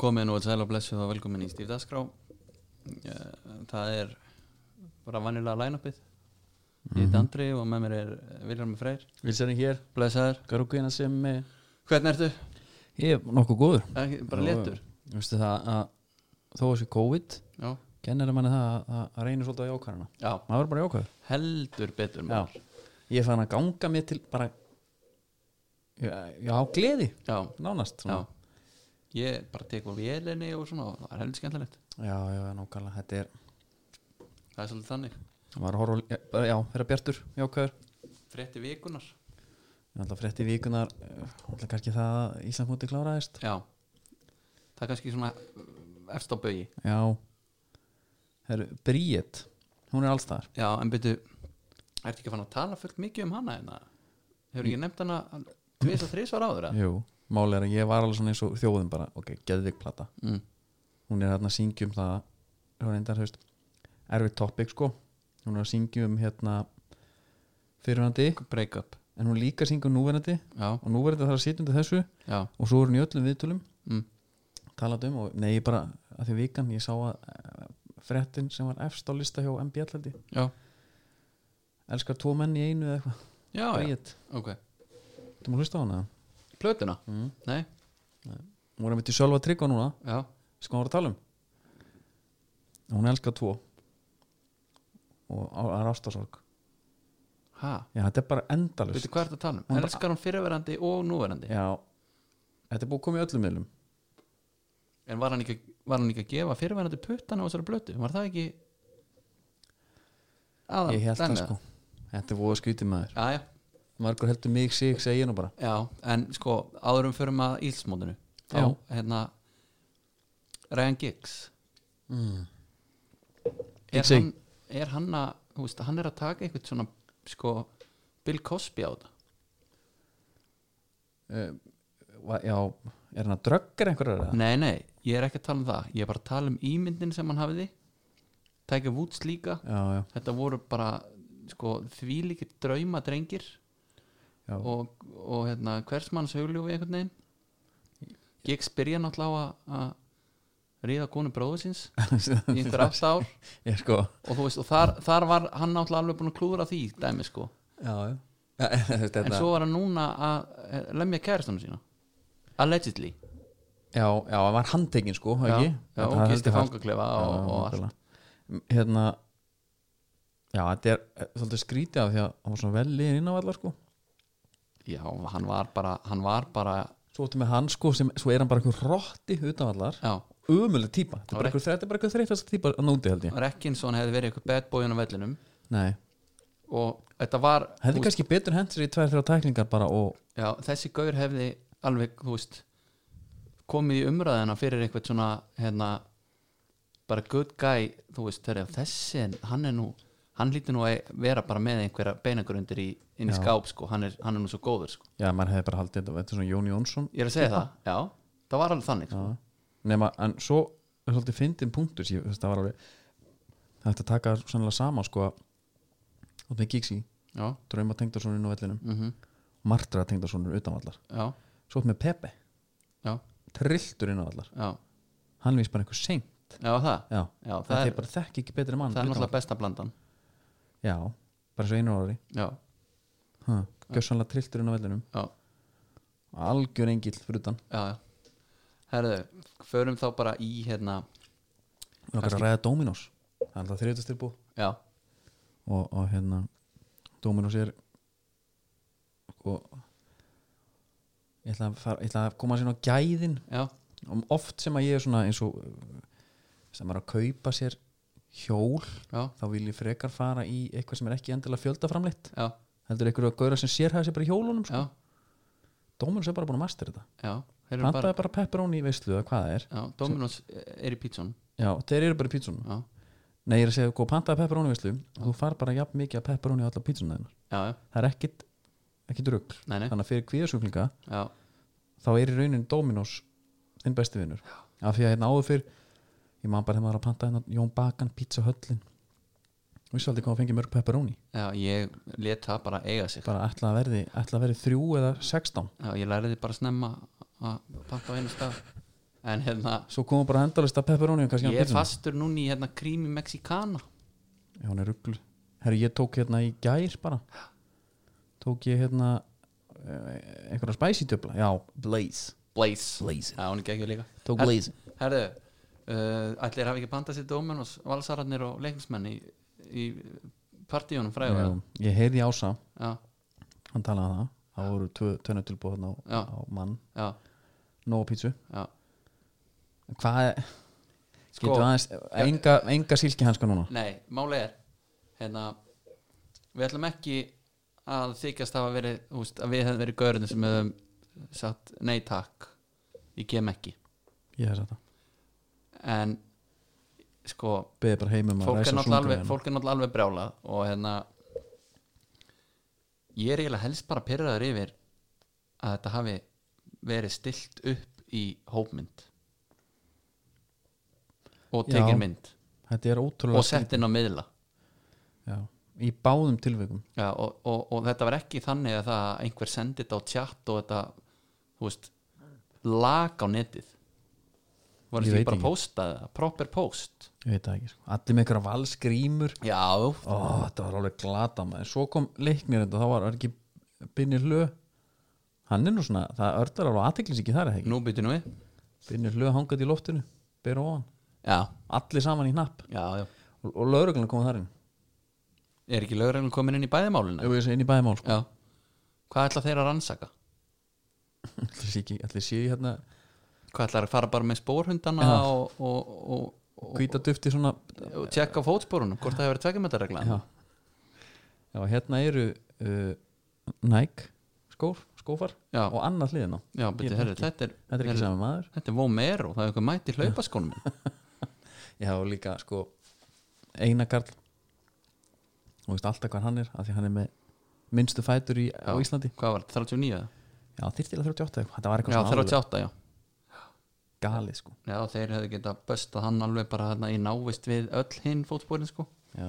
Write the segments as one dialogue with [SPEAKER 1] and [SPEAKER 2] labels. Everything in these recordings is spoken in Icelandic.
[SPEAKER 1] komið nú að sæla og blessu og velkomin í Stíf Daskrá Eh, Það er bara vanilega line-upið Ég
[SPEAKER 2] Mhm.
[SPEAKER 1] heiti Andri og með mér er Viljarmi Freyr
[SPEAKER 2] Vilsarinn hér,
[SPEAKER 1] Blessaður,
[SPEAKER 2] Garúkina sem eh,
[SPEAKER 1] hvernig ertu?
[SPEAKER 2] ég er nokkuð góður
[SPEAKER 1] Ekki, bara letur
[SPEAKER 2] Þú veistu það að þó að sé COVID
[SPEAKER 1] Já,
[SPEAKER 2] kennir manni það að, að- að reynir svolítið á jákvæðina
[SPEAKER 1] já
[SPEAKER 2] maður er bara jákvæður
[SPEAKER 1] heldur betur maður.
[SPEAKER 2] Já. ég fann að ganga mér til bara já, já gleði
[SPEAKER 1] já,
[SPEAKER 2] nánast
[SPEAKER 1] já
[SPEAKER 2] svona.
[SPEAKER 1] Ég bara tek á vélinni og svona og það er heldur skemmtilegt
[SPEAKER 2] já, já, nákvæmlega þetta er
[SPEAKER 1] Það er svolítið þannig
[SPEAKER 2] maður er að horfa, á- já, bara, já, vera bjartur jákvæður
[SPEAKER 1] Frétti vikunar
[SPEAKER 2] ég ætla að frétti vikunar eh, ætla kannski það að Íslandmóti kláraðist
[SPEAKER 1] Já Það er kannski svona eh, efst á bögi
[SPEAKER 2] já Heru, Bríett, hún er allstaðar
[SPEAKER 1] Já, en byrju, ertu ekki fann að tala fullt mikið um hana en hefur ekki nefnt hana tvis og þris var áður að
[SPEAKER 2] Jú, máli er að ég var alveg svona eins og þjóðum bara, ok, geðvik plata
[SPEAKER 1] mm.
[SPEAKER 2] hún er hérna að syngja um það hún er endar, hefst, erfið topic sko hún er að syngja um hérna fyrirhandi,
[SPEAKER 1] break up
[SPEAKER 2] en hún er líka að syngja um núverandi
[SPEAKER 1] Já,
[SPEAKER 2] og núverandi þarf að sitja undir þessu
[SPEAKER 1] já,
[SPEAKER 2] og svo er hún í öllum viðtölum
[SPEAKER 1] mm.
[SPEAKER 2] talað um og nei, ég bara, að því vikan ég sá að eh, fréttin sem var efst á lista hjá MBL-landi,
[SPEAKER 1] já,
[SPEAKER 2] elskar tvo menn í einu eða eitthvað,
[SPEAKER 1] já, já,
[SPEAKER 2] bæjit
[SPEAKER 1] ok
[SPEAKER 2] þú múið hlusta á hana,
[SPEAKER 1] Plötuna?
[SPEAKER 2] Mm.
[SPEAKER 1] Nei,
[SPEAKER 2] hún er að myndi sjálfa að tryggva núna
[SPEAKER 1] já,
[SPEAKER 2] sem hún var að tala um hún elskar tvo og á- það er ástasorg
[SPEAKER 1] ha
[SPEAKER 2] já, þetta er bara endalust
[SPEAKER 1] Byrju, hvað ertu að tala um?
[SPEAKER 2] Hún bara-
[SPEAKER 1] Elskar hún fyrirverandi og núverandi
[SPEAKER 2] já, þetta er búið að koma í öllum meðlum
[SPEAKER 1] En var hann ekki, var hann ekki að gefa fyrirverandi puttana á þessari plötu? Var það ekki aðan?
[SPEAKER 2] ég held það sko þetta er búið að skýti maður
[SPEAKER 1] Já, já,
[SPEAKER 2] margur heldur mig sig, segi ég nú bara
[SPEAKER 1] Já, en sko áðurum förum að ílsmótinu þá
[SPEAKER 2] Já.
[SPEAKER 1] hérna Ryan Giggs
[SPEAKER 2] mm.
[SPEAKER 1] er
[SPEAKER 2] Giggsy.
[SPEAKER 1] hann, er hann að þú veist, hann er að taka einhvern svona sko Bill Cosby á þetta
[SPEAKER 2] já, er hann að dröggar einhverjar eða?
[SPEAKER 1] Nei, nei, ég er ekki að tala um það ég er bara að tala um ímyndin sem hann hafiði tækja vúts líka
[SPEAKER 2] já, já,
[SPEAKER 1] þetta voru bara sko þvílíkir drauma drengir
[SPEAKER 2] já,
[SPEAKER 1] og, og hérna, hvers manns hugljúfi einhvern veginn Giggs byrja náttúrulega á að- að ríða konu bróðu síns í einhver átta ár
[SPEAKER 2] ég sko
[SPEAKER 1] og þú veist, og þar, þar var hann náttúrulega alveg búin að klúðra því dæmi sko
[SPEAKER 2] já, já Ja, þetta,
[SPEAKER 1] en svo var hann núna að eh, lemja kærastunum sína allegedly
[SPEAKER 2] já, já, hann var handtekinn sko,
[SPEAKER 1] já,
[SPEAKER 2] ekki?
[SPEAKER 1] já,
[SPEAKER 2] Þetta
[SPEAKER 1] og
[SPEAKER 2] var
[SPEAKER 1] gisti
[SPEAKER 2] heldur hart.
[SPEAKER 1] fangaklefa
[SPEAKER 2] Já,
[SPEAKER 1] og, og allt
[SPEAKER 2] nákvæmlega. M- hérna já, þetta er eh, svolítið skrítið af því að hann var svona vel liðin inn á allar sko
[SPEAKER 1] já, hann var bara hann var bara,
[SPEAKER 2] svo áttu með hann sko, sem, svo er hann bara einhver rotti utan allar,
[SPEAKER 1] já,
[SPEAKER 2] ömuleg típa þetta er bara
[SPEAKER 1] Korrekt.
[SPEAKER 2] einhver, þetta er bara einhver þreytast típa að nóti held ég
[SPEAKER 1] Rekkinsson hefði verið eitthvað bad boy á vellinum
[SPEAKER 2] nei,
[SPEAKER 1] og þetta var
[SPEAKER 2] hefði
[SPEAKER 1] þú veist,
[SPEAKER 2] kannski betur hent sér í tvær þrjá tæklingar bara og
[SPEAKER 1] já, þessi gaur hefði alveg, þú veist komið í umræðina fyrir eitthvað svona hérna, bara good guy þú veist, þegar þessi en hann er nú hann lítur nú að vera bara með einhverja beinagrundir í, inn í
[SPEAKER 2] Já.
[SPEAKER 1] skáp sko. hann, er, hann er nú svo góður sko.
[SPEAKER 2] já, maður hefði bara haldið þetta, þetta er svona Jón Jónsson
[SPEAKER 1] ég er að segja það, já, það var alveg þannig sko.
[SPEAKER 2] Já. nema, en svo er svolítið fyndin punktur, ég, þess, það var alveg þetta taka sannlega sama sko að áttu með Gixi,
[SPEAKER 1] já,
[SPEAKER 2] drauma tengdarsonur inn á vellinum,
[SPEAKER 1] mm
[SPEAKER 2] martra tengdarsonur utan allar,
[SPEAKER 1] já,
[SPEAKER 2] svo áttu með Pepe
[SPEAKER 1] já,
[SPEAKER 2] trilltur inn á allar
[SPEAKER 1] já
[SPEAKER 2] hann vís bara einhver sein
[SPEAKER 1] já, það,
[SPEAKER 2] já,
[SPEAKER 1] já, það,
[SPEAKER 2] það
[SPEAKER 1] er,
[SPEAKER 2] er bara þekki ekki betri mann
[SPEAKER 1] það er
[SPEAKER 2] utan
[SPEAKER 1] náttúrulega besta blandan
[SPEAKER 2] allar. já, bara svo einu ári
[SPEAKER 1] já,
[SPEAKER 2] gjössanlega trilltur inn á vellinum
[SPEAKER 1] já,
[SPEAKER 2] algjör engill fyrir utan
[SPEAKER 1] já, já herðu, förum þá bara í hérna,
[SPEAKER 2] við okkar að ræða Dominos það er alltaf þriðutastilbú
[SPEAKER 1] já,
[SPEAKER 2] og, og hérna Dominos er og ég ætla að, fara, ég ætla að koma sér á gæðin
[SPEAKER 1] já,
[SPEAKER 2] um oft sem að ég er svona eins og eh, sem er að kaupa sér hjól
[SPEAKER 1] já
[SPEAKER 2] þá vil ég frekar fara í eitthvað sem er ekki endilega fjöldaframleitt
[SPEAKER 1] já,
[SPEAKER 2] heldur eitthvað að gauðra sem sérhæða sér bara í hjólunum
[SPEAKER 1] já,
[SPEAKER 2] Dóminus er bara búin að master þetta
[SPEAKER 1] já þeir eru bara,
[SPEAKER 2] Pantaði bara pepperoni í veislu eða hvað það er
[SPEAKER 1] já, Dominos er í pítsun
[SPEAKER 2] Já, þeir eru bara í pítsunum
[SPEAKER 1] já,
[SPEAKER 2] Nei, ég er að segja, sko, pantaði pepperoni í veislu og þú far bara jafn mikið að pepperoni á alla pítsunum þennar
[SPEAKER 1] já, já,
[SPEAKER 2] Það er ekkit, ekkit rugg
[SPEAKER 1] nei, nei
[SPEAKER 2] Þannig að fyrir kvíðasuglinga
[SPEAKER 1] já,
[SPEAKER 2] þá er í raunin Dominos þinn besti vinnur Af því að hérna áður fyrr ég man bara þegar maður var að panta hérna Jón Bakan, Pizza Höllin Vissu aldrei hvað hann fengi mörg pepperoni
[SPEAKER 1] já, ég let það bara eiga sig
[SPEAKER 2] Bara ætla að verði, ætla að verði þrjú eða sextán
[SPEAKER 1] já, ég læriði bara snemma að panta á einu stað en hérna
[SPEAKER 2] svo komum bara endalist að pepperoni og kannski
[SPEAKER 1] ég
[SPEAKER 2] hann
[SPEAKER 1] er
[SPEAKER 2] pizzuna.
[SPEAKER 1] fastur núna í hérna krími mexikana
[SPEAKER 2] Já, hún er rugglu Herri, ég tók hérna í gær bara Tók ég hérna eh, einhverja spicy döbla Já, blaze
[SPEAKER 1] Blaze,
[SPEAKER 2] Blaze.
[SPEAKER 1] Já, hún er geggjur líka
[SPEAKER 2] Tók
[SPEAKER 1] Her-
[SPEAKER 2] blaze
[SPEAKER 1] Herðu, uh, ætlir hafi ekki bandað sér dómen og valsararnir og leiknismenn í, í partíunum fræðu
[SPEAKER 2] Já,
[SPEAKER 1] Já,
[SPEAKER 2] Ég heyrði í ása,
[SPEAKER 1] já,
[SPEAKER 2] hann talaði um það Það voru tvö, tönnu tilbúð hérna
[SPEAKER 1] Já.
[SPEAKER 2] á, á mann
[SPEAKER 1] já,
[SPEAKER 2] Nóa pítsu
[SPEAKER 1] já.
[SPEAKER 2] Hvað er,
[SPEAKER 1] Sko,
[SPEAKER 2] getur aðeins Enga, enga sílkihanska núna
[SPEAKER 1] nei, máli er hérna, við ætlum ekki að þykjast hafa verið þú veist, að við hefðum verið gaurinu sem hefðum sagt nei takk ég kem ekki
[SPEAKER 2] Ég hef þetta
[SPEAKER 1] en sko,
[SPEAKER 2] Beðið bara heim um að
[SPEAKER 1] fólk er
[SPEAKER 2] ræsa
[SPEAKER 1] náttúrulega
[SPEAKER 2] slunga
[SPEAKER 1] alveg, fólk er náttúrulega alveg brjálað og hérna ég er eiginlega helst bara pyrraður yfir að þetta hafi verið stilt upp í hópmynd og
[SPEAKER 2] Já.
[SPEAKER 1] tekir mynd
[SPEAKER 2] Þetta er ótrúlega
[SPEAKER 1] og sett inn á miðla
[SPEAKER 2] skrítið. Já, Í báðum tilvikum
[SPEAKER 1] Já, og, og, og þetta var ekki þannig að það að einhver sendi þetta á tjatt og þetta þú veist, lag á netið var
[SPEAKER 2] Ég
[SPEAKER 1] þetta
[SPEAKER 2] veit
[SPEAKER 1] ekki bara
[SPEAKER 2] ekki.
[SPEAKER 1] postað það, proper post
[SPEAKER 2] Ég veit það ekki sko. Allir með einhverja valsgrímur
[SPEAKER 1] Já,
[SPEAKER 2] Ó, þetta var alveg glata maður Svo kom leiknir þetta, þá var var ekki Binni Hlö Hann er nú svona, það örlar alveg aðteklis ekki þar eða ekki
[SPEAKER 1] nú byttum við
[SPEAKER 2] Binni Hlö hangaði í loftinu, bera ofan
[SPEAKER 1] Já,
[SPEAKER 2] Allir saman í hnapp
[SPEAKER 1] já, já
[SPEAKER 2] Og, og lögreglun kom þar inn
[SPEAKER 1] Er ekki lögreglun komin inn í bæðimálinu?
[SPEAKER 2] Jú, ég segi inn í bæðimál sko.
[SPEAKER 1] Já Hvað ætla þeir að rannsaka?
[SPEAKER 2] Allir sé ekki, allir sé hérna
[SPEAKER 1] Hvað ætla þeir að fara bara með spórhundana
[SPEAKER 2] Já.
[SPEAKER 1] og, og, og, og,
[SPEAKER 2] Hvíta dufti svona
[SPEAKER 1] og, og tjekka fótspórunum hvort það hefur tvekkjumetaregla
[SPEAKER 2] Já, já hérna eru uh, Nike skór, skófar
[SPEAKER 1] Já.
[SPEAKER 2] Og annað hliðina
[SPEAKER 1] já beti,
[SPEAKER 2] Ég-
[SPEAKER 1] herri, þetta er,
[SPEAKER 2] Þetta er ekki saman maður
[SPEAKER 1] þetta er Vomero, það er eitthvað mætt í hlaupaskónum minn.
[SPEAKER 2] Já, og líka sko Einakarl og veist alltaf hvað hann er af því hann er með minnstu fætur í, á
[SPEAKER 1] Já.
[SPEAKER 2] Íslandi
[SPEAKER 1] Hvað var þetta, 39? eða?
[SPEAKER 2] Já, þyrtilega 38 eitthvað, þetta var eitthvað
[SPEAKER 1] Já,
[SPEAKER 2] svona
[SPEAKER 1] 38, já
[SPEAKER 2] alveg galið sko
[SPEAKER 1] Já, þeir hefðu getað böstað hann alveg bara þarna í návist við öll hinn fótspórin sko
[SPEAKER 2] Já.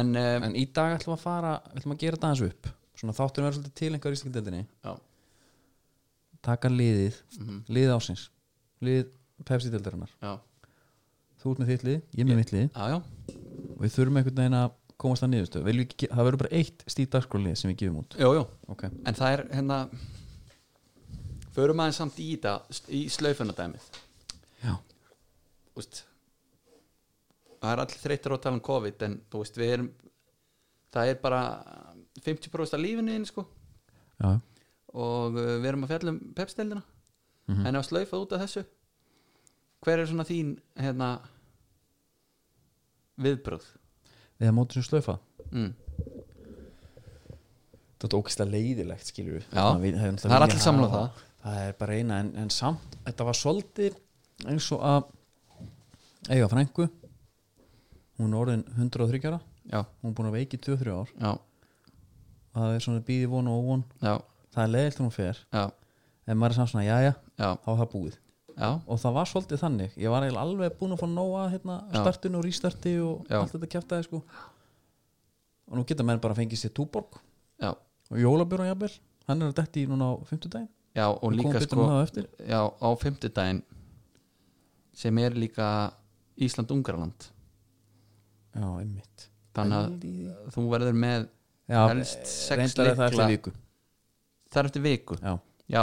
[SPEAKER 1] En, um,
[SPEAKER 2] En í dag ætlum við að fara, ætlum við að gera þetta aðeins upp svona þátturinn verður svolítið til einhver í slikdeldinni
[SPEAKER 1] já,
[SPEAKER 2] taka liðið, liðið ásins liðið Pepsi-deldarinnar
[SPEAKER 1] já,
[SPEAKER 2] Þú ert með þitt lið, ég með mitt lið
[SPEAKER 1] já, já,
[SPEAKER 2] og við þurfum einhvern veginn að komast að niðurstöð Viljum við ekki- það verður bara eitt stíð dagskrólið sem við gefum út
[SPEAKER 1] já, já.
[SPEAKER 2] okay.
[SPEAKER 1] En það er hérna Förum aðeins samt í þetta Í slaufunadæmið
[SPEAKER 2] Já,
[SPEAKER 1] Úst Það er allir þreyttur á að tala um COVID En þú veist við erum Það er bara 50% af lífinu þínu, sko,
[SPEAKER 2] já,
[SPEAKER 1] Og uh, við erum að fjalla um pepsteldina
[SPEAKER 2] Mhm.
[SPEAKER 1] En ef slaufað út af þessu Hver er svona þín hérna Viðbröð
[SPEAKER 2] við erum mótið sem slöfað
[SPEAKER 1] mm.
[SPEAKER 2] þetta er ógeðslega leiðilegt skilur við
[SPEAKER 1] Já,
[SPEAKER 2] Þannig að við- hefðum
[SPEAKER 1] það er
[SPEAKER 2] viljað
[SPEAKER 1] allir sammála um
[SPEAKER 2] hafa-
[SPEAKER 1] það.
[SPEAKER 2] það er bara eina en, en samt, þetta var svolítið eins og að eiga frængu hún er orðin 103 ára
[SPEAKER 1] Já,
[SPEAKER 2] hún er búin að veiki í 2-3 ár
[SPEAKER 1] já,
[SPEAKER 2] það er svona bíði von og óvon
[SPEAKER 1] já,
[SPEAKER 2] það er leiðilt hún fer
[SPEAKER 1] já
[SPEAKER 2] en maður er samt svona jæja
[SPEAKER 1] Já,
[SPEAKER 2] þá er það búið
[SPEAKER 1] já,
[SPEAKER 2] og það var svolítið þannig ég var eiginlega alveg búin að fá nóa hérna,
[SPEAKER 1] Já.
[SPEAKER 2] startinu og rístarti og
[SPEAKER 1] Já.
[SPEAKER 2] allt þetta kjæftaði sko og nú geta menn bara að fengi sér túborg
[SPEAKER 1] já,
[SPEAKER 2] og jólabjörn jafnvel hann er að detti núna á 50 daginn
[SPEAKER 1] já Og líka sko já, á fimmtudaginn sem er líka Ísland-Ungarland
[SPEAKER 2] Já, einmitt
[SPEAKER 1] þannig að þú verður með
[SPEAKER 2] Já,
[SPEAKER 1] helst sex
[SPEAKER 2] reyndar að það er
[SPEAKER 1] lykla.
[SPEAKER 2] það viku
[SPEAKER 1] þar eftir viku,
[SPEAKER 2] Já,
[SPEAKER 1] já,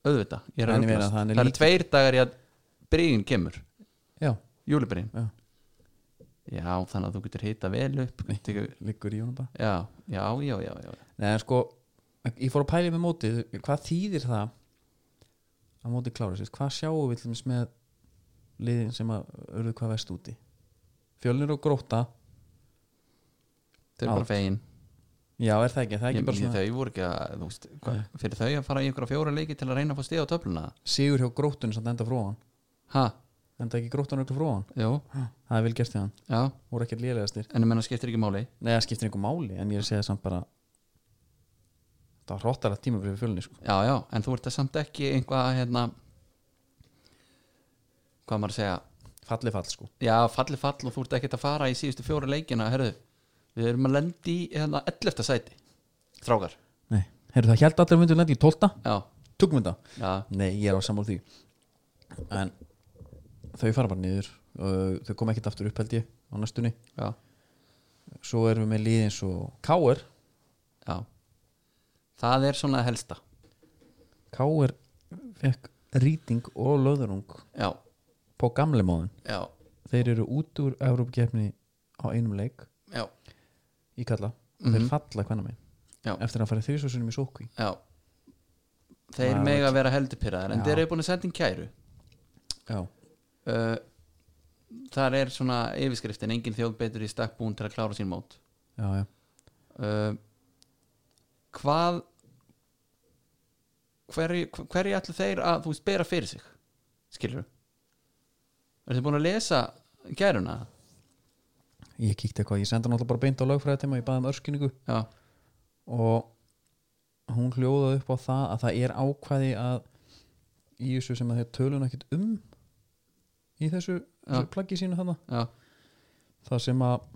[SPEAKER 1] auðvitað ég er að
[SPEAKER 2] En ég meina
[SPEAKER 1] ruglast.
[SPEAKER 2] að hann er
[SPEAKER 1] það eru
[SPEAKER 2] líka-
[SPEAKER 1] tveir dagar í að brygin kemur,
[SPEAKER 2] já,
[SPEAKER 1] júlibrygin
[SPEAKER 2] Já.
[SPEAKER 1] já, þannig að þú getur hita vel upp tekur,
[SPEAKER 2] liggur í honum bara
[SPEAKER 1] já, já, já, já, já.
[SPEAKER 2] Nei, en sko, ég fór að pæli með móti Hvað þýðir það að móti klára sér? Hvað sjáum við til dæmis með liðin sem að urðu hvað vest úti? Fjölnir og gróta
[SPEAKER 1] þau er
[SPEAKER 2] Já.
[SPEAKER 1] bara fegin
[SPEAKER 2] Já, er það ekki, það er
[SPEAKER 1] Ég-
[SPEAKER 2] ekki bara
[SPEAKER 1] ég-
[SPEAKER 2] svona
[SPEAKER 1] þau voru ekki að, þú veist hva, fyrir þau að fara í ykkur á fjóra leiki til að reyna að fá stíð á töfluna
[SPEAKER 2] Sigur hjá grótunum samt enda fróðan
[SPEAKER 1] ha,
[SPEAKER 2] Enda ekki gróttan öllu fróðan
[SPEAKER 1] jú,
[SPEAKER 2] Það er vel gert í hann,
[SPEAKER 1] já,
[SPEAKER 2] voru ekkert lélegastir
[SPEAKER 1] en ég menna skiptir ekki máli
[SPEAKER 2] Nei, það skiptir einhver máli, en ég er að segja samt bara Það var hróttalegt tímabrið fyrir fjölni, sko
[SPEAKER 1] Já, já, en þú ert það samt ekki einhvað hérna hvað maður að segja
[SPEAKER 2] Falli fall, sko
[SPEAKER 1] já, falli fall og þú ert ekkert að fara í síðustu fjóra leikina herðu, við erum að lendi í hérna 11. sæti strákar,
[SPEAKER 2] Nei, heyrðu það held allir að myndu lendi í 12
[SPEAKER 1] já,
[SPEAKER 2] Tökum við það?
[SPEAKER 1] já,
[SPEAKER 2] Nei, ég er á sammála því en þau fara bara niður og þau koma ekkert aftur upp held ég á næstunni
[SPEAKER 1] já,
[SPEAKER 2] svo erum við með lið eins og K.R.
[SPEAKER 1] já það er svona helsta
[SPEAKER 2] K.R. fekk rýting og löðurung
[SPEAKER 1] já,
[SPEAKER 2] på gamle móðin
[SPEAKER 1] já,
[SPEAKER 2] þeir eru út úr Evrópkeppni á einum leik
[SPEAKER 1] já,
[SPEAKER 2] í kalla
[SPEAKER 1] Mhm.
[SPEAKER 2] þeir falla hvenna
[SPEAKER 1] Já.
[SPEAKER 2] megin eftir að fara þrísvarsunum í sókví
[SPEAKER 1] já þeir
[SPEAKER 2] Maður
[SPEAKER 1] mega
[SPEAKER 2] veit.
[SPEAKER 1] vera heldur pyrraðar en
[SPEAKER 2] Já.
[SPEAKER 1] þeir eru búin að senda inn kæru
[SPEAKER 2] já,
[SPEAKER 1] uh, þar er svona yfirskriftin engin þjóð betur í stakk búin til að klára sín mót
[SPEAKER 2] já, já,
[SPEAKER 1] uh, hvað hverju hverju ætla þeir að þú veist bera fyrir sig skilur er þið búin að lesa gæruna
[SPEAKER 2] ég kíkti eitthvað ég senda náttúrulega bara beint á lögfræði ég baði um örskynningu
[SPEAKER 1] já,
[SPEAKER 2] og hún hljóðaði upp á það að það er ákvæði að í þessu sem að þeir tölun ekkit um í þessu, þessu plaggi sínu þarna
[SPEAKER 1] já,
[SPEAKER 2] það sem að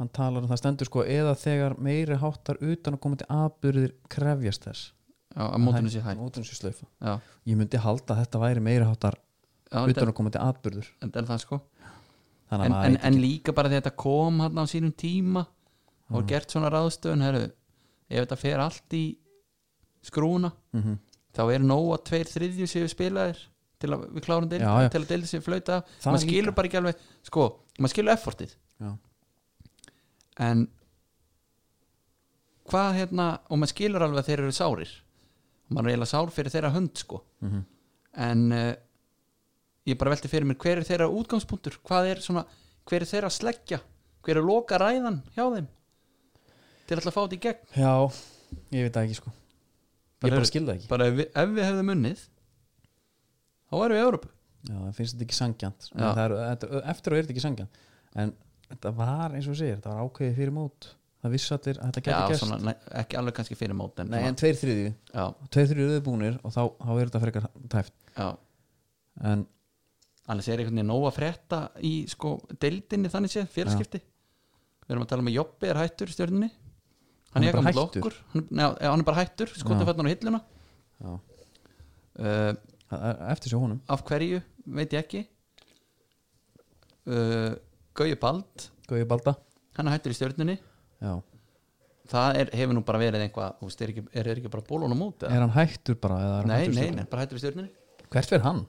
[SPEAKER 2] hann talar um það stendur sko eða þegar meiri háttar utan að koma til aðburðir krefjast þess
[SPEAKER 1] já, að mótinu sé hægt
[SPEAKER 2] mótunum sér slaufa
[SPEAKER 1] já,
[SPEAKER 2] ég myndi halda að þetta væri meiri háttar
[SPEAKER 1] já,
[SPEAKER 2] utan að koma til aðburður
[SPEAKER 1] þetta er það sko
[SPEAKER 2] þannig að
[SPEAKER 1] en,
[SPEAKER 2] maður
[SPEAKER 1] en,
[SPEAKER 2] veit
[SPEAKER 1] en líka bara þegar þetta kom hann á sínum tíma
[SPEAKER 2] Mhm.
[SPEAKER 1] og gert svona ráðstöðun herru, ef þetta fer allt í skrúna
[SPEAKER 2] mm -hmm.
[SPEAKER 1] þá er nóg að tveir þriðju séu spilaðir til að við klárum deildi,
[SPEAKER 2] Já, já.
[SPEAKER 1] til að deildi séu flauta af.
[SPEAKER 2] Það
[SPEAKER 1] maður skilur
[SPEAKER 2] líka.
[SPEAKER 1] bara ekki alveg sko, maður skilur effortið
[SPEAKER 2] Já.
[SPEAKER 1] en hvað hérna og maður skilur alveg að þeir eru sárir og maður er eiginlega sár fyrir þeirra hönd sko
[SPEAKER 2] Mhm.
[SPEAKER 1] en uh, ég bara velti fyrir mér hver er þeirra útgangspunktur hvað er svona, hver er þeirra sleggja hver er loka ræðan hjá þeim til alltaf að fá þetta í gegn
[SPEAKER 2] já, ég veit það ekki sko ég
[SPEAKER 1] Bara-
[SPEAKER 2] bara skil það ekki
[SPEAKER 1] bara ef við, ef við hefðum unnið þá erum við í Európu
[SPEAKER 2] já, það finnst þetta ekki sangjant
[SPEAKER 1] Já.
[SPEAKER 2] eftir og er þetta ekki sangjant en þetta var eins og þú segir, þetta var ákveðið fyrir mót það vissi allir að þetta
[SPEAKER 1] Já,
[SPEAKER 2] gæti gerst
[SPEAKER 1] svona, ne, ekki alveg kannski fyrir mót en,
[SPEAKER 2] Nei, en
[SPEAKER 1] svona,
[SPEAKER 2] tveir þriðju,
[SPEAKER 1] já,
[SPEAKER 2] tveir þriðju eru búnir og þá, þá er þetta frekar tæft
[SPEAKER 1] já.
[SPEAKER 2] en
[SPEAKER 1] annars er einhvern veginn nóg að frétta í sko, deildinni þannig séð, félskipti við erum að tala um að Jobbi er hættur í stjörninni hann,
[SPEAKER 2] Hann er
[SPEAKER 1] er
[SPEAKER 2] bara
[SPEAKER 1] gamall
[SPEAKER 2] hættur?
[SPEAKER 1] okkur hann, já, já, hann er bara hættur,
[SPEAKER 2] Já.
[SPEAKER 1] skotum fættan á hilluna
[SPEAKER 2] já,
[SPEAKER 1] uh,
[SPEAKER 2] það er e- eftir sér honum
[SPEAKER 1] af hverju, veit ég ekki uh, Gauju Bald
[SPEAKER 2] Gauði Balda
[SPEAKER 1] hann er hættur í stjörninni
[SPEAKER 2] já.
[SPEAKER 1] það er, hefur nú bara verið einhvað þú veist, er ekki, er, er ekki bara bólunum út eða?
[SPEAKER 2] er hann hættur bara? eða er hann
[SPEAKER 1] nei,
[SPEAKER 2] hættur
[SPEAKER 1] nei,
[SPEAKER 2] stundum?
[SPEAKER 1] nei, bara hættur í stjörninni
[SPEAKER 2] hvert fyrir hann?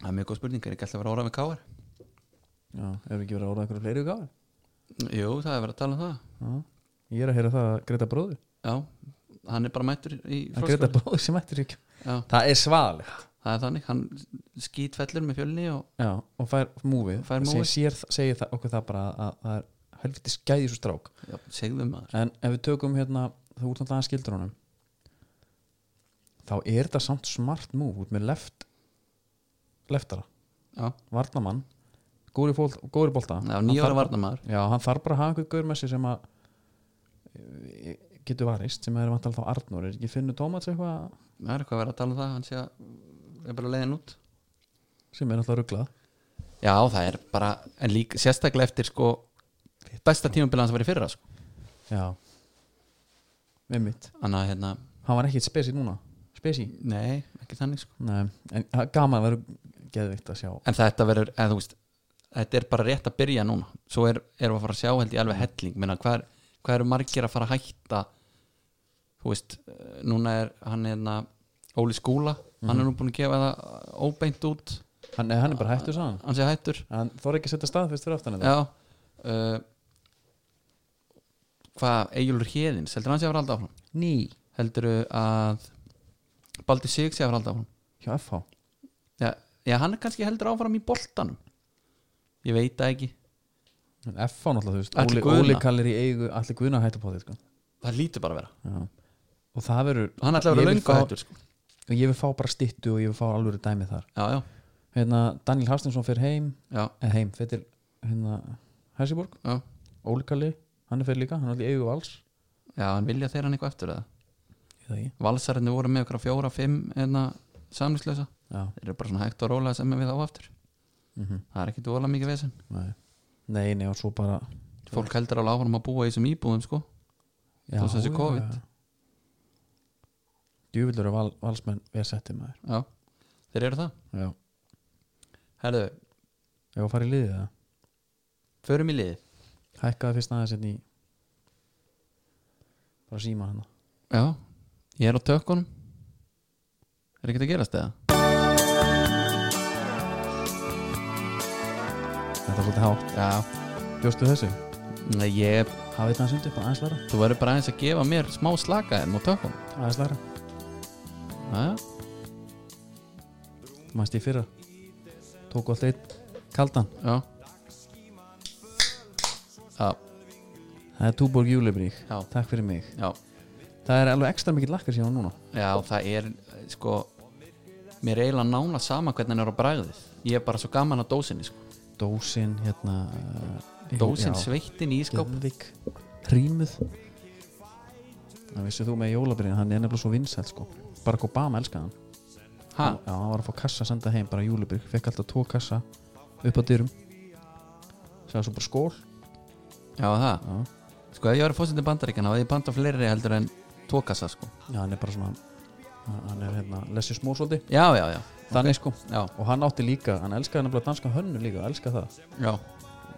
[SPEAKER 1] það er mjög góð spurning, er ekki alltaf að vera órað með káar
[SPEAKER 2] Já, hefur ekki verið að orða einhverju fleiri gáður?
[SPEAKER 1] jú, það er verið að tala um það
[SPEAKER 2] Ég er að heyra það að Greta bróður
[SPEAKER 1] Já, hann er bara mættur í
[SPEAKER 2] að Greta
[SPEAKER 1] froskvöld
[SPEAKER 2] bróður sem ættir ekki
[SPEAKER 1] Já,
[SPEAKER 2] Það er svaðalegt
[SPEAKER 1] það er þannig, hann skýtfellur með fjölni og
[SPEAKER 2] Já, og fær múfið
[SPEAKER 1] Fær múvið.
[SPEAKER 2] Segir, segir það, okkur það bara að, að það er helviti skæði svo strák
[SPEAKER 1] já, segðum maður
[SPEAKER 2] En ef við tökum hérna það út náttúrulega skildur honum þá er þetta samt smart múf út með left leftara,
[SPEAKER 1] Já,
[SPEAKER 2] varnamann góri, fól, góri bolta
[SPEAKER 1] já
[SPEAKER 2] Hann
[SPEAKER 1] nýjóra
[SPEAKER 2] þarf-
[SPEAKER 1] varna maður
[SPEAKER 2] Já, hann þarf bara að hafa einhver gaur með sér sem að e, getur varist sem er vantalega þá Arnur er ekki finnur Tómats eitthvað
[SPEAKER 1] Það er eitthvað að vera að tala um það, hann sé að er bara leiðin út
[SPEAKER 2] sem er alltaf rugglað
[SPEAKER 1] Já, það er bara, en líka sérstaklega eftir sko besta tímabilan sem var í fyrra sko
[SPEAKER 2] Já Með mitt
[SPEAKER 1] Þannig að hérna,
[SPEAKER 2] Hann var ekkit spesi núna Spesi
[SPEAKER 1] nei, ekki þannig sko
[SPEAKER 2] Nei En það er gaman að vera geðvikt að sjá
[SPEAKER 1] En þetta verður, eða þú veist Þetta er bara rétt að byrja núna Svo er, erum við að fara að sjá held í alveg helling Meina, hvað, er, hvað eru margir að fara að hætta Þú veist eh, Núna er hann hérna Óli Skúla, hann er nú búin að gefa það Óbeint út,
[SPEAKER 2] Hann, nei, hann er bara hættur saman
[SPEAKER 1] hann sé hættur
[SPEAKER 2] Hann þorði ekki að setja stað fyrst fyrir aftan þetta
[SPEAKER 1] Já uh, Hvað, Egilur Héðins Heldur hann sé að fara alltaf áfram
[SPEAKER 2] Ný
[SPEAKER 1] Heldur að Baldur Sig sé að fara alltaf áfram
[SPEAKER 2] Hjá FH
[SPEAKER 1] Já, já, hann er kannski heldur áfram í boltanum Ég veit það ekki
[SPEAKER 2] En FH náttúrulega þú veist
[SPEAKER 1] Atli
[SPEAKER 2] Óli,
[SPEAKER 1] Guðna.
[SPEAKER 2] Óli kallir í eigu Allir guðna hættu på þetta sko.
[SPEAKER 1] Það lítur bara að vera
[SPEAKER 2] Já Og það verður
[SPEAKER 1] hann ætlaði að vera
[SPEAKER 2] Ég vil
[SPEAKER 1] löngu
[SPEAKER 2] fá-
[SPEAKER 1] hættur sko.
[SPEAKER 2] Og ég vil fá bara stittu og ég vil fá alvöru dæmi þar
[SPEAKER 1] já, já,
[SPEAKER 2] Hérna Daniel Hafstinsson fyrir heim
[SPEAKER 1] já,
[SPEAKER 2] En heim Fyrir hérna Hessiborg
[SPEAKER 1] já,
[SPEAKER 2] Óli kalli Hann er fyrir líka Hann er allir eigu vals
[SPEAKER 1] já en vilja þeir hann eitthvað eftir það
[SPEAKER 2] Ég það ekki
[SPEAKER 1] valsararnir voru með okkur á fjóra, fimm hérna, samlýslösa,
[SPEAKER 2] Já
[SPEAKER 1] þeir eru bara svona hægt og rólega sem við á aftur,
[SPEAKER 2] mm
[SPEAKER 1] það er ekkit vola mikið vesen
[SPEAKER 2] Nei. nei, nei og svo bara
[SPEAKER 1] fólk heldur alveg áfram að búa í þessum íbúðum sko
[SPEAKER 2] já,
[SPEAKER 1] Þó sem sé COVID.
[SPEAKER 2] já. djúvillur og val, valsmenn við settum maður
[SPEAKER 1] já, þeir eru það
[SPEAKER 2] já,
[SPEAKER 1] Herðu,
[SPEAKER 2] ég var að fara í liðið það
[SPEAKER 1] förum í liðið
[SPEAKER 2] hækkaði fyrst aðeins hérna í bara síma hana
[SPEAKER 1] Já, ég er á tökkunum Er ekkert að gerast eða?
[SPEAKER 2] þetta er svolítið hátt,
[SPEAKER 1] Já
[SPEAKER 2] bjóstu þessu
[SPEAKER 1] Nei, ég,
[SPEAKER 2] hafið þetta aðeins undir, bara aðeins læra
[SPEAKER 1] þú verður bara aðeins að gefa mér smá slaka enn á tökkunum
[SPEAKER 2] aðeins læra,
[SPEAKER 1] Já, já,
[SPEAKER 2] mannst í fyrra tóku alltaf einn kaldan
[SPEAKER 1] já Já,
[SPEAKER 2] það er Túborg Júlibrík,
[SPEAKER 1] já,
[SPEAKER 2] takk fyrir mig
[SPEAKER 1] já
[SPEAKER 2] það er alveg ekstra mikill lakkar síðan núna
[SPEAKER 1] Já, það er eh, sko Mér er eiginlega nána sama hvernig hann er á bræðið Ég er bara svo gaman að dósinni sko.
[SPEAKER 2] dósin hérna eh,
[SPEAKER 1] Dósin
[SPEAKER 2] já.
[SPEAKER 1] sveittin í sko. ískáp
[SPEAKER 2] Geðvik Hrímuð Það vissið þú með jólabriðin Hann er nefnilega svo vinsæl sko Barack Obama elskaði hann
[SPEAKER 1] Ha,
[SPEAKER 2] Já, hann var að fá kassa að senda heim bara jólabrík Fekk alltaf tvo kassa upp á dyrum Sæði svo bara skól
[SPEAKER 1] já það
[SPEAKER 2] Já,
[SPEAKER 1] Sko ef ég var fórsendin bandaríkjana Það ég panta fleiri heldur en tókassa sko
[SPEAKER 2] já hann er bara svona hann- Hann er hérna Lessi Smósoldi
[SPEAKER 1] Já, já, já,
[SPEAKER 2] Þannig sko
[SPEAKER 1] já,
[SPEAKER 2] Og hann átti líka Hann elskaði nefnilega danska hönnu líka Elskaði það
[SPEAKER 1] já.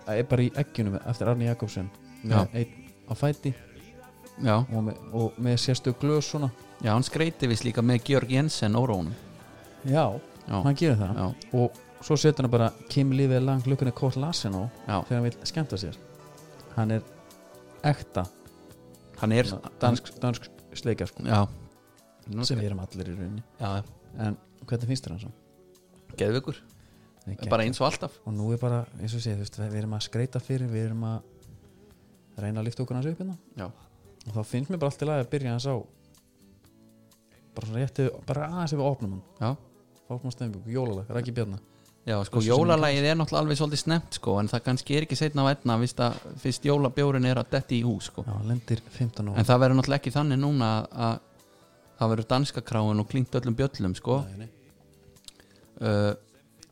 [SPEAKER 2] Það er bara í eggjunum eftir Arni Jakobsen
[SPEAKER 1] Já.
[SPEAKER 2] Með Einn á fæti
[SPEAKER 1] Já,
[SPEAKER 2] Og með, og með sérstu glös svona
[SPEAKER 1] já, hann skreiti vist líka með Georg Jensen órónum
[SPEAKER 2] Já,
[SPEAKER 1] Já,
[SPEAKER 2] hann gerir það
[SPEAKER 1] já,
[SPEAKER 2] og svo setur hann bara Kim lífið lang lukkunni Kort Larsen á
[SPEAKER 1] já
[SPEAKER 2] þegar hann vil skemmta sér hann er ekta
[SPEAKER 1] Hann er
[SPEAKER 2] dansk, dansk sleikja sko
[SPEAKER 1] Já
[SPEAKER 2] sem við erum allir í rauninni
[SPEAKER 1] Já,
[SPEAKER 2] en hvernig finnst þér hann svo?
[SPEAKER 1] geðvökur
[SPEAKER 2] Það er
[SPEAKER 1] Bara
[SPEAKER 2] geggjað.
[SPEAKER 1] eins og alltaf
[SPEAKER 2] og nú er bara, eins og ég segi, þú veist, við erum að skreita fyrir við erum að reyna að lifta okkur hans upp hérna
[SPEAKER 1] Já,
[SPEAKER 2] og þá finnst mér bara allt í lagi að byrja hans á bara svona rétti bara aðeins ef við opnum hann
[SPEAKER 1] já
[SPEAKER 2] opnum stefnbjörg, jólalag, rækki björna
[SPEAKER 1] Já, sko,
[SPEAKER 2] Hversu sem
[SPEAKER 1] jólalagið er náttúrulega alveg svolítið snemt, sko, en það kannski er ekki setna vætna fyrst, að, fyrst jólabjórin er að detti í hús, sko.
[SPEAKER 2] já, hann lendir 15 og
[SPEAKER 1] En það verður náttúrulega ekki þannig núna að- að það verður danska kráin og klingt öllum bjöllum, sko. Uh,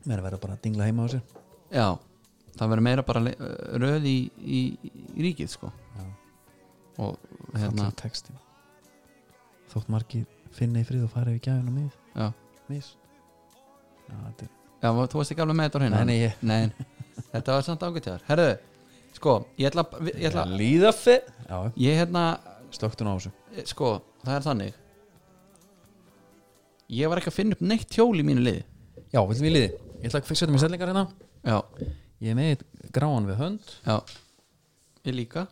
[SPEAKER 2] mér er að vera bara að dingla heima á sér
[SPEAKER 1] já, það verður meira bara le- uh, röð í, í, í ríkið, sko.
[SPEAKER 2] já.
[SPEAKER 1] Og
[SPEAKER 2] hérna.
[SPEAKER 1] hérna,
[SPEAKER 2] textin þótt margir finna í frið og fara yfir gæðin og mið
[SPEAKER 1] já,
[SPEAKER 2] mis Já, þetta er-
[SPEAKER 1] já, þú varst ekki alveg með þetta á hreinu.
[SPEAKER 2] Nei, nei, ég-
[SPEAKER 1] Nei, þetta var samt ágættiðar. Herðu, sko, ég ætla, að- ég ætla,
[SPEAKER 2] líða fyrir já,
[SPEAKER 1] ég hérna,
[SPEAKER 2] stöktun á þessu
[SPEAKER 1] Eh, sko, það er þannig ég var ekki að finna upp neitt hjól í mínu liði
[SPEAKER 2] já, viljum við liði ég ætla að fixa þetta með setlingar hérna
[SPEAKER 1] já,
[SPEAKER 2] ég er með einn gráan við hönd
[SPEAKER 1] já ég líka,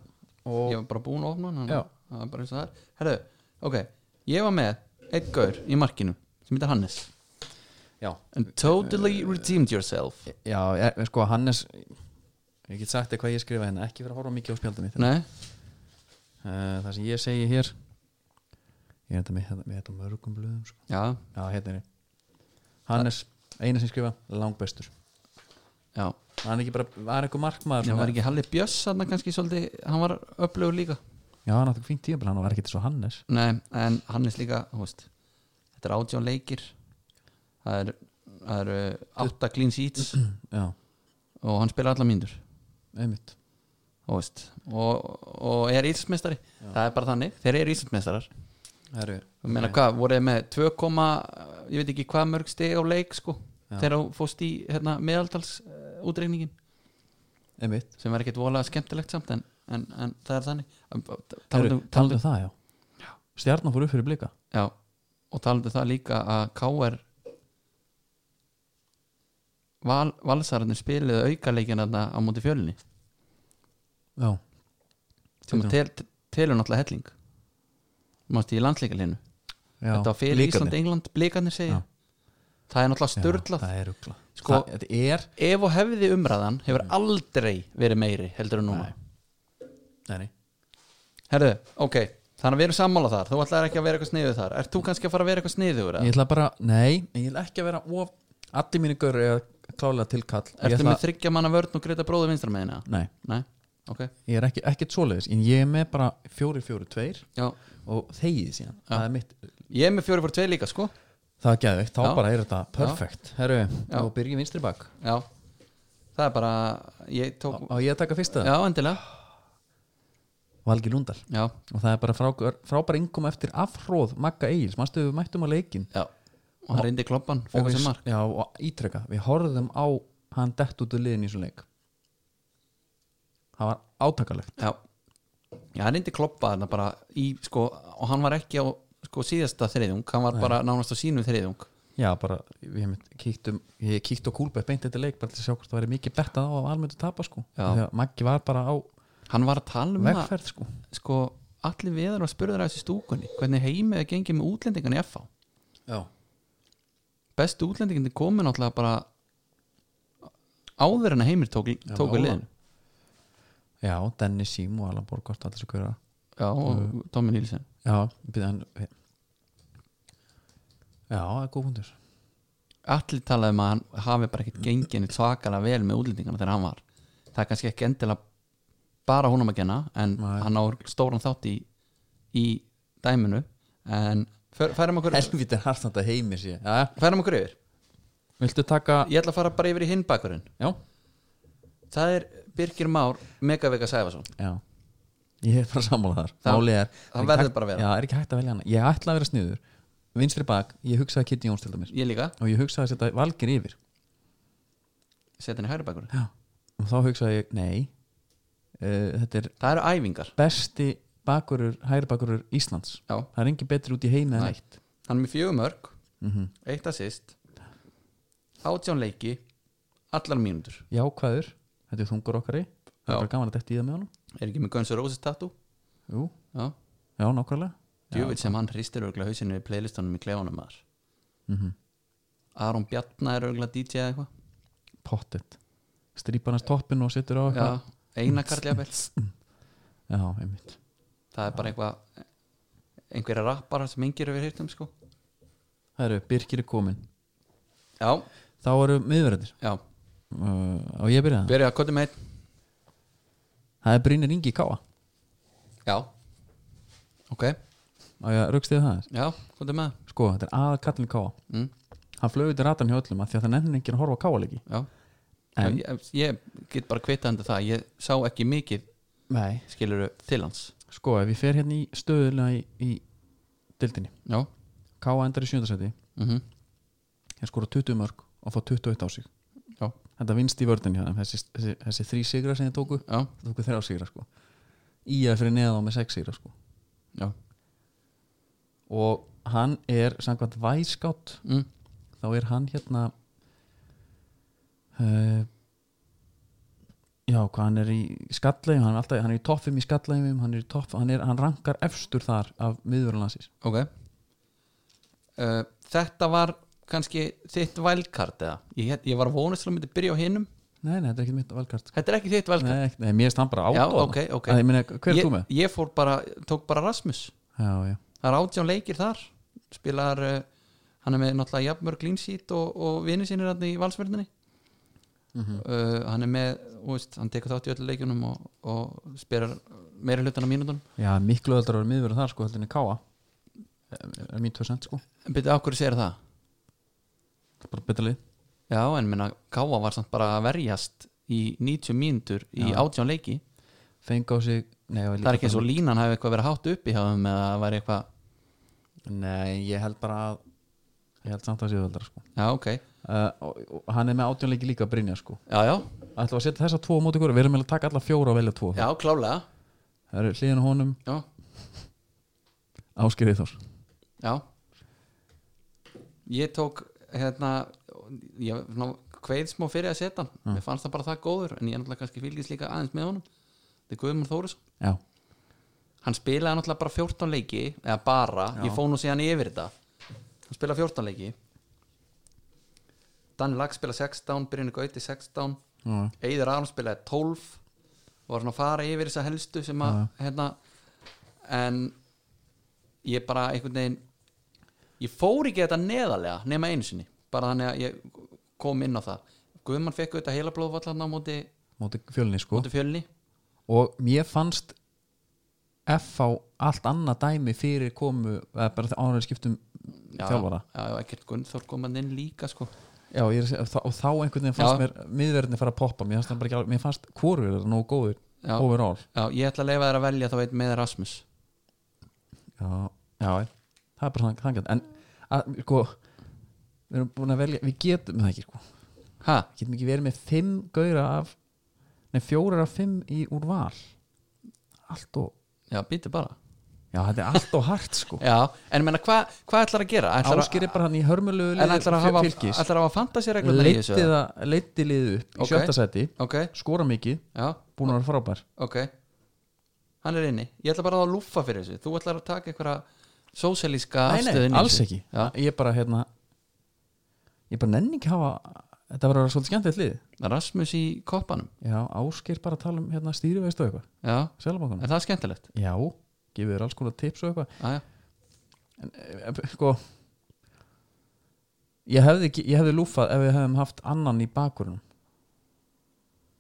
[SPEAKER 2] og
[SPEAKER 1] ég var bara búin að opna hann
[SPEAKER 2] Já.
[SPEAKER 1] það var bara eins og það er herðu, ok, ég var með einn gaur í markinu sem heitir Hannes
[SPEAKER 2] já,
[SPEAKER 1] and totally redeemed yourself
[SPEAKER 2] já ég, sko Hannes ég get sagt þér hvað ég skrifa hérna ekki fyrir að horfa mikið á spjaldum mitt uh,
[SPEAKER 1] nei,
[SPEAKER 2] það sem ég segi hér ég er þetta með, hérna, með þetta á mörgum blöðum sko.
[SPEAKER 1] já,
[SPEAKER 2] já, hérna er ég Hannes, eina sem ég skrifa, langbestur
[SPEAKER 1] já
[SPEAKER 2] hann er ekki bara, var eitthvað markmaður
[SPEAKER 1] það
[SPEAKER 2] svona-
[SPEAKER 1] var ekki Halli Bjöss hann kannski svolítið, hann var upplöfur líka
[SPEAKER 2] Já, hann átti fínt tíma hann var ekkert svo Hannes
[SPEAKER 1] nei, en Hannes líka, þú veist þetta er átján leikir það er, það er eh, átta clean sheets
[SPEAKER 2] Já,
[SPEAKER 1] og hann spilar alla mínútur
[SPEAKER 2] einmitt
[SPEAKER 1] þú veist, og, og er íslensmestari það er bara þannig, þeir eru íslensmestarar
[SPEAKER 2] Herru,
[SPEAKER 1] og meina hvað, voru þeir með 2, eh, ég veit ekki hvað mörg stig á leik sko,
[SPEAKER 2] Já.
[SPEAKER 1] þegar þú fóst í hérna, meðaldals uh, útreikningin
[SPEAKER 2] einmitt
[SPEAKER 1] sem var ekkit vola skemmtilegt samt en, en, en það er þannig Um,
[SPEAKER 2] Herru,
[SPEAKER 1] talandi um-
[SPEAKER 2] talaðu um það, já Stjarnan fór upp fyrir blika
[SPEAKER 1] já, og talandi um það líka að KR val, valsararnir spiluðu aukaleikin þarna á móti fjölinni
[SPEAKER 2] Já,
[SPEAKER 1] sem að tel, telur náttúrulega helling mástu í landsleikalinu
[SPEAKER 2] já.
[SPEAKER 1] þetta var fyrir
[SPEAKER 2] Blikarnir.
[SPEAKER 1] Ísland, England, blikarnir segja
[SPEAKER 2] Já.
[SPEAKER 1] það er náttúrulega
[SPEAKER 2] Já,
[SPEAKER 1] störlað
[SPEAKER 2] Það er rugla
[SPEAKER 1] Sko-
[SPEAKER 2] sko, Þetta er
[SPEAKER 1] ef og hefði umræðan hefur aldrei verið meiri heldur en núna
[SPEAKER 2] Nei. Nei, nei.
[SPEAKER 1] herðu, ok, þannig að við erum sammála þar þú ætlar ekki að vera eitthvað sniðuð þar ert þú kannski að fara að vera eitthvað sniðuð
[SPEAKER 2] Ég ætla bara, nei, ég ætla ekki að vera of Allir mínu görur er klálega tilkall Ég
[SPEAKER 1] ertu
[SPEAKER 2] ætla,
[SPEAKER 1] með þryggja manna vörn og greita bróðu vinstra meðina
[SPEAKER 2] Nei,
[SPEAKER 1] nei, ok,
[SPEAKER 2] ég er ekki, ekkert svoleiðis En ég er með bara fjóri, fjóri, tveir
[SPEAKER 1] já
[SPEAKER 2] Og þegið síðan
[SPEAKER 1] Já.
[SPEAKER 2] Það er mitt
[SPEAKER 1] ég er með fjóri fór tvei líka, sko
[SPEAKER 2] Það er geðveikt, þá
[SPEAKER 1] Já.
[SPEAKER 2] bara er þetta perfect Herru,
[SPEAKER 1] Já.
[SPEAKER 2] og byrjum vinstri bak
[SPEAKER 1] já, það er bara ég tók,
[SPEAKER 2] Á á ég að taka fyrsta?
[SPEAKER 1] já, endilega
[SPEAKER 2] Valgi Lundal
[SPEAKER 1] já,
[SPEAKER 2] og það er bara frá, frábæra yngum eftir afhróð Magga Egils, mannstu við mættum á leikin
[SPEAKER 1] já og hann reyndi kloppan,
[SPEAKER 2] og,
[SPEAKER 1] fekk
[SPEAKER 2] við,
[SPEAKER 1] þessi mark
[SPEAKER 2] já, og ítreka, við horfðum á hann dett út úr liðin í svo leik það var átakalegt
[SPEAKER 1] já, já hann reyndi kloppa þarna bara í, sko, og hann var ekki á sko, síðasta þriðjung, hann var bara nánast á sínum þriðjung
[SPEAKER 2] já, bara, við hefum kíktum ég kíkt á kúlbætt beint þetta leik bara til að sjá hvort það væri mikið bettað á að almennt tapa sko
[SPEAKER 1] Já.
[SPEAKER 2] þegar Maggi var bara á
[SPEAKER 1] hann var að tala um að
[SPEAKER 2] vegferð sko
[SPEAKER 1] sko, allir viðar og spurður að þessu stúkunni hvernig heimið er gengið með útlendingan í FH
[SPEAKER 2] já,
[SPEAKER 1] bestu útlendingin komin náttúrulega bara áður en að heimir tók, tók
[SPEAKER 2] áður.
[SPEAKER 1] við liðin
[SPEAKER 2] já Dennis Sím og Alan Borgort allir svo hverja
[SPEAKER 1] já, og Tommy Nílsen
[SPEAKER 2] já, byrja hann já, það er góð hundur
[SPEAKER 1] allir talaði um að hann hafi bara ekkert gengið neitt svakalega vel með útlendingana þegar hann var það er kannski ekki endilega bara húnum að genna en
[SPEAKER 2] Nei.
[SPEAKER 1] hann á stóran þátt í, í dæminu en fer, færum okkur
[SPEAKER 2] helvítið harst þetta heimir sér já,
[SPEAKER 1] færum okkur yfir,
[SPEAKER 2] viltu taka
[SPEAKER 1] ég ætla að fara bara yfir í hinn bakurinn
[SPEAKER 2] já,
[SPEAKER 1] það er Birgir Már Megavega Sæfason
[SPEAKER 2] já ég er bara sammála þar
[SPEAKER 1] Það-
[SPEAKER 2] Málið er,
[SPEAKER 1] það
[SPEAKER 2] er ekki
[SPEAKER 1] verður
[SPEAKER 2] hægt-
[SPEAKER 1] bara að vera.
[SPEAKER 2] já, er ekki hægt að velja hana ég ætla að vera sniður vinstri bak, ég hugsaði Kitty Jóns til dæmis
[SPEAKER 1] ég líka,
[SPEAKER 2] og ég hugsaði að setja valgir yfir
[SPEAKER 1] setja hann í hægri bakurinn
[SPEAKER 2] já. og þá hugsaði ég, nei uh, þetta er
[SPEAKER 1] það eru æfingar
[SPEAKER 2] besti bakurur, hægri bakurur Íslands
[SPEAKER 1] Já.
[SPEAKER 2] það er engi betri út í heimi en
[SPEAKER 1] Nei.
[SPEAKER 2] eitt
[SPEAKER 1] hann er með fjögur mörg,
[SPEAKER 2] mm
[SPEAKER 1] eitt assist átján leiki allar mínútur,
[SPEAKER 2] jákvæður, þetta er þungur okkari það
[SPEAKER 1] Já.
[SPEAKER 2] er bara gaman að detti í það með honum
[SPEAKER 1] er ekki með Guns N' Roses tattoo
[SPEAKER 2] Jú,
[SPEAKER 1] já
[SPEAKER 2] já, nákvæmlega
[SPEAKER 1] Djúvill sem hann hristir örgulega hausinu í playlistunum í klefanum maður
[SPEAKER 2] mm -hmm.
[SPEAKER 1] Aron Bjarnar er örgulega DJ eða eitthvað
[SPEAKER 2] pottet strýparnast toppin og setur á
[SPEAKER 1] Já,
[SPEAKER 2] eitthvað
[SPEAKER 1] Einar Karl jafnvel
[SPEAKER 2] já, einmitt
[SPEAKER 1] Það er bara eitthvað einhverja rappara sem engir hefur hýrt um sko
[SPEAKER 2] það eru, Birkir er komin
[SPEAKER 1] Já,
[SPEAKER 2] þá eru miðverðir
[SPEAKER 1] já,
[SPEAKER 2] uh, og ég byrja það
[SPEAKER 1] byrja að kotið með einn
[SPEAKER 2] það er Brynir Ingi Káa
[SPEAKER 1] Já, ok,
[SPEAKER 2] og ég raukst yfir það aðeins.
[SPEAKER 1] já, kotið með
[SPEAKER 2] sko, þetta er aða kallin Káa
[SPEAKER 1] mm,
[SPEAKER 2] hann flög út í ratan hjá öllum af því að það nefnir ekki að horfa á Káa leiki
[SPEAKER 1] Já,
[SPEAKER 2] En-
[SPEAKER 1] ég, ég get bara kvitað undir það Ég sá ekki mikið
[SPEAKER 2] nei
[SPEAKER 1] skiluru til hans
[SPEAKER 2] sko, ef ég fer hérna í stöðulega í, í dildinni
[SPEAKER 1] Já,
[SPEAKER 2] Káa endar í sjöndasæti
[SPEAKER 1] mm
[SPEAKER 2] hann skora 20 mörg og fá 21 á sig
[SPEAKER 1] Já.
[SPEAKER 2] þetta vinst í vördin hjá þeim þessi, þessi, þessi þrý sigra sem þið tóku
[SPEAKER 1] já,
[SPEAKER 2] það tóku þrjá sigra sko í að fyrir neða þá með sex sigra sko
[SPEAKER 1] já
[SPEAKER 2] og hann er samkvæmt væskátt
[SPEAKER 1] mm,
[SPEAKER 2] þá er hann hérna uh, já hvað hann er í skallegum hann er, alltaf, hann er í toppum í skallegum hann, er í topp, hann, er, hann rankar efstur þar af miðurlandsins
[SPEAKER 1] Ok uh, Þetta var kannski þitt vælkart eða ég, hét- ég var að vonast til að myndi byrja á hinum
[SPEAKER 2] nei nei þetta er ekki mitt valkart
[SPEAKER 1] Þetta er ekki þitt vælkart
[SPEAKER 2] nei, ekki- nei, mér erst hann bara átó
[SPEAKER 1] Já, ok, ok
[SPEAKER 2] ég meina, hver er þú með?
[SPEAKER 1] ég, ég fór bara, tók bara Rasmus
[SPEAKER 2] já, já,
[SPEAKER 1] Það er átján leikir þar Spilar, uh, hann er með náttúrulega jafnmörg línsít og, og vinur sínir hann í valsverðinni
[SPEAKER 2] Mhm. Mm.
[SPEAKER 1] uh, Hann er með, þú veist, hann tekur þátt í öllu leikjunum og, og spilar meira hlutin á mínútunum
[SPEAKER 2] já miklu öldra er miðurlan þar sko heldur en káa er, er mín 2% sko
[SPEAKER 1] En byrja, af hverju segir það?
[SPEAKER 2] það er bara betra lið
[SPEAKER 1] Já, en minna, Káa var samt bara að verjast í 90 mínútur í
[SPEAKER 2] Já.
[SPEAKER 1] átján leiki
[SPEAKER 2] feng á sig nei, ég var
[SPEAKER 1] það er
[SPEAKER 2] líka
[SPEAKER 1] ekki eins og
[SPEAKER 2] bara-
[SPEAKER 1] línan hafi eitthvað verið hátt upp í hjá þeim eða það væri eitthvað,
[SPEAKER 2] nei ég held bara að ég held samt að séu öldra sko
[SPEAKER 1] já ok já
[SPEAKER 2] uh, og, og hann er með átjónleiki líka að Brynja sko
[SPEAKER 1] já,
[SPEAKER 2] ætlum við að setja þessa tvo á móti hverju, við erum með að taka alla fjóra og velja tvo
[SPEAKER 1] já klálega
[SPEAKER 2] það eru hliðin á honum,
[SPEAKER 1] já,
[SPEAKER 2] Ásker Eithors
[SPEAKER 1] já ég tók hérna ég ná, kveið smá fyrir að setja hann mér fannst það bara það góður en ég náttúrulega kannski fylgist líka aðeins með honum þetta er Guðmund Þóris
[SPEAKER 2] já,
[SPEAKER 1] hann spilaði náttúrulega bara 14 leiki eða bara,
[SPEAKER 2] Já.
[SPEAKER 1] ég fóð nú síðan yfir þetta hann spilaði 14 leiki Danni Lag spilaði 16 Brynni Gauti 16
[SPEAKER 2] já,
[SPEAKER 1] Eður Aron spilaði 12 og var svona að fara yfir þessa helstu sem að hérna en ég bara einhvern veginn ég fór ekki þetta neðarlega nema einu sinni, bara þannig að ég kom inn á það, Guðmann fekk auðvitað heila blóðvallarna á móti,
[SPEAKER 2] móti fjölni sko
[SPEAKER 1] móti fjölni
[SPEAKER 2] og mér fannst F á allt annað dæmi fyrir komu, eða bara þegar ánæri skiptum
[SPEAKER 1] já,
[SPEAKER 2] þjálfara,
[SPEAKER 1] já, já, ekkert Gunnþór kom hann inn líka sko,
[SPEAKER 2] já, ég er, að segja, og þá- og þá einhvern veginn fannst
[SPEAKER 1] Já.
[SPEAKER 2] mér miðverðinni fara að poppa, mér fannst, hann bara ekki alveg- mér fannst hvorur er það nógu góður
[SPEAKER 1] já,
[SPEAKER 2] overall
[SPEAKER 1] já, ég ætla að leifa þér að velja þá einn með Erasmus
[SPEAKER 2] já, já, já. það er bara svona þangjant en að, sko, við erum búin að velja við getum það ekki sko.
[SPEAKER 1] ha,
[SPEAKER 2] Við getum ekki verið með fimm gauðra af nei, fjórar af fimm í úr val allt og
[SPEAKER 1] já, býti bara
[SPEAKER 2] já, þetta er allt og hart sko
[SPEAKER 1] já, en ég meina, hvað hva ætlar að gera? Ætlar að-
[SPEAKER 2] áskýri bara hann í hörmulegu
[SPEAKER 1] en ætlar að hafa,
[SPEAKER 2] fylgis
[SPEAKER 1] ætlar að hafa fantasíregluna í þessu
[SPEAKER 2] leiti, það, leiti liðu upp
[SPEAKER 1] Ok.
[SPEAKER 2] í sjötta seti,
[SPEAKER 1] ok,
[SPEAKER 2] skora mikið
[SPEAKER 1] já,
[SPEAKER 2] búin að vera frábær
[SPEAKER 1] ok hann er inni, ég ætla bara að lúfa fyrir þessu þú ætlar að taka einhverja sósialíska
[SPEAKER 2] nei, nei, alls ekki,
[SPEAKER 1] Já.
[SPEAKER 2] ég bara hérna ég bara nenni ekki hafa þetta verður að vera svolítið skemmtilegt lið
[SPEAKER 1] Rasmus í koppanum,
[SPEAKER 2] já, áskýr bara að tala um hérna stýriveistu og eitthvað,
[SPEAKER 1] já,
[SPEAKER 2] selabankanum
[SPEAKER 1] er það skemmtilegt?
[SPEAKER 2] já, gefur þér alls konar tips og eitthvað
[SPEAKER 1] Aja.
[SPEAKER 2] Eh, sko ég hefði, ekki- ég hefði lúfað ef við hefðum haft annan í bakgrunum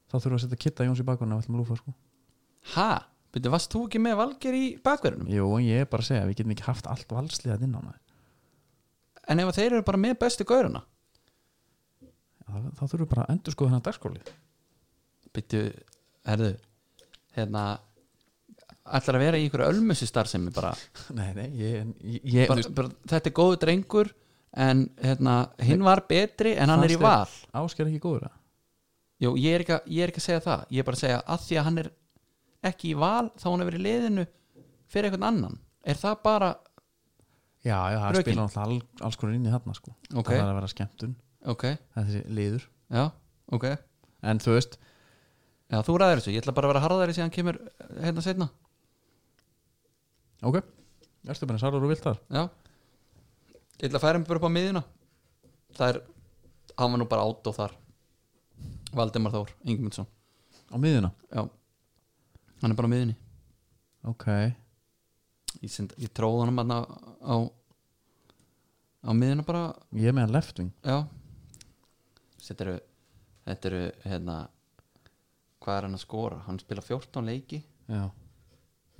[SPEAKER 2] þá þurfum við að setja kitta Jóns í bakgrunum ef við ætlum að lúfa sko
[SPEAKER 1] ha, byrju, varst þú ekki með Valger í bakverðinum?
[SPEAKER 2] Jú, en ég er bara að segja, við getum ekki haft allt hérna valsliðað inn á maður
[SPEAKER 1] en ef þeir eru bara með bestu gauruna
[SPEAKER 2] þá, þá þurfum við bara að endur sko þennan dagskóli
[SPEAKER 1] byrju, herðu hérna ætlar að vera í einhverju ölmusi starfsemi bara,
[SPEAKER 2] Nei, nei, ég, ég, ég
[SPEAKER 1] bara, bara þetta er góðu drengur en hérna, hinn var betri en hann er í
[SPEAKER 2] Fannst þér-
[SPEAKER 1] val
[SPEAKER 2] ásker ekki góður að
[SPEAKER 1] Jú, ég er, ekki að, ég er ekki að segja það ég er bara að segja að því að hann er ekki í val þá hann er verið í liðinu fyrir einhvern annan er það bara,
[SPEAKER 2] Já, já, það
[SPEAKER 1] Rökin.
[SPEAKER 2] spila náttúrulega all, alls konar inn í þarna sko
[SPEAKER 1] Ok.
[SPEAKER 2] Það er að vera skemmtun,
[SPEAKER 1] ok,
[SPEAKER 2] það er þessi liður
[SPEAKER 1] já, ok já,
[SPEAKER 2] En þú veist,
[SPEAKER 1] þú ræður þessu, ég ætla bara að vera harðari síðan kemur hérna setna,
[SPEAKER 2] ok Erstu bara sárar og vilt þar
[SPEAKER 1] já ég ætla að færa mig bara upp á miðjuna það er, hann var nú bara átt og þar Valdimar Þór, Ingemundsson
[SPEAKER 2] á miðuna
[SPEAKER 1] já, hann er bara á miðjunni
[SPEAKER 2] Ok,
[SPEAKER 1] ég, send, ég tróð hann bara á á miðjuna bara
[SPEAKER 2] ég er með hann left wing
[SPEAKER 1] Já Þetta eru, þetta eru hérna, hvað er hann að skora? Hann spila 14 leiki
[SPEAKER 2] Já,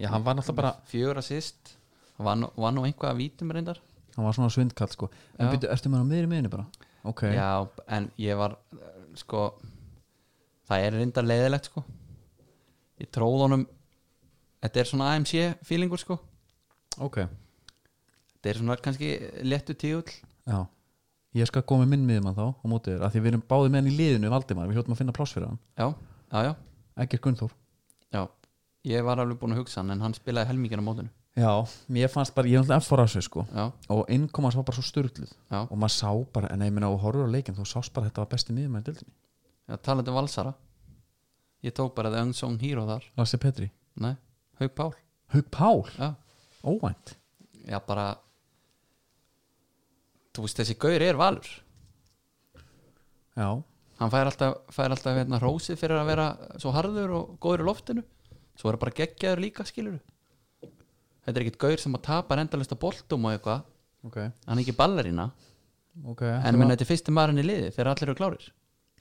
[SPEAKER 2] já hann var náttúrulega bara
[SPEAKER 1] fjögur assist hann vann, vann á einhvað að vítum reyndar
[SPEAKER 2] hann var svona svindkall sko En
[SPEAKER 1] Já.
[SPEAKER 2] byrju, ertu með hann á miðri miðinni bara? Ok,
[SPEAKER 1] Já, en ég var eh, sko, það er reyndar leiðilegt sko ég tróð honum þetta er svona AMC feelingur sko
[SPEAKER 2] ok
[SPEAKER 1] þetta er svona kannski léttu tíull
[SPEAKER 2] Já, ég skal koma með minn miðumann þá á mótið þér, af því við erum báðið með hann í liðinu Valdimar, við hljóttum að finna pláss fyrir hann
[SPEAKER 1] Já, já, já,
[SPEAKER 2] Ekkert Gunnþór
[SPEAKER 1] já ég var alveg búin að hugsa hann en hann spilaði helmingin á mótinu
[SPEAKER 2] Já, mér fannst bara, ég er náttúrulega F4 á sig sko
[SPEAKER 1] Já,
[SPEAKER 2] og innkomans var bara svo styrluð
[SPEAKER 1] já,
[SPEAKER 2] og maður sá bara, en ég minna og horfur á leikin þú sást bara að þetta var besti miðum að dildinni
[SPEAKER 1] já talandi um valsara ég tók bara The Unsung Hero þar
[SPEAKER 2] Lasse Petri,
[SPEAKER 1] Nei, Haug Pál
[SPEAKER 2] Haug Pál,
[SPEAKER 1] Já,
[SPEAKER 2] óvænt
[SPEAKER 1] já bara Þú veist þessi gaur er valur
[SPEAKER 2] já,
[SPEAKER 1] Hann fær alltaf, fær alltaf hérna, rósið fyrir að vera svo harður og góður í loftinu Svo er hann bara geggjaður líka skilur Þetta er ekkit gaur sem að tapa endalist á boltum og eitthvað
[SPEAKER 2] ok,
[SPEAKER 1] Hann er ekki ballerína
[SPEAKER 2] ok
[SPEAKER 1] En menn þetta er fyrsti maðurinn í liði þegar allir eru klárir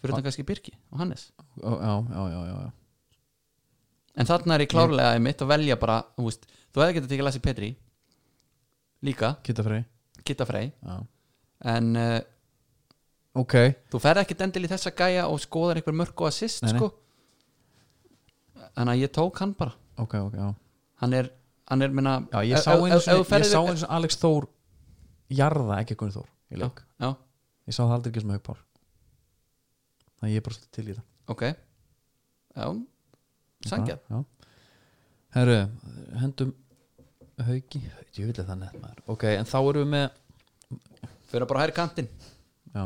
[SPEAKER 1] Fyrir utan kannski Birki og Hannes
[SPEAKER 2] já, já, já, já, já,
[SPEAKER 1] En þarna er ég klárlega einmitt að velja bara Þú veist, þú hefði getað tekið Lassi Petri Líka,
[SPEAKER 2] Kitta Frey
[SPEAKER 1] Kitta Frey
[SPEAKER 2] já.
[SPEAKER 1] En uh,
[SPEAKER 2] ok,
[SPEAKER 1] þú ferð ekkert endil í þessa gæja og skoðar einhver mörg og assist
[SPEAKER 2] Nei, nei.
[SPEAKER 1] sko þannig að ég tók hann bara
[SPEAKER 2] ok, ok, já
[SPEAKER 1] hann er, hann er minna
[SPEAKER 2] Já, ég sá einu sinni, ég sá einu sinni Alex Þór jarða ekki Gunni Þór í leik.
[SPEAKER 1] já,
[SPEAKER 2] Ég sá það aldrei ekki sem haugpál Þannig að ég er bara svolítið til í það
[SPEAKER 1] ok já, sangjað
[SPEAKER 2] Já, já. Herru, hendum haugi, ég vil að það nett maður Ok, en þá erum við með
[SPEAKER 1] fyrir bara hæri kantinn
[SPEAKER 2] Já,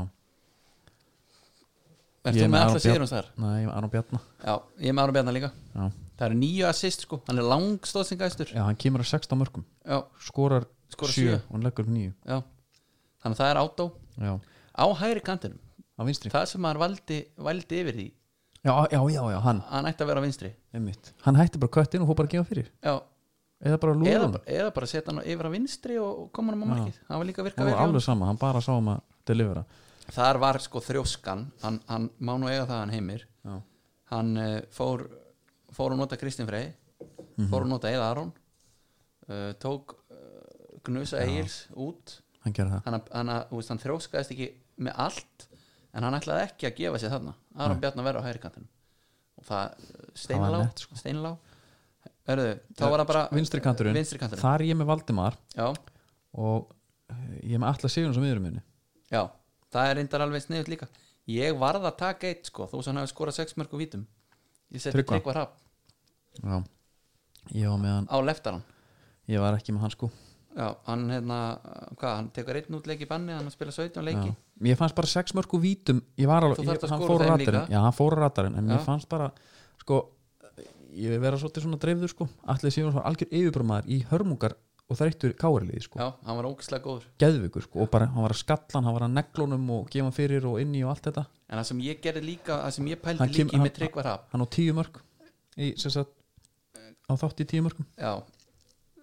[SPEAKER 1] er
[SPEAKER 2] Ég
[SPEAKER 1] þú
[SPEAKER 2] er með
[SPEAKER 1] með
[SPEAKER 2] Aron
[SPEAKER 1] alla síður hans þar
[SPEAKER 2] næ, ég var Aron Bjarna
[SPEAKER 1] já, ég er með Ára Bjarnar líka
[SPEAKER 2] Já,
[SPEAKER 1] það eru nýju assist sko, hann er langstóðsingæstur
[SPEAKER 2] já hann kemur að 16 mörgum
[SPEAKER 1] já,
[SPEAKER 2] Skorar,
[SPEAKER 1] Skorar
[SPEAKER 2] sjö
[SPEAKER 1] sjö.
[SPEAKER 2] og hann leggur upp nýju
[SPEAKER 1] já þannig að það er átó
[SPEAKER 2] Já,
[SPEAKER 1] á hæri kantinum
[SPEAKER 2] á vinstri
[SPEAKER 1] það sem hann valdi, valdi yfir því
[SPEAKER 2] Já, já, já, já, hann,
[SPEAKER 1] hann ætti að vera á vinstri
[SPEAKER 2] einmitt Hann hætti bara köttinn og hópar að gefa fyrir
[SPEAKER 1] já,
[SPEAKER 2] Eða bara lúður
[SPEAKER 1] eða,
[SPEAKER 2] hann
[SPEAKER 1] bara- eða bara setja hann yfir á vinstri og og koma hann á
[SPEAKER 2] Já.
[SPEAKER 1] markið það var líka að virka
[SPEAKER 2] Það
[SPEAKER 1] vel
[SPEAKER 2] var
[SPEAKER 1] hjá honum.
[SPEAKER 2] alveg sama, hann bara sá um að delivera
[SPEAKER 1] þar var sko þrjóskan hann, hann má nú eiga það hann heimir
[SPEAKER 2] Já.
[SPEAKER 1] hann uh, fór fór að nota Kristinn Frey
[SPEAKER 2] Mhm.
[SPEAKER 1] fór að nota Eða Aron uh, tók uh, Gnusa Egils út
[SPEAKER 2] Hann gerði það
[SPEAKER 1] hann, hann, þú veist, hann þrjóskaðist ekki með allt en hann ætlaði ekki að gefa sér þarna Aron Bjarnar verður á hægrikantinum og það
[SPEAKER 2] Það var
[SPEAKER 1] steinlá,
[SPEAKER 2] nett, sko. Eh,
[SPEAKER 1] steinlá. Erðu, þá var það bara
[SPEAKER 2] vinstri kanturinn,
[SPEAKER 1] vinstri kanturinn.
[SPEAKER 2] þar er ég með Valdimar
[SPEAKER 1] Já,
[SPEAKER 2] og eh, ég er með alla sigurinn sem viðurum minni
[SPEAKER 1] já, það er reyndar alveg sniðut líka ég varð að taka eitt sko þó sem hann hafi skorað sex mörg og vítum ég seti
[SPEAKER 2] Tryggva.
[SPEAKER 1] Tryggva Rapp
[SPEAKER 2] já, ég var með hann
[SPEAKER 1] á leftaran
[SPEAKER 2] ég var ekki með hann sko
[SPEAKER 1] já, hann hérna, hvað, hann tekur einn út leik í banni hann spila 17 leiki
[SPEAKER 2] já. ég fannst bara sex mörg og vítum ég var alveg,
[SPEAKER 1] Þú þarft
[SPEAKER 2] ég,
[SPEAKER 1] að
[SPEAKER 2] hann
[SPEAKER 1] skora
[SPEAKER 2] fór á
[SPEAKER 1] þeim
[SPEAKER 2] ratarinn
[SPEAKER 1] líka.
[SPEAKER 2] já, hann fór á ratarinn, en
[SPEAKER 1] Já.
[SPEAKER 2] ég fannst bara sko, ég vil vera svolítið svona dreifður sko, allir sigurinn var algjör yfirbrómaður í hörmungar og þreyttur káraliði sko,
[SPEAKER 1] já, hann var ógislega góður
[SPEAKER 2] geðvikur sko, og bara, hann var að skalla hann, hann var að neglunum og gefa hann fyrir og inni og allt þetta
[SPEAKER 1] en það sem ég gerði líka, það sem ég pældi
[SPEAKER 2] Hann kem-
[SPEAKER 1] líki
[SPEAKER 2] hann-
[SPEAKER 1] með Tryggva Rapp
[SPEAKER 2] hann á tíu mörg í, sem sagt, á þátt í tíu mörgum
[SPEAKER 1] já,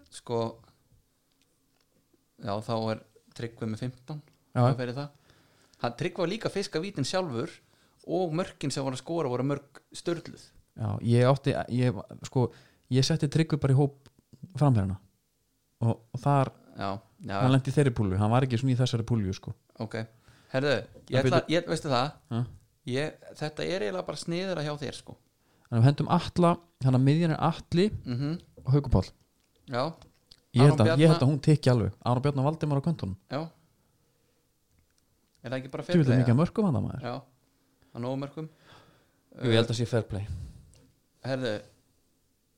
[SPEAKER 1] sko já, þá er Tryggva með 15
[SPEAKER 2] Já.
[SPEAKER 1] þá fyrir það hann Tryggva var líka að fiska vítin sjálfur og mörkin sem var að skora voru mörg störluð
[SPEAKER 2] Já, ég átti ég, sko, ég setti Tryggvi bara í hóp framherrana og, og þar,
[SPEAKER 1] já, já,
[SPEAKER 2] hann lendi í þeirri púlu hann var ekki svona í þessari púlu sko.
[SPEAKER 1] ok herðu, ég
[SPEAKER 2] En
[SPEAKER 1] ætla, ég, veistu það
[SPEAKER 2] Ha?
[SPEAKER 1] ég, þetta er eiginlega bara sniður að hjá þér sko
[SPEAKER 2] þannig að við hendum alla, þannig að miðjan er Atli
[SPEAKER 1] mm
[SPEAKER 2] og Haukupál
[SPEAKER 1] já,
[SPEAKER 2] ég held,
[SPEAKER 1] Aron
[SPEAKER 2] að, ég held
[SPEAKER 1] Bjarna-
[SPEAKER 2] að hún tekja alveg Ára Bjarnar Valdimar á köntunum
[SPEAKER 1] já er það ekki bara
[SPEAKER 2] þú veit
[SPEAKER 1] fairplay,
[SPEAKER 2] mikið að mörgum hann að maður
[SPEAKER 1] já, að nógu mörgum
[SPEAKER 2] held að sé fairplay
[SPEAKER 1] herðu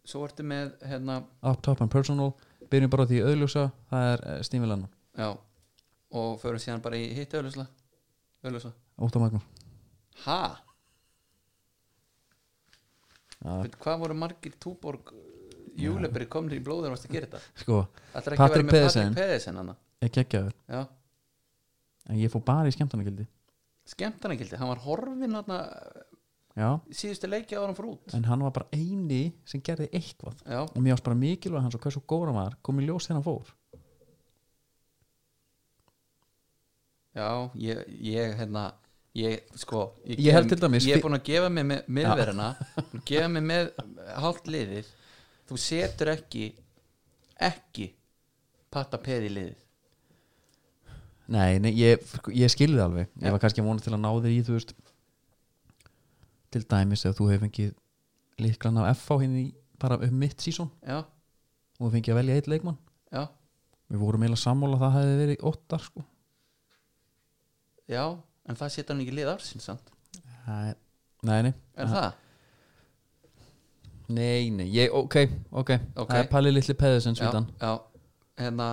[SPEAKER 1] svo ertu með hérna,
[SPEAKER 2] up top and personal, byrjum bara á því auðljósa það er Stími Lennon,
[SPEAKER 1] já og förum síðan bara í hitt öðlusla öðlusla,
[SPEAKER 2] Óttar Magnús
[SPEAKER 1] ha
[SPEAKER 2] Já.
[SPEAKER 1] Veit, hvað voru margir túborg júlebri komnir í blóður og varst að gera þetta
[SPEAKER 2] sko,
[SPEAKER 1] Ætlar ekki að vera
[SPEAKER 2] Patrik
[SPEAKER 1] með
[SPEAKER 2] Pedersen.
[SPEAKER 1] Patrik Pedersen hana?
[SPEAKER 2] ég geggjaður
[SPEAKER 1] já
[SPEAKER 2] en ég fór bara í skemmtanagildi
[SPEAKER 1] skemmtanagildi, hann var horfin hann
[SPEAKER 2] já,
[SPEAKER 1] síðustu leiki ára hann fór út
[SPEAKER 2] en hann var bara eini sem gerði eitthvað
[SPEAKER 1] já,
[SPEAKER 2] og mér ást bara mikilvæg hans og hversu góra var kom í ljós þegar hann fór
[SPEAKER 1] já, ég, ég hérna ég, sko,
[SPEAKER 2] Ég held til dæmis-
[SPEAKER 1] ég er búin að gefa mig með miðverðina búin að gefa mig með hálft liðið þú setur ekki ekki patta peð í liðið
[SPEAKER 2] nei, nei, ég, ég skilði alveg ég var kannski vonað til að ná þér í þú veist til dæmis ef þú hefur fengið líklan af FH hinn í bara um mitt sísón
[SPEAKER 1] já,
[SPEAKER 2] og þú fengið að velja eitt leikmann
[SPEAKER 1] já,
[SPEAKER 2] við vorum eiginlega sammála að það hefði verið óttar sko
[SPEAKER 1] já en það setur hann ekki í lið ársins sant?
[SPEAKER 2] nei, nei, nei,
[SPEAKER 1] er það?
[SPEAKER 2] nei, nei ég, ok, ok,
[SPEAKER 1] Ok.
[SPEAKER 2] það er Palli litli Pedersen
[SPEAKER 1] já,
[SPEAKER 2] svítan
[SPEAKER 1] já, hérna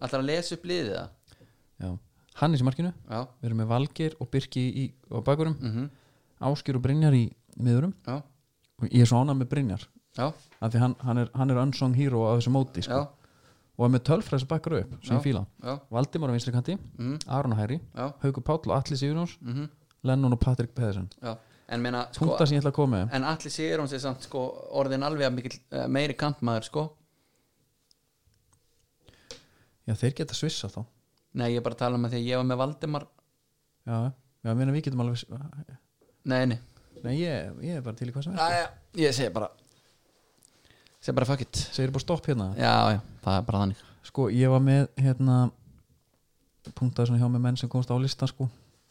[SPEAKER 1] allar að lesa upp liðið það
[SPEAKER 2] já. hann í smarkinu,
[SPEAKER 1] já,
[SPEAKER 2] við erum með Valgeir og Birki í, á bakurum,
[SPEAKER 1] mhm,
[SPEAKER 2] Áskir og Brynjar í miðurum
[SPEAKER 1] já,
[SPEAKER 2] og ég er svo ánað með Brynjar
[SPEAKER 1] já,
[SPEAKER 2] af því hann, hann, er, hann er unsung hero á þessu móti
[SPEAKER 1] já,
[SPEAKER 2] sko. og er með tölfræð sem bakkar upp sem
[SPEAKER 1] Já.
[SPEAKER 2] ég fíla,
[SPEAKER 1] já,
[SPEAKER 2] Valdimar á vinstri kanti
[SPEAKER 1] mhm,
[SPEAKER 2] Aron og Hæri,
[SPEAKER 1] já,
[SPEAKER 2] Haukur Páll og Atli Sigurjóns
[SPEAKER 1] mhm,
[SPEAKER 2] Lennon og Patrik Pedersen
[SPEAKER 1] já en meina, sko,
[SPEAKER 2] punktar sem ég ætla að koma með
[SPEAKER 1] en allir sigur hún sér samt sko orðin alveg að mikil eh, meiri kantmaður sko
[SPEAKER 2] já, þeir geta svissa þá
[SPEAKER 1] nei ég er bara að tala um að því að ég var með Valdimar
[SPEAKER 2] já, já meina, við getum alveg s-
[SPEAKER 1] nei nei
[SPEAKER 2] Nei, ég, ég er bara til í hvað sem er
[SPEAKER 1] Æja, ég segi bara segi bara fuck it
[SPEAKER 2] segir bara stopp hérna
[SPEAKER 1] já já það er bara þannig
[SPEAKER 2] sko, ég var með hérna punktar svona hjá með menn sem komst á lista sko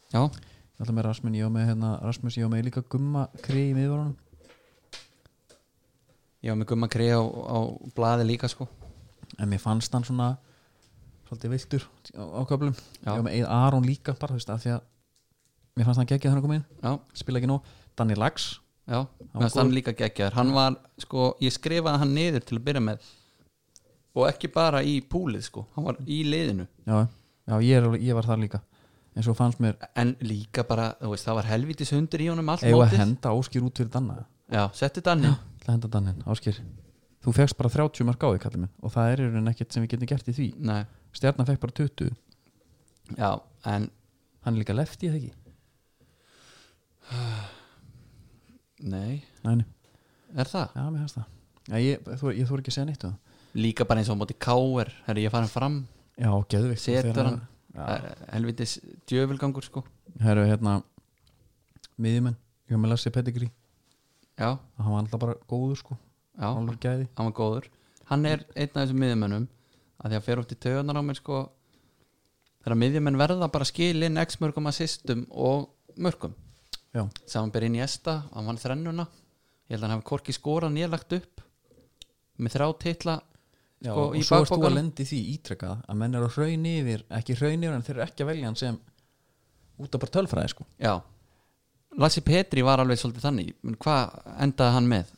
[SPEAKER 1] já
[SPEAKER 2] ég ætla með Rasmus, ég var með hérna Rasmus, ég var með líka gumma kri í miðvörunum
[SPEAKER 1] ég var með gumma krei á, á blaði líka sko
[SPEAKER 2] en mér fannst hann svona svolítið viltur á, á köflum
[SPEAKER 1] Já.
[SPEAKER 2] ég var með Eið Aron líka bara þú veist af því að mér fannst hann geggið þannig að koma inn
[SPEAKER 1] já
[SPEAKER 2] spila ekki nóg, Danny Lax
[SPEAKER 1] já
[SPEAKER 2] var
[SPEAKER 1] meðan hann líka geggjaður hann var sko ég skrifaði hann niður til að byrja með og ekki bara í púlið sko hann var í liðinu
[SPEAKER 2] já, já ég, er, alveg- ég var þar líka en svo fannst mér
[SPEAKER 1] en líka bara þú veist það var helvitis hundur í honum allt
[SPEAKER 2] eigum að
[SPEAKER 1] mótið.
[SPEAKER 2] henda Áskir út fyrir Danna
[SPEAKER 1] já setti danni
[SPEAKER 2] ætla að henda Dannin, Áskir þú fegst bara 30 mark á því kallið minn og það er í rauninni ekkert sem við getum gert í því
[SPEAKER 1] nei
[SPEAKER 2] Stjarnan fekk bara 20,
[SPEAKER 1] Já, en
[SPEAKER 2] hann er líka lefti eða ekki
[SPEAKER 1] nei,
[SPEAKER 2] Næni,
[SPEAKER 1] er það?
[SPEAKER 2] já, mér fannst það já, ég, þú, ég þú ekki að segja neitt um það
[SPEAKER 1] Líka bara eins og á móti káir Herri, ég farin fram
[SPEAKER 2] já, geðvikt
[SPEAKER 1] Setur
[SPEAKER 2] Þegar
[SPEAKER 1] hann. Eh, Helvitis djöfulgangur sko
[SPEAKER 2] Herru, hérna miðjumenn, ég var með Lassi Pettigri
[SPEAKER 1] Já,
[SPEAKER 2] hann var alltaf bara góður sko
[SPEAKER 1] já, hann
[SPEAKER 2] alveg gæði
[SPEAKER 1] var góður Hann er einn af þessum miðjumennum að því að fer út í töðunar á mér sko þegar miðjumenn verða bara skilin x mörgum assistum og mörgum
[SPEAKER 2] já,
[SPEAKER 1] saman ber inn í esta, hann vann þrennuna ég held að hann hafi korki skora nýlagt upp með þrá titla
[SPEAKER 2] Já,
[SPEAKER 1] Sko, í
[SPEAKER 2] og svo erst þú
[SPEAKER 1] bakpokanum-
[SPEAKER 2] að lendi því ítrekkað að menn eru að hraun yfir, ekki hraun yfir en þeir eru ekki að velja hann sem út af bara tölfræði sko
[SPEAKER 1] já Lassi Petri var alveg svolítið þannig Men hvað endaði hann með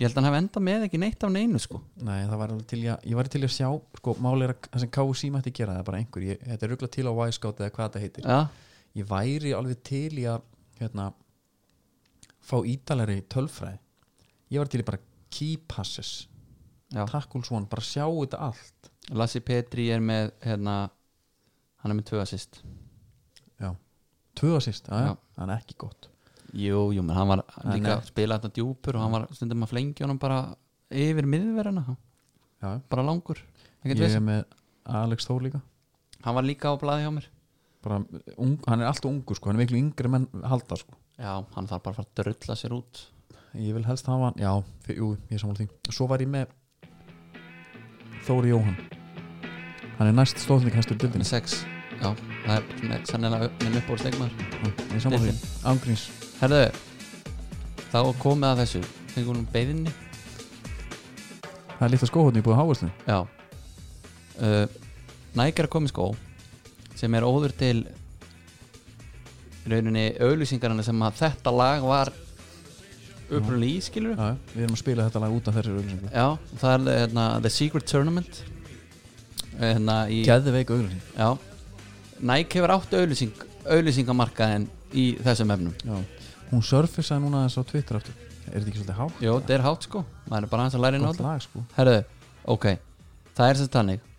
[SPEAKER 1] ég held að hann hafi endað með ekki neitt af neinu sko
[SPEAKER 2] Nei, það var alveg til í að, ég var til í að sjá sko, máli er að það sem KSI mætti gera það er bara einhver, ég, þetta er ruggla til á Wisecout eða hvað þetta heitir,
[SPEAKER 1] já,
[SPEAKER 2] ég væri alveg til í að hérna fá ítalari tölfræði ég var til í bara key passes
[SPEAKER 1] já.
[SPEAKER 2] tackles one, bara sjá þetta allt
[SPEAKER 1] Lassi Petri er með hérna, hann er með tvö assist
[SPEAKER 2] já, tvö assist, já,
[SPEAKER 1] Já.
[SPEAKER 2] já, það er ekki gott
[SPEAKER 1] jú, jú, menn hann var
[SPEAKER 2] Hann
[SPEAKER 1] líka
[SPEAKER 2] er-
[SPEAKER 1] að spila þetta djúpur og hann var stundum að flengja honum bara yfir miðverðina
[SPEAKER 2] já,
[SPEAKER 1] bara langur Ekkert
[SPEAKER 2] ég
[SPEAKER 1] vesen.
[SPEAKER 2] er með Alex Þór líka
[SPEAKER 1] hann var líka á blaði hjá mér
[SPEAKER 2] bara, ung, hann er alltaf ungu sko, hann er miklu yngri menn halda sko
[SPEAKER 1] já, hann þarf bara að fara að drölla sér út
[SPEAKER 2] ég vil helst hafa hann, já, fyr, jú, ég er sammála því svo var ég með Þóri Jóhann hann er næst stóðning hæstur dildin
[SPEAKER 1] með sex já, það er svona ekki sannilega minn uppbóð stegmar
[SPEAKER 2] ég er sammála því, angriðs
[SPEAKER 1] herðu, þá komið að þessu fengum hún beðinni
[SPEAKER 2] það er litla skóhóðni í búið hávarslu
[SPEAKER 1] já uh, Nike er að koma í skó sem er óður til í rauninni auðlýsingarna sem að þetta lag var upprunni í skilur
[SPEAKER 2] já, við erum að spila þetta lag út af þessari auglýsingu
[SPEAKER 1] já, það er hérna, The Secret Tournament hérna í
[SPEAKER 2] geðveik auglýsing
[SPEAKER 1] Já Nike hefur átt auðlýsing, auðlýsingamarkaðin í þessum efnum
[SPEAKER 2] já. hún surfisaði núna þess á Twitter aftur er þetta ekki svolítið hátt?
[SPEAKER 1] Jó, þetta er hátt sko, maður er bara hans að læra inn á
[SPEAKER 2] gott
[SPEAKER 1] þetta
[SPEAKER 2] lag sko
[SPEAKER 1] Herðu, ok, það er sem þannig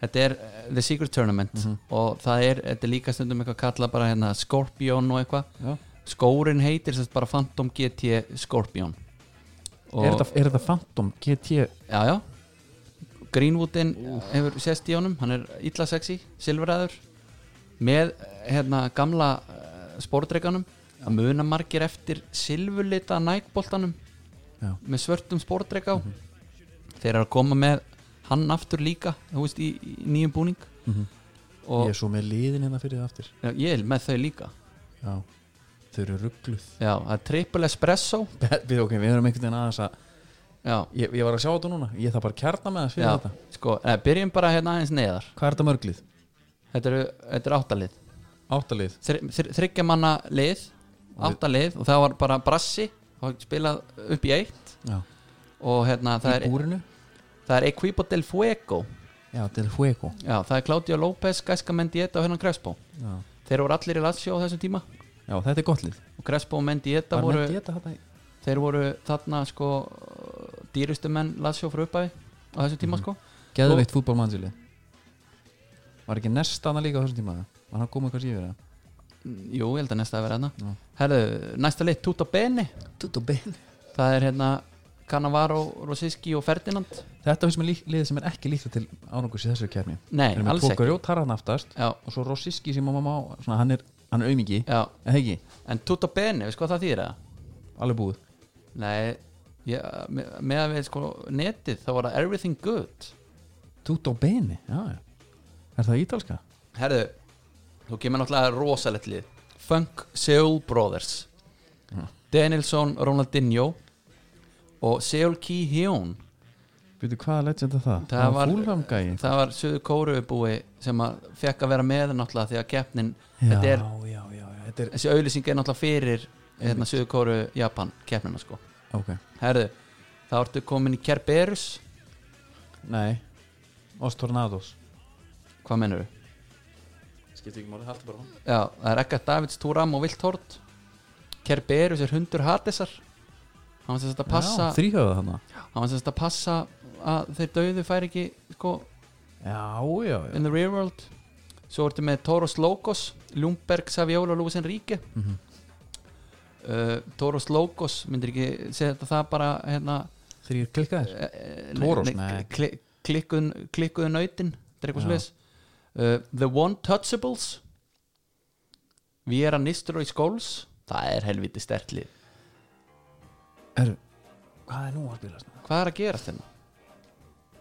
[SPEAKER 1] Þetta er eh, The Secret Tournament
[SPEAKER 2] Mhm.
[SPEAKER 1] og það er, þetta er líka stundum eitthvað kallað bara hérna Scorpion og eitthvað
[SPEAKER 2] já.
[SPEAKER 1] Skórin heitir sem sagt bara Phantom GT Scorpion Og-
[SPEAKER 2] er þetta, er þetta Phantom GT
[SPEAKER 1] Já, já Greenwoodin hefur sést í honum hann er illa sexy, silfraður með eh, hérna gamla uh, spordreikanum að muna margir eftir silfurlita nækboltanum
[SPEAKER 2] Já. Mhm.
[SPEAKER 1] með svörtum spordreika á þeir eru að koma með hann aftur líka, þú veist, í, í nýjum búning
[SPEAKER 2] Mhm.
[SPEAKER 1] og
[SPEAKER 2] ég er svo með liðin hérna fyrir það aftur
[SPEAKER 1] já, ég er með þau líka
[SPEAKER 2] já. þau eru ruggluð
[SPEAKER 1] já, það er triple espresso
[SPEAKER 2] við, okay, við erum einhvern veginn aðeins að
[SPEAKER 1] já,
[SPEAKER 2] ég, ég var að sjá þetta núna, ég þarf bara að kjarna með það fyrir
[SPEAKER 1] já,
[SPEAKER 2] þetta
[SPEAKER 1] sko, eða, byrjum bara hérna aðeins neðar
[SPEAKER 2] Hvað er þetta mörglið?
[SPEAKER 1] þetta eru, þetta eru áttalið
[SPEAKER 2] Áttalið
[SPEAKER 1] þryggja manna lið átta lið og það var bara brassi og spilað upp í eitt
[SPEAKER 2] Já.
[SPEAKER 1] og hérna það
[SPEAKER 2] Í
[SPEAKER 1] er,
[SPEAKER 2] búrinu?
[SPEAKER 1] það er Equipo del Fuego
[SPEAKER 2] Já, til Hueco
[SPEAKER 1] já, það er Claudio López, Gæska Mendieta og Hernan Crespo
[SPEAKER 2] Já.
[SPEAKER 1] þeir voru allir í Lazio á þessum tíma
[SPEAKER 2] Já, þetta er gott lið
[SPEAKER 1] og Crespo og Mendieta
[SPEAKER 2] Var
[SPEAKER 1] voru,
[SPEAKER 2] Mendy þetta þarna í-
[SPEAKER 1] þeir voru þarna sko dýrustu menn Lazio frá uppæði á þessum tíma sko
[SPEAKER 2] Geðveikt fútbolmannsili Var ekki nesta hana líka á þessum tíma? Var hann komið eitthvað síður það?
[SPEAKER 1] jú, ég held að næsta að vera hérna
[SPEAKER 2] Já.
[SPEAKER 1] herðu, næsta lið Tuta Bene
[SPEAKER 2] Tutto ben
[SPEAKER 1] það er hérna Cannavaro, Rosiski og Ferdinand
[SPEAKER 2] Þetta finnst mér lík, lið sem er ekki líka til árangurs í þessu kefni
[SPEAKER 1] nei,
[SPEAKER 2] Erum við
[SPEAKER 1] alls
[SPEAKER 2] tókur
[SPEAKER 1] ekki
[SPEAKER 2] jótar hann aftast
[SPEAKER 1] já,
[SPEAKER 2] og svo Rossiski sem mamma má svona, hann er, hann er aumingi
[SPEAKER 1] já,
[SPEAKER 2] eða ekki,
[SPEAKER 1] En Tuta Bene, veist hvað það þýðir það?
[SPEAKER 2] alveg búið
[SPEAKER 1] Nei, ég, með, með að við sko netið þá var það Everything Good
[SPEAKER 2] Tutto bene, já, já Er það ítalska?
[SPEAKER 1] Herðu, þú kemur náttúrulega rosalett lið Funk Seoul Brothers Danielson Ronaldinho og Seoul Ki Hyun
[SPEAKER 2] Býtu, hvaða legend er það?
[SPEAKER 1] Það var-
[SPEAKER 2] fúlfamgæi
[SPEAKER 1] það var söðu kóruubúi sem að fekk að vera með náttúrulega því að keppnin
[SPEAKER 2] Já,
[SPEAKER 1] þetta
[SPEAKER 2] já,
[SPEAKER 1] er,
[SPEAKER 2] já, já, þetta er
[SPEAKER 1] þessi auðlýsing er náttúrulega fyrir hérna, söðu kóru Japan keppnina sko
[SPEAKER 2] Ok,
[SPEAKER 1] Herðu, þá ertu komin í Kerberus
[SPEAKER 2] nei Os Tornados
[SPEAKER 1] hvað mennur
[SPEAKER 2] Skiptir ekki máli, haldi bara hann
[SPEAKER 1] Já, það er ekkert Davids Túram og Vilthort Kerberus er hundur Hadesar hann var sem sagt að passa
[SPEAKER 2] Þrýhöfða hann
[SPEAKER 1] hann var sem sagt að passa að þeir dauðu fær ekki sko,
[SPEAKER 2] Já, já, já
[SPEAKER 1] in the real world svo ertu með Toros Logos Ljungberg, Saviola og Lúis Enrique mm
[SPEAKER 2] Mhm.
[SPEAKER 1] Toros Logos myndir ekki segja þetta það bara hérna,
[SPEAKER 2] Þrýr klikkaðir
[SPEAKER 1] eh,
[SPEAKER 2] Toros,
[SPEAKER 1] ne-
[SPEAKER 2] nei.
[SPEAKER 1] kli, klikkuðu, klikkuðu nautin þetta er eitthvað
[SPEAKER 2] Já.
[SPEAKER 1] sliðis uh, The One Touchables Við erum nýstur og í skóls það er helviti stertlið
[SPEAKER 2] Er, hvað er nú að spila svona?
[SPEAKER 1] hvað er að gera þetta?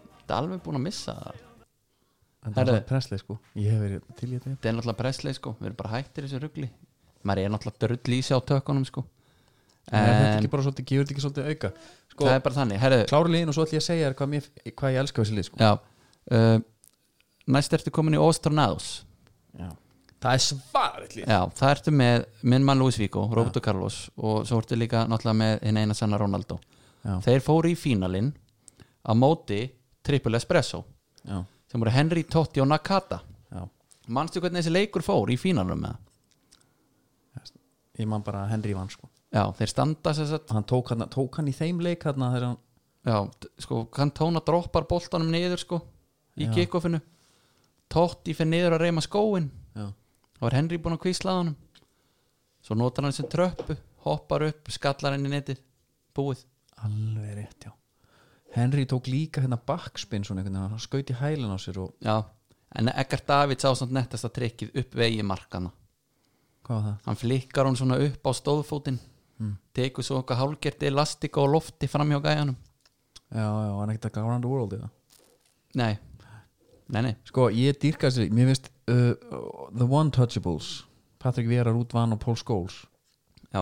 [SPEAKER 1] Þetta er alveg búin að missa það
[SPEAKER 2] Þetta er
[SPEAKER 1] Herðu.
[SPEAKER 2] svona presslið sko Ég hef verið til í þetta
[SPEAKER 1] þetta er náttúrulega pressleik sko, við erum bara hættir þessu rugli maður er náttúrulega drull í sig á tökunum sko
[SPEAKER 2] er þetta
[SPEAKER 1] en
[SPEAKER 2] ekki bara svolítið, gefur þetta ekki svolítið auka sko,
[SPEAKER 1] það er bara þannig herðu,
[SPEAKER 2] klára liðin og svo ætlum ég að segja þér hvað, mér, hvað ég elska við þessi lið sko.
[SPEAKER 1] já uh, næst ertu komin í Os Tornados
[SPEAKER 2] Já. það er svarið lið
[SPEAKER 1] já, það ertu með minn mann Luis Vigo, Roberto Carlos og svo ertu líka náttúrulega með hinn eina sanna Ronaldo
[SPEAKER 2] Já.
[SPEAKER 1] þeir fóru í fínalinn á móti Triple Espresso
[SPEAKER 2] já,
[SPEAKER 1] sem voru Henry Totti og Nakata
[SPEAKER 2] já.
[SPEAKER 1] manstu hvernig þessi leikur fór í fínalinn með það?
[SPEAKER 2] ég man bara að Henry vann sko.
[SPEAKER 1] já, þeir standa sér satt
[SPEAKER 2] hann tók hann, tók hann í þeim leik hann, þegar hann,
[SPEAKER 1] já, t- sko, Cantona droppar boltanum niður sko, í
[SPEAKER 2] Já.
[SPEAKER 1] kickoffinu Totti fyrir niður að reyma skóin
[SPEAKER 2] já,
[SPEAKER 1] þá var Henry búinn að kvíslaða honum svo notar hann sem tröppu hoppar upp, skallar henni netið búið,
[SPEAKER 2] alveg rétt já Henry tók líka hérna backspin svona einhvern veginn, hann skaut í hælun á sér og
[SPEAKER 1] já en Eggar Davids á samt nettasta trikkið upp vegi markana,
[SPEAKER 2] hvað var það?
[SPEAKER 1] hann flikkar hún svona upp á stóðfótinn, tekur svo okkar hálgert elastika og lofti fram hjá gæjanum
[SPEAKER 2] Já, já, hann er ekkert að gáða around the world í það
[SPEAKER 1] nei, nei, nei
[SPEAKER 2] Sko, ég dýrka þessi, mér finnst uh, The One Touchables Patrick Vera, Ruth Van og Paul Scholes
[SPEAKER 1] já,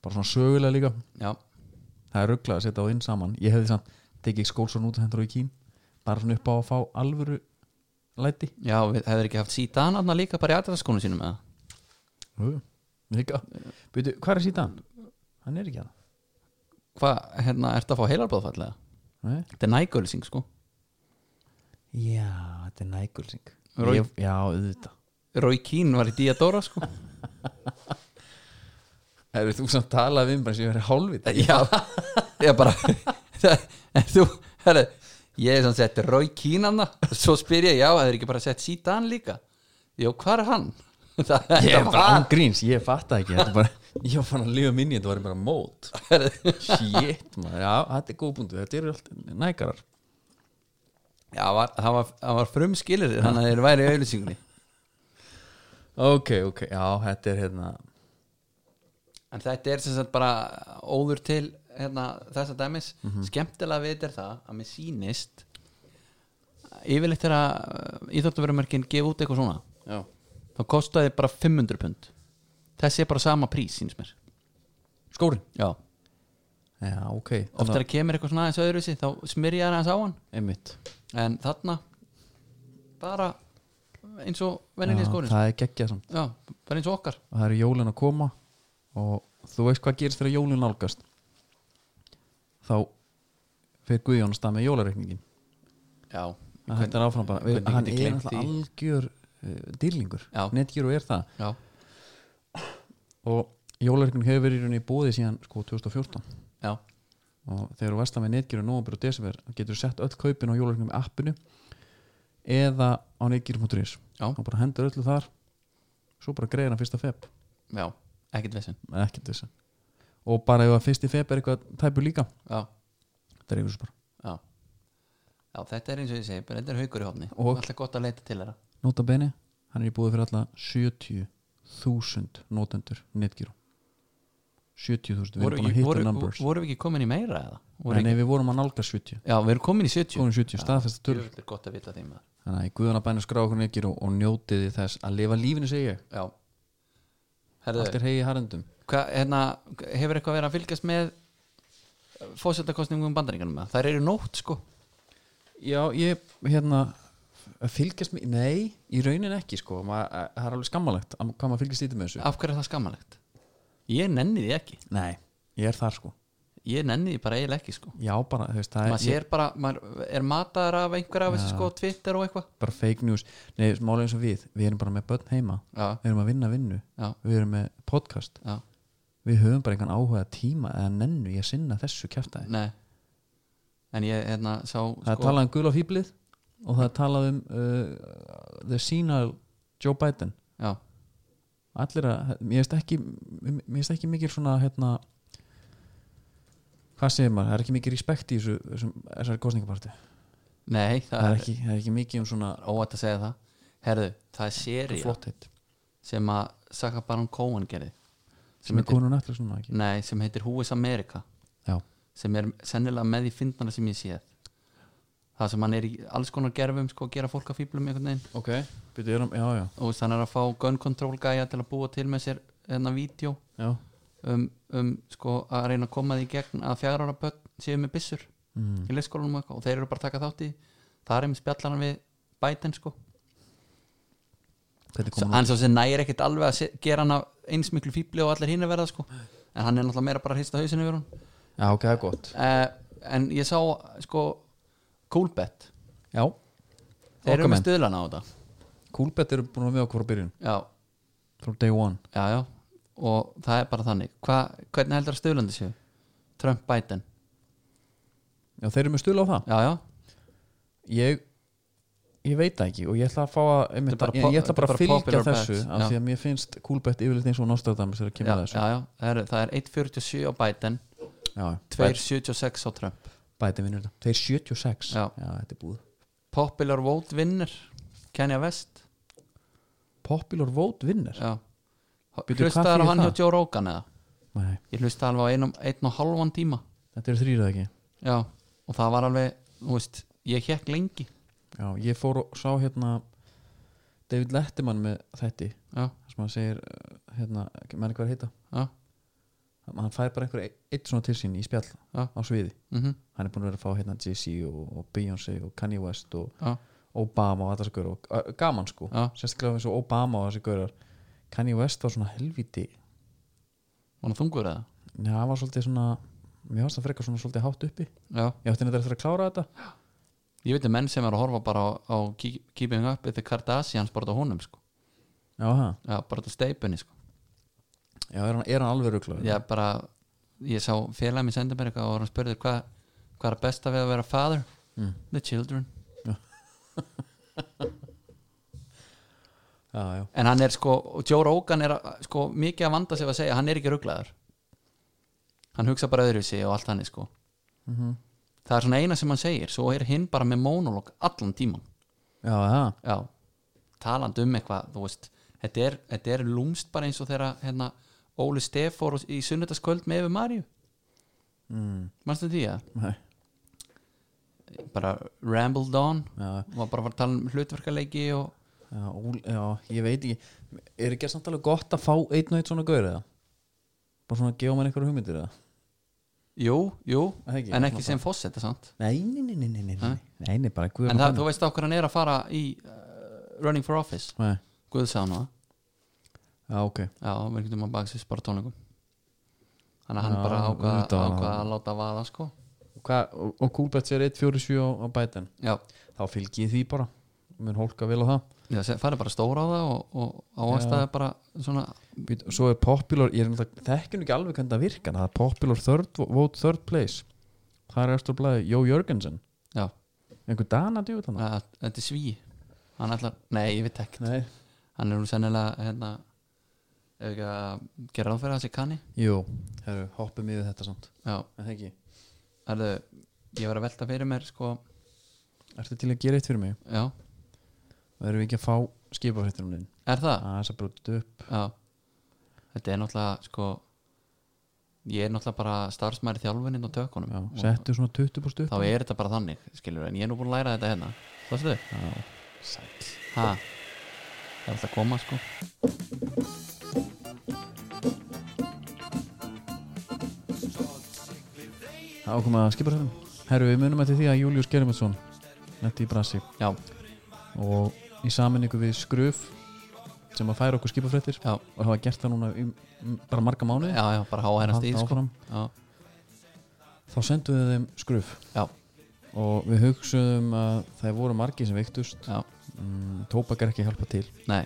[SPEAKER 2] bara svona sögulega líka
[SPEAKER 1] já,
[SPEAKER 2] það er rugglað að setja á inn saman ég hefði samt tekið Skólson út og hendur á í kín bara svona upp á að fá alvöru læti
[SPEAKER 1] já við hefur ekki haft síðan aðna líka bara í aðræðaskonu sínum eða
[SPEAKER 2] líka Beidu, hvað er síðan? hann er ekki hérna.
[SPEAKER 1] hvað, hérna, ertu að fá heilarbóðfallega?
[SPEAKER 2] hann
[SPEAKER 1] Þetta er nægölsing, sko
[SPEAKER 2] já, þetta er nægulsing
[SPEAKER 1] Roy-
[SPEAKER 2] ég, já, auðvitað
[SPEAKER 1] Roy Keane var í Diadora, sko
[SPEAKER 2] Erum þú samt talað við bara sem ég verið hálfið
[SPEAKER 1] Já, ég bara En þú, herri Ég er sann sett Roy Keane hann Svo spyr ég, já, það er ekki bara sett Sítan líka Jó, hvað er hann? Það,
[SPEAKER 2] Ég er
[SPEAKER 1] þetta
[SPEAKER 2] bara án
[SPEAKER 1] var,
[SPEAKER 2] gríns, ég fatt ekki þetta er bara, Ég var fann að lifa minni, þetta var bara mót Shit, maður, já, þetta er góð búndu Þetta eru allt nægarar
[SPEAKER 1] já, var, það var, það var frumskilir Þannig að þeir væri í auðlýsingunni
[SPEAKER 2] Ok, ok, já, þetta er hérna
[SPEAKER 1] En þetta er sem sagt bara óður til hérna, þessa dæmis Skemmtilega við þetta er það að mér sýnist Yfirleitt er að Íþjóttuverumörkin gefa út eitthvað svona
[SPEAKER 2] Já,
[SPEAKER 1] þá kostaði bara 500 pund þessi er bara sama prís síns mér
[SPEAKER 2] skórin
[SPEAKER 1] já,
[SPEAKER 2] Já, ok,
[SPEAKER 1] oftar að kemur eitthvað svona aðeins öðruvísi þá smyrja hann aðeins á hann
[SPEAKER 2] einmitt
[SPEAKER 1] en þarna bara eins og
[SPEAKER 2] Já,
[SPEAKER 1] venninni skórin
[SPEAKER 2] Það er geggjað samt
[SPEAKER 1] já, bara eins og okkar
[SPEAKER 2] og það eru jólin að koma og þú veist hvað gerist þegar jólin nálgast þá fyrir Guðjón að stað með jólareikningin
[SPEAKER 1] já,
[SPEAKER 2] að þetta er áfram bara við,
[SPEAKER 1] hvernig get ég
[SPEAKER 2] hann er
[SPEAKER 1] gleymt
[SPEAKER 2] alltaf algjör uh, dýrlingur,
[SPEAKER 1] Já.
[SPEAKER 2] netgjur og er það
[SPEAKER 1] já,
[SPEAKER 2] og jólareikning hefur verið í rauninni bóði síðan sko 2014
[SPEAKER 1] já,
[SPEAKER 2] og þegar þú versta með netgjur og nóvambur og desember þá getur þú sett öll kaupin á jólareikning með appinu eða á netgjur.is
[SPEAKER 1] Já.
[SPEAKER 2] og bara hendur öllu þar svo bara greiðir hann fyrsta feb
[SPEAKER 1] já ekkert vissin
[SPEAKER 2] ekkert þess og bara ef að fyrst í feb er eitthvað tæpu líka
[SPEAKER 1] já,
[SPEAKER 2] þetta er yfir þessu bara
[SPEAKER 1] já já, þetta er eins og ég segi, bara þetta er haukur í hófni
[SPEAKER 2] Og-
[SPEAKER 1] alltaf gott að leita til þeirra
[SPEAKER 2] nota bene, hann er í búið fyrir alla 70.000 notendur netgíru 70.000, við
[SPEAKER 1] voru,
[SPEAKER 2] erum búin að hitta
[SPEAKER 1] voru,
[SPEAKER 2] numbers
[SPEAKER 1] voru við ekki komin í meira eða? Voru
[SPEAKER 2] en ef við vorum að nálga 70
[SPEAKER 1] ekki- já, við erum komin í 70
[SPEAKER 2] komin 70, staðfesta tölur
[SPEAKER 1] Djöfull er gott að vita því maður
[SPEAKER 2] þannig að í guðan að bæna skrá okkur netgíru og njótiði þess að lifa lífinu segi ég
[SPEAKER 1] Já Herðu,
[SPEAKER 2] allt er hegi harendum
[SPEAKER 1] hva, hérna, hefur eitthvað verið að fylgjast með fósettakostningum bandaríkanum með? Þær eru nótt sko
[SPEAKER 2] já, ég, hérna að fylgjast mér, nei, í raunin ekki sko, Ma- að- það er alveg skammalegt að- hvað maður fylgjast lítið með þessu
[SPEAKER 1] Af hverju er það skammalegt? Ég nenni því ekki
[SPEAKER 2] nei, ég er þar sko
[SPEAKER 1] Ég nenni því bara eiginlega ekki sko
[SPEAKER 2] já, bara, þú veist, það er
[SPEAKER 1] Maður sér bara, maður er mataður af einhverja af þessu sko, Twitter og eitthvað
[SPEAKER 2] bara fake news Nei, málega eins og við, við erum bara með börn heima
[SPEAKER 1] Já,
[SPEAKER 2] við erum að vinna vinnu,
[SPEAKER 1] já,
[SPEAKER 2] við erum með podcast
[SPEAKER 1] já,
[SPEAKER 2] við höfum bara einhvern áhuga tíma eða nennu í að sinna þessu kjæftæði
[SPEAKER 1] nei En ég, hérna, sá
[SPEAKER 2] það er talað um gul á fýblið og það er talað um uh, the senile Joe Biden
[SPEAKER 1] Já,
[SPEAKER 2] allir að, mér finnst ekki mér finnst ekki mikil svona hérna hvað segir maður, það er ekki mikil respekt í þessu, þessum, þessari kostningaparti
[SPEAKER 1] nei, það,
[SPEAKER 2] það er
[SPEAKER 1] er
[SPEAKER 2] ekki, það er ekki mikil um svona
[SPEAKER 1] óvægt að segja það Herðu, það er séri
[SPEAKER 2] flott hitt
[SPEAKER 1] sem að Saka Baron Cohen gerði
[SPEAKER 2] sem er konun eftir svona ekki
[SPEAKER 1] Nei, sem heitir Who is America
[SPEAKER 2] já,
[SPEAKER 1] sem er sennilega með í fyndnara sem ég sé það sem hann er í alls konar gerfum sko, að gera fólk að fýblum einhvern veginn
[SPEAKER 2] ok, byrjuðum, já, já
[SPEAKER 1] og þannig er að fá gun control gæja til að búa til með sér hérna vídeo
[SPEAKER 2] já
[SPEAKER 1] um, um sko, að reyna að koma því í gegn að fjara ára börn séu með byssur
[SPEAKER 2] mm.
[SPEAKER 1] í leikskólanum og, eitthvað og þeir eru bara að taka þátt í það er einmitt spjallar hann við bætin sko.
[SPEAKER 2] Þetta er
[SPEAKER 1] Svo-
[SPEAKER 2] komið
[SPEAKER 1] hann svo sem nægir ekkit alveg að se- gera hann eins miklu fíbli og allir hinn verða sko. en hann er náttúrulega meira bara að hrista hausinu yfir hún
[SPEAKER 2] Já, ok, það er gott
[SPEAKER 1] uh, en ég sá sko Coolbet,
[SPEAKER 2] Já,
[SPEAKER 1] þeir eru með
[SPEAKER 2] Okkar menn.
[SPEAKER 1] stöðlana á þetta
[SPEAKER 2] Coolbet eru búin að vera með okkur á byrjun
[SPEAKER 1] já,
[SPEAKER 2] From day one
[SPEAKER 1] já, já og það er bara þannig, Hva, hvernig heldur að stöðlandi séu? Trump Biden
[SPEAKER 2] Já, þeir eru með stuðla á það
[SPEAKER 1] já, já,
[SPEAKER 2] Ég, ég veit það ekki og ég ætla að fá að einmitt,
[SPEAKER 1] Þetta er bara
[SPEAKER 2] ég, ég
[SPEAKER 1] pop-
[SPEAKER 2] ætla bara
[SPEAKER 1] þetta er bara
[SPEAKER 2] að fylgja
[SPEAKER 1] popular
[SPEAKER 2] þessu
[SPEAKER 1] bet,
[SPEAKER 2] af
[SPEAKER 1] já.
[SPEAKER 2] því að mér finnst Coolbet yfirleitt eins og Nostradamus þegar kemur
[SPEAKER 1] já,
[SPEAKER 2] að þessu
[SPEAKER 1] já, já. Það, er, það er 1.47 á Biden
[SPEAKER 2] Já,
[SPEAKER 1] 2.76 á Trump
[SPEAKER 2] Bæti vinnur þetta Þeir 76
[SPEAKER 1] Já.
[SPEAKER 2] þetta er búið
[SPEAKER 1] Popular vote vinnur Kenya West
[SPEAKER 2] Popular vote vinnur
[SPEAKER 1] já.
[SPEAKER 2] Bíddu, hvað
[SPEAKER 1] hlustaðar á
[SPEAKER 2] þýðir
[SPEAKER 1] hann hjá
[SPEAKER 2] það?
[SPEAKER 1] Joe Rogan eða
[SPEAKER 2] Nei,
[SPEAKER 1] ég hlustaði alveg á einum, einn og halvan tíma
[SPEAKER 2] þetta eru þrýrað ekki
[SPEAKER 1] já, og það var alveg þú veist, ég hekk lengi
[SPEAKER 2] Já, ég fór og sá hérna David Letterman með þetta
[SPEAKER 1] já,
[SPEAKER 2] sem hann segir uh, hérna, menn hvað er að heita
[SPEAKER 1] já,
[SPEAKER 2] hann fær bara einhver eitt svona til sín í spjall
[SPEAKER 1] Já.
[SPEAKER 2] á sviði,
[SPEAKER 1] mhm
[SPEAKER 2] hann er búin að vera að fá hérna Jay-Z og, og Beyoncé og Kanye West og
[SPEAKER 1] já,
[SPEAKER 2] Obama og alltaf þessi gaur og uh, gaman sko,
[SPEAKER 1] Já.
[SPEAKER 2] sérstaklega eins og Obama og þessi gaurar Kanye West var svona helviti
[SPEAKER 1] var hann þungur eða?
[SPEAKER 2] Já, hann var svolítið svona mér varst það frekar svona svolítið hátt uppi
[SPEAKER 1] já,
[SPEAKER 2] ég átti þetta eftir að klára þetta
[SPEAKER 1] ég veit um menn sem er að horfa bara á, á Keep- Keeping Up with the Kardashians bara á honum sko,
[SPEAKER 2] Já, ha.
[SPEAKER 1] já, bara á steipunni sko
[SPEAKER 2] Já er, hann, er hann alveg rugglaður?
[SPEAKER 1] já, bara, ég sá félagið minn senda mér eitthvað og hann spurði hvað hva er besta við að vera father?
[SPEAKER 2] Mm.
[SPEAKER 1] the children
[SPEAKER 2] Já, já,
[SPEAKER 1] en hann er sko, og Joe Rogan er að- sko, mikið að vanda sig að segja, hann er ekki rugglaður hann hugsa bara öðru sig og allt hann sko
[SPEAKER 2] Mhm.
[SPEAKER 1] það er svona eina sem hann segir, svo er hinn bara með monolog allan tíman
[SPEAKER 2] já, það
[SPEAKER 1] já, talandi um eitthvað þú veist, þetta er, þetta er lúmst bara eins og þegar hérna, Óli Stef fór í sunnudagskvöld með yfir Maríu
[SPEAKER 2] mm.
[SPEAKER 1] mannstu því að
[SPEAKER 2] Nei,
[SPEAKER 1] bara rambled on
[SPEAKER 2] já,
[SPEAKER 1] og bara var að tala um hlutverkaleiki og
[SPEAKER 2] Já, úl, já, ég veit ekki Er ekki samt alveg gott að fá einn og einn svona gaur eða? Bara svona að gefa mér einhverju hugmyndir eða?
[SPEAKER 1] jú, jú,
[SPEAKER 2] Það
[SPEAKER 1] en
[SPEAKER 2] ekki, svona
[SPEAKER 1] ekki sem fósetta sant?
[SPEAKER 2] Nei, nei, nei, nei, nei, nei,
[SPEAKER 1] Ha?
[SPEAKER 2] nei, nei, nei bara guður
[SPEAKER 1] en það, þú veist á hvernig hann er að fara í uh, Running for Office,
[SPEAKER 2] Nei,
[SPEAKER 1] Guðsána
[SPEAKER 2] já, ok
[SPEAKER 1] já, við getum að baka sér bara tónleikum þannig að hann
[SPEAKER 2] Já,
[SPEAKER 1] bara ákvað
[SPEAKER 2] auðvitað.
[SPEAKER 1] ákvað að láta vaða sko
[SPEAKER 2] Og, hva, og, og Coolbets er 147 á, á bætin
[SPEAKER 1] já,
[SPEAKER 2] Þá fylgi ég því bara Mér hólka vel á það
[SPEAKER 1] já se- farið bara stóra á það og, og ávastaði bara svona
[SPEAKER 2] Být, Svo er popular, ég er náttúrulega Þekkjum ekki alveg hvernig það virkar Það er popular third, vote third place Það er eftir að blæði Jó Jörgensen
[SPEAKER 1] já,
[SPEAKER 2] Einhver dana djúið þannig
[SPEAKER 1] að, þetta er sví hann ætlar, nei, ég veit ekki
[SPEAKER 2] Nei
[SPEAKER 1] hann er nú sennilega hérna ef ekki að gera ráð fyrir að það sé kanni
[SPEAKER 2] Jú, herru, hoppum yfir þetta samt
[SPEAKER 1] já,
[SPEAKER 2] En það ekki
[SPEAKER 1] erðu, ég var að velta fyrir mér sko,
[SPEAKER 2] Ertu til að gera eitt fyrir mig?
[SPEAKER 1] já,
[SPEAKER 2] Það erum við ekki að fá skipafréttir um þinn
[SPEAKER 1] er það
[SPEAKER 2] aðeins að brútið upp
[SPEAKER 1] já, þetta er náttúrulega sko, ég er náttúrulega bara starfsmæri þjálfuninn og tökunum
[SPEAKER 2] já,
[SPEAKER 1] og
[SPEAKER 2] settu svona 20 brúst upp
[SPEAKER 1] þá er þetta bara þannig, skilur en ég er nú búin að læra þetta hérna, þá stu
[SPEAKER 2] já, sæll
[SPEAKER 1] ha, það er alltaf að koma sko
[SPEAKER 2] þá komum við að skipafréttum herru við munum eftir því að Július Gerimundsson netti í brasi
[SPEAKER 1] já,
[SPEAKER 2] og í saminningu við skröf sem að færa okkur skipafréttir
[SPEAKER 1] já,
[SPEAKER 2] og hafa gert það núna í, m- bara marga mánuði
[SPEAKER 1] já, já bara háhærast í
[SPEAKER 2] Halda
[SPEAKER 1] sko
[SPEAKER 2] áfram.
[SPEAKER 1] já,
[SPEAKER 2] þá sendum við þeim skröf
[SPEAKER 1] já,
[SPEAKER 2] og við hugsuðum að það voru margi sem veiktust
[SPEAKER 1] já,
[SPEAKER 2] mm, tóbak er ekki að hjálpa til
[SPEAKER 1] nei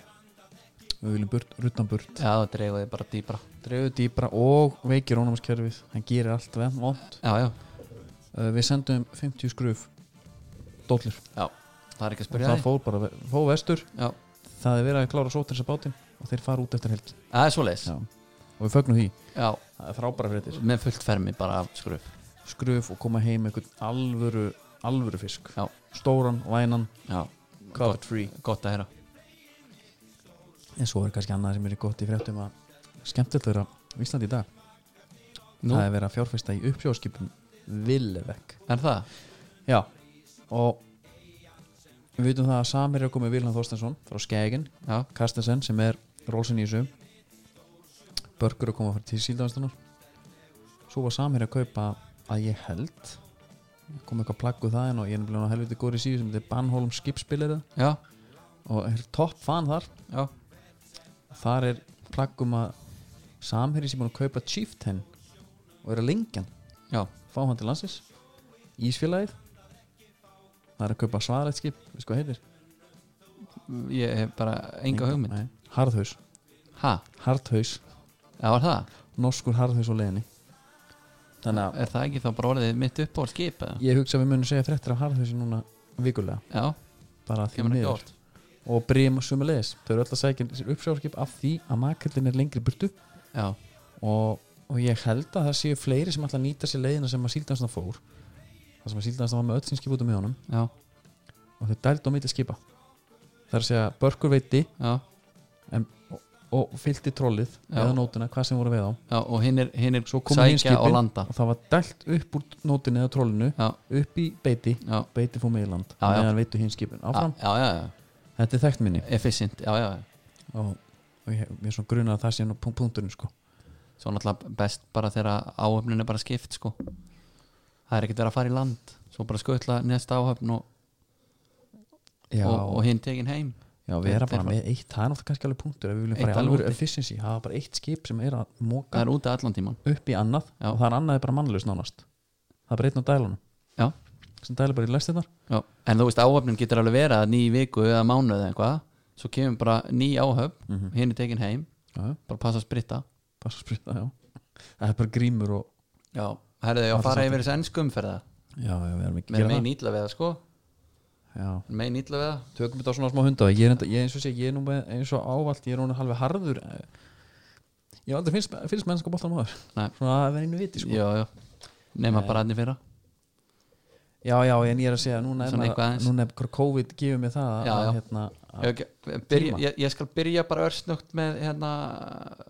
[SPEAKER 2] við viljum burt, ruttan burt
[SPEAKER 1] já, það dreigur þið bara dýbra
[SPEAKER 2] dreifðu dýbra og veikir ónámskerfið hann gerir allt vend, vond
[SPEAKER 1] já, já,
[SPEAKER 2] uh, við sendum 50 skruf dóllir
[SPEAKER 1] það er ekki að
[SPEAKER 2] og
[SPEAKER 1] spyrja
[SPEAKER 2] það
[SPEAKER 1] því
[SPEAKER 2] fór bara ve- fór vestur
[SPEAKER 1] já,
[SPEAKER 2] það er verið að klára sótins að bátinn og þeir fara út eftir helgi
[SPEAKER 1] það er svoleiðis
[SPEAKER 2] Já. og við fögnum því
[SPEAKER 1] já,
[SPEAKER 2] það er frábæra fréttir
[SPEAKER 1] með fullt fermi bara af skruf
[SPEAKER 2] skruf og koma heim einhvern alvöru alvöru fisk
[SPEAKER 1] Já.
[SPEAKER 2] stóran, vænan,
[SPEAKER 1] já,
[SPEAKER 2] cut free
[SPEAKER 1] gott að heyra
[SPEAKER 2] en svo er kannski annað sem er gott í fréttum að skemmtilegur á Íslandi í dag
[SPEAKER 1] nú,
[SPEAKER 2] það er verið að fjárfesta í uppsjóðskipum Villevek
[SPEAKER 1] er það?
[SPEAKER 2] Já og við veitum það að samir er komið Vilhelm Þorstensson frá Skegin
[SPEAKER 1] já,
[SPEAKER 2] Carstensen sem er rólsinn í þessu Börgur að koma að fara til síldanstunum svo var samir að kaupa að ég held kom eitthvað plaggu það en og ég er náttúrulega helviti góri síðu sem þetta er Bannholm skipspilir
[SPEAKER 1] já,
[SPEAKER 2] og er topp fan þar
[SPEAKER 1] já,
[SPEAKER 2] þar er plaggum að samherri sem búin að kaupa Chieftain og er að lengja hann
[SPEAKER 1] já,
[SPEAKER 2] fá hann til landsins Ísfélagið það er að kaupa svarlætt skip veist hvað heitir?
[SPEAKER 1] ég hef bara enga hugmynd
[SPEAKER 2] Nei. Harðhaus
[SPEAKER 1] ha,
[SPEAKER 2] Harðhaus
[SPEAKER 1] já var það,
[SPEAKER 2] norskur harðhaus á leiðinni þannig að
[SPEAKER 1] er það ekki þá bara orðið mitt upp á skip eða?
[SPEAKER 2] ég hugsa að við munum segja fréttir af harðhausi núna vikulega
[SPEAKER 1] já,
[SPEAKER 2] bara því
[SPEAKER 1] kemur ekki
[SPEAKER 2] miður
[SPEAKER 1] orð
[SPEAKER 2] og brim sumulegis þau eru öll að segja sér uppsjáðskip af því að makillin er lengri burtu
[SPEAKER 1] já,
[SPEAKER 2] og, og ég held að það séu fleiri sem ætla að nýta sér leiðina sem að síldansna fór það sem að síldansna var með öll sín skip út um í honum
[SPEAKER 1] já,
[SPEAKER 2] og þau dældu á milli skipa það er að segja börkur veiti
[SPEAKER 1] já,
[SPEAKER 2] og fylgti trollið
[SPEAKER 1] Já.
[SPEAKER 2] eða nótuna, hvað sem voru að veiða á
[SPEAKER 1] já og hinn er, hinn er
[SPEAKER 2] svo komu hinn
[SPEAKER 1] sækja og
[SPEAKER 2] skipin
[SPEAKER 1] landa
[SPEAKER 2] og það var dælt upp úr nótinu eða trollinu
[SPEAKER 1] já,
[SPEAKER 2] upp í beiti,
[SPEAKER 1] já,
[SPEAKER 2] beiti fór með í land
[SPEAKER 1] Já, já.
[SPEAKER 2] meðan veitu hinn skipin áfram,
[SPEAKER 1] já, já, já,
[SPEAKER 2] þetta er þekkt minni
[SPEAKER 1] efficient já, já, já
[SPEAKER 2] og, og ég, ég er svona grunað að það sé nú punkt- punkturinn sko
[SPEAKER 1] svo náttúrulega best bara þegar áhöfnin er bara skipt sko það er ekkert verið að fara í land svo bara skutla næsta áhöfn og,
[SPEAKER 2] já,
[SPEAKER 1] og, og hinn tekin heim
[SPEAKER 2] já vera
[SPEAKER 1] þetta er
[SPEAKER 2] bara með eitt, það er náttúrulega kannski alveg punktur ef við viljum
[SPEAKER 1] Eitt
[SPEAKER 2] fara í
[SPEAKER 1] alveg
[SPEAKER 2] alvöru
[SPEAKER 1] úti.
[SPEAKER 2] efficiency, það er bara eitt skip sem er að
[SPEAKER 1] það
[SPEAKER 2] móka
[SPEAKER 1] er úti allan tíman
[SPEAKER 2] upp í annað
[SPEAKER 1] Já.
[SPEAKER 2] og það er annað er bara mannlaus nánast það er bara einn á dælunum
[SPEAKER 1] Já.
[SPEAKER 2] sem dælir bara í lestinnar
[SPEAKER 1] já. en þú veist áhöfnin getur alveg verið að ný viku eða mánuð eða eitthvað svo kemur bara ný áhöfn
[SPEAKER 2] mm
[SPEAKER 1] hinn er tekin heim,
[SPEAKER 2] já,
[SPEAKER 1] bara passa að spritta
[SPEAKER 2] bara að sprita, já það er bara grímur og
[SPEAKER 1] já, herðu ég
[SPEAKER 2] Passa
[SPEAKER 1] að fara
[SPEAKER 2] svolítið.
[SPEAKER 1] yfir þessi ennsku umferða
[SPEAKER 2] já, já, við erum ekki að
[SPEAKER 1] með
[SPEAKER 2] gera
[SPEAKER 1] megin ítla við það sko
[SPEAKER 2] það já.
[SPEAKER 1] megin ítla við það
[SPEAKER 2] tökum þetta á svona smá hundaveg ég er, enda, ég, eins og sé, ég er nú með, eins og ávallt ég er nú halveg harður eh, ég hef aldrei finnst, finnst mennska bóttan maður
[SPEAKER 1] Nei.
[SPEAKER 2] svona að vera einu viti sko.
[SPEAKER 1] já, já nema
[SPEAKER 2] Nei.
[SPEAKER 1] bara hann í fyrra
[SPEAKER 2] já, já, en ég er að segja núna er,
[SPEAKER 1] Svona eitthvað
[SPEAKER 2] maður,
[SPEAKER 1] aðeins.
[SPEAKER 2] núna er hver COVID gefur mig það
[SPEAKER 1] Já,
[SPEAKER 2] að,
[SPEAKER 1] já.
[SPEAKER 2] Hérna, að,
[SPEAKER 1] ég, byrja,
[SPEAKER 2] tíma.
[SPEAKER 1] ég, ég skal byrja bara örsnugt með hérna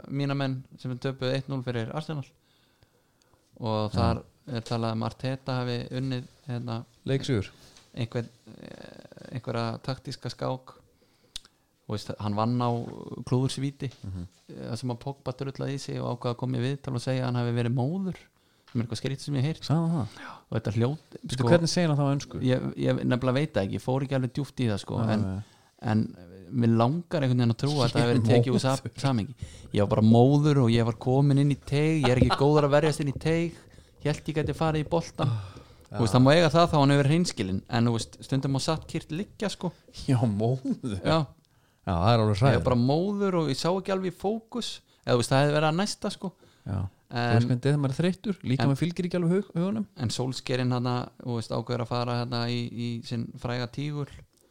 [SPEAKER 1] mína menn sem er töpuð 1-0 fyrir Arsenal og
[SPEAKER 2] Já.
[SPEAKER 1] þar er talað um Arteta hafi unnið hérna
[SPEAKER 2] leiksugur
[SPEAKER 1] einhver, eh, einhverja taktíska skák og veist, hann vann á klúðursvíti mm
[SPEAKER 2] Mhm.
[SPEAKER 1] sem að Pogba drullaði í sig og ákvaða að koma í viðtal og segja að hann hafi verið móður sem er eitthvað skrýtt sem ég heyrt
[SPEAKER 2] sagði hann það
[SPEAKER 1] og þetta hljótt
[SPEAKER 2] Sko, hvernig segir hann það á önsku
[SPEAKER 1] ég, ég nefnilega veit það ekki, ég fór ekki alveg djúft í það sko, en
[SPEAKER 2] Já,
[SPEAKER 1] en mér langar einhvern veginn að trúa að
[SPEAKER 2] Ég
[SPEAKER 1] það
[SPEAKER 2] er
[SPEAKER 1] hefur verið tekið úr sam- samhengi ég var bara móður og ég var komin inn í teig ég er ekki góður að verjast inn í teig held ég gæti farið í boltan
[SPEAKER 2] Ah,
[SPEAKER 1] þú veist, það má eiga það þá hann hefur hreinskilin en þú veist, stundum má satt kýrt liggja sko
[SPEAKER 2] já, móður
[SPEAKER 1] já,
[SPEAKER 2] já, það er alveg
[SPEAKER 1] ég
[SPEAKER 2] hræður
[SPEAKER 1] var bara móður og ég sá ekki alveg í fókus eða þú veist, það hefði verið að næsta sko
[SPEAKER 2] já. þú
[SPEAKER 1] en,
[SPEAKER 2] veist hvernig þegar maður er þreyttur líka
[SPEAKER 1] en-
[SPEAKER 2] maður fylgir ekki alveg hug, hugunum
[SPEAKER 1] en sólskerinn hann ágöður að fara hana, í, í sinn fræga tígul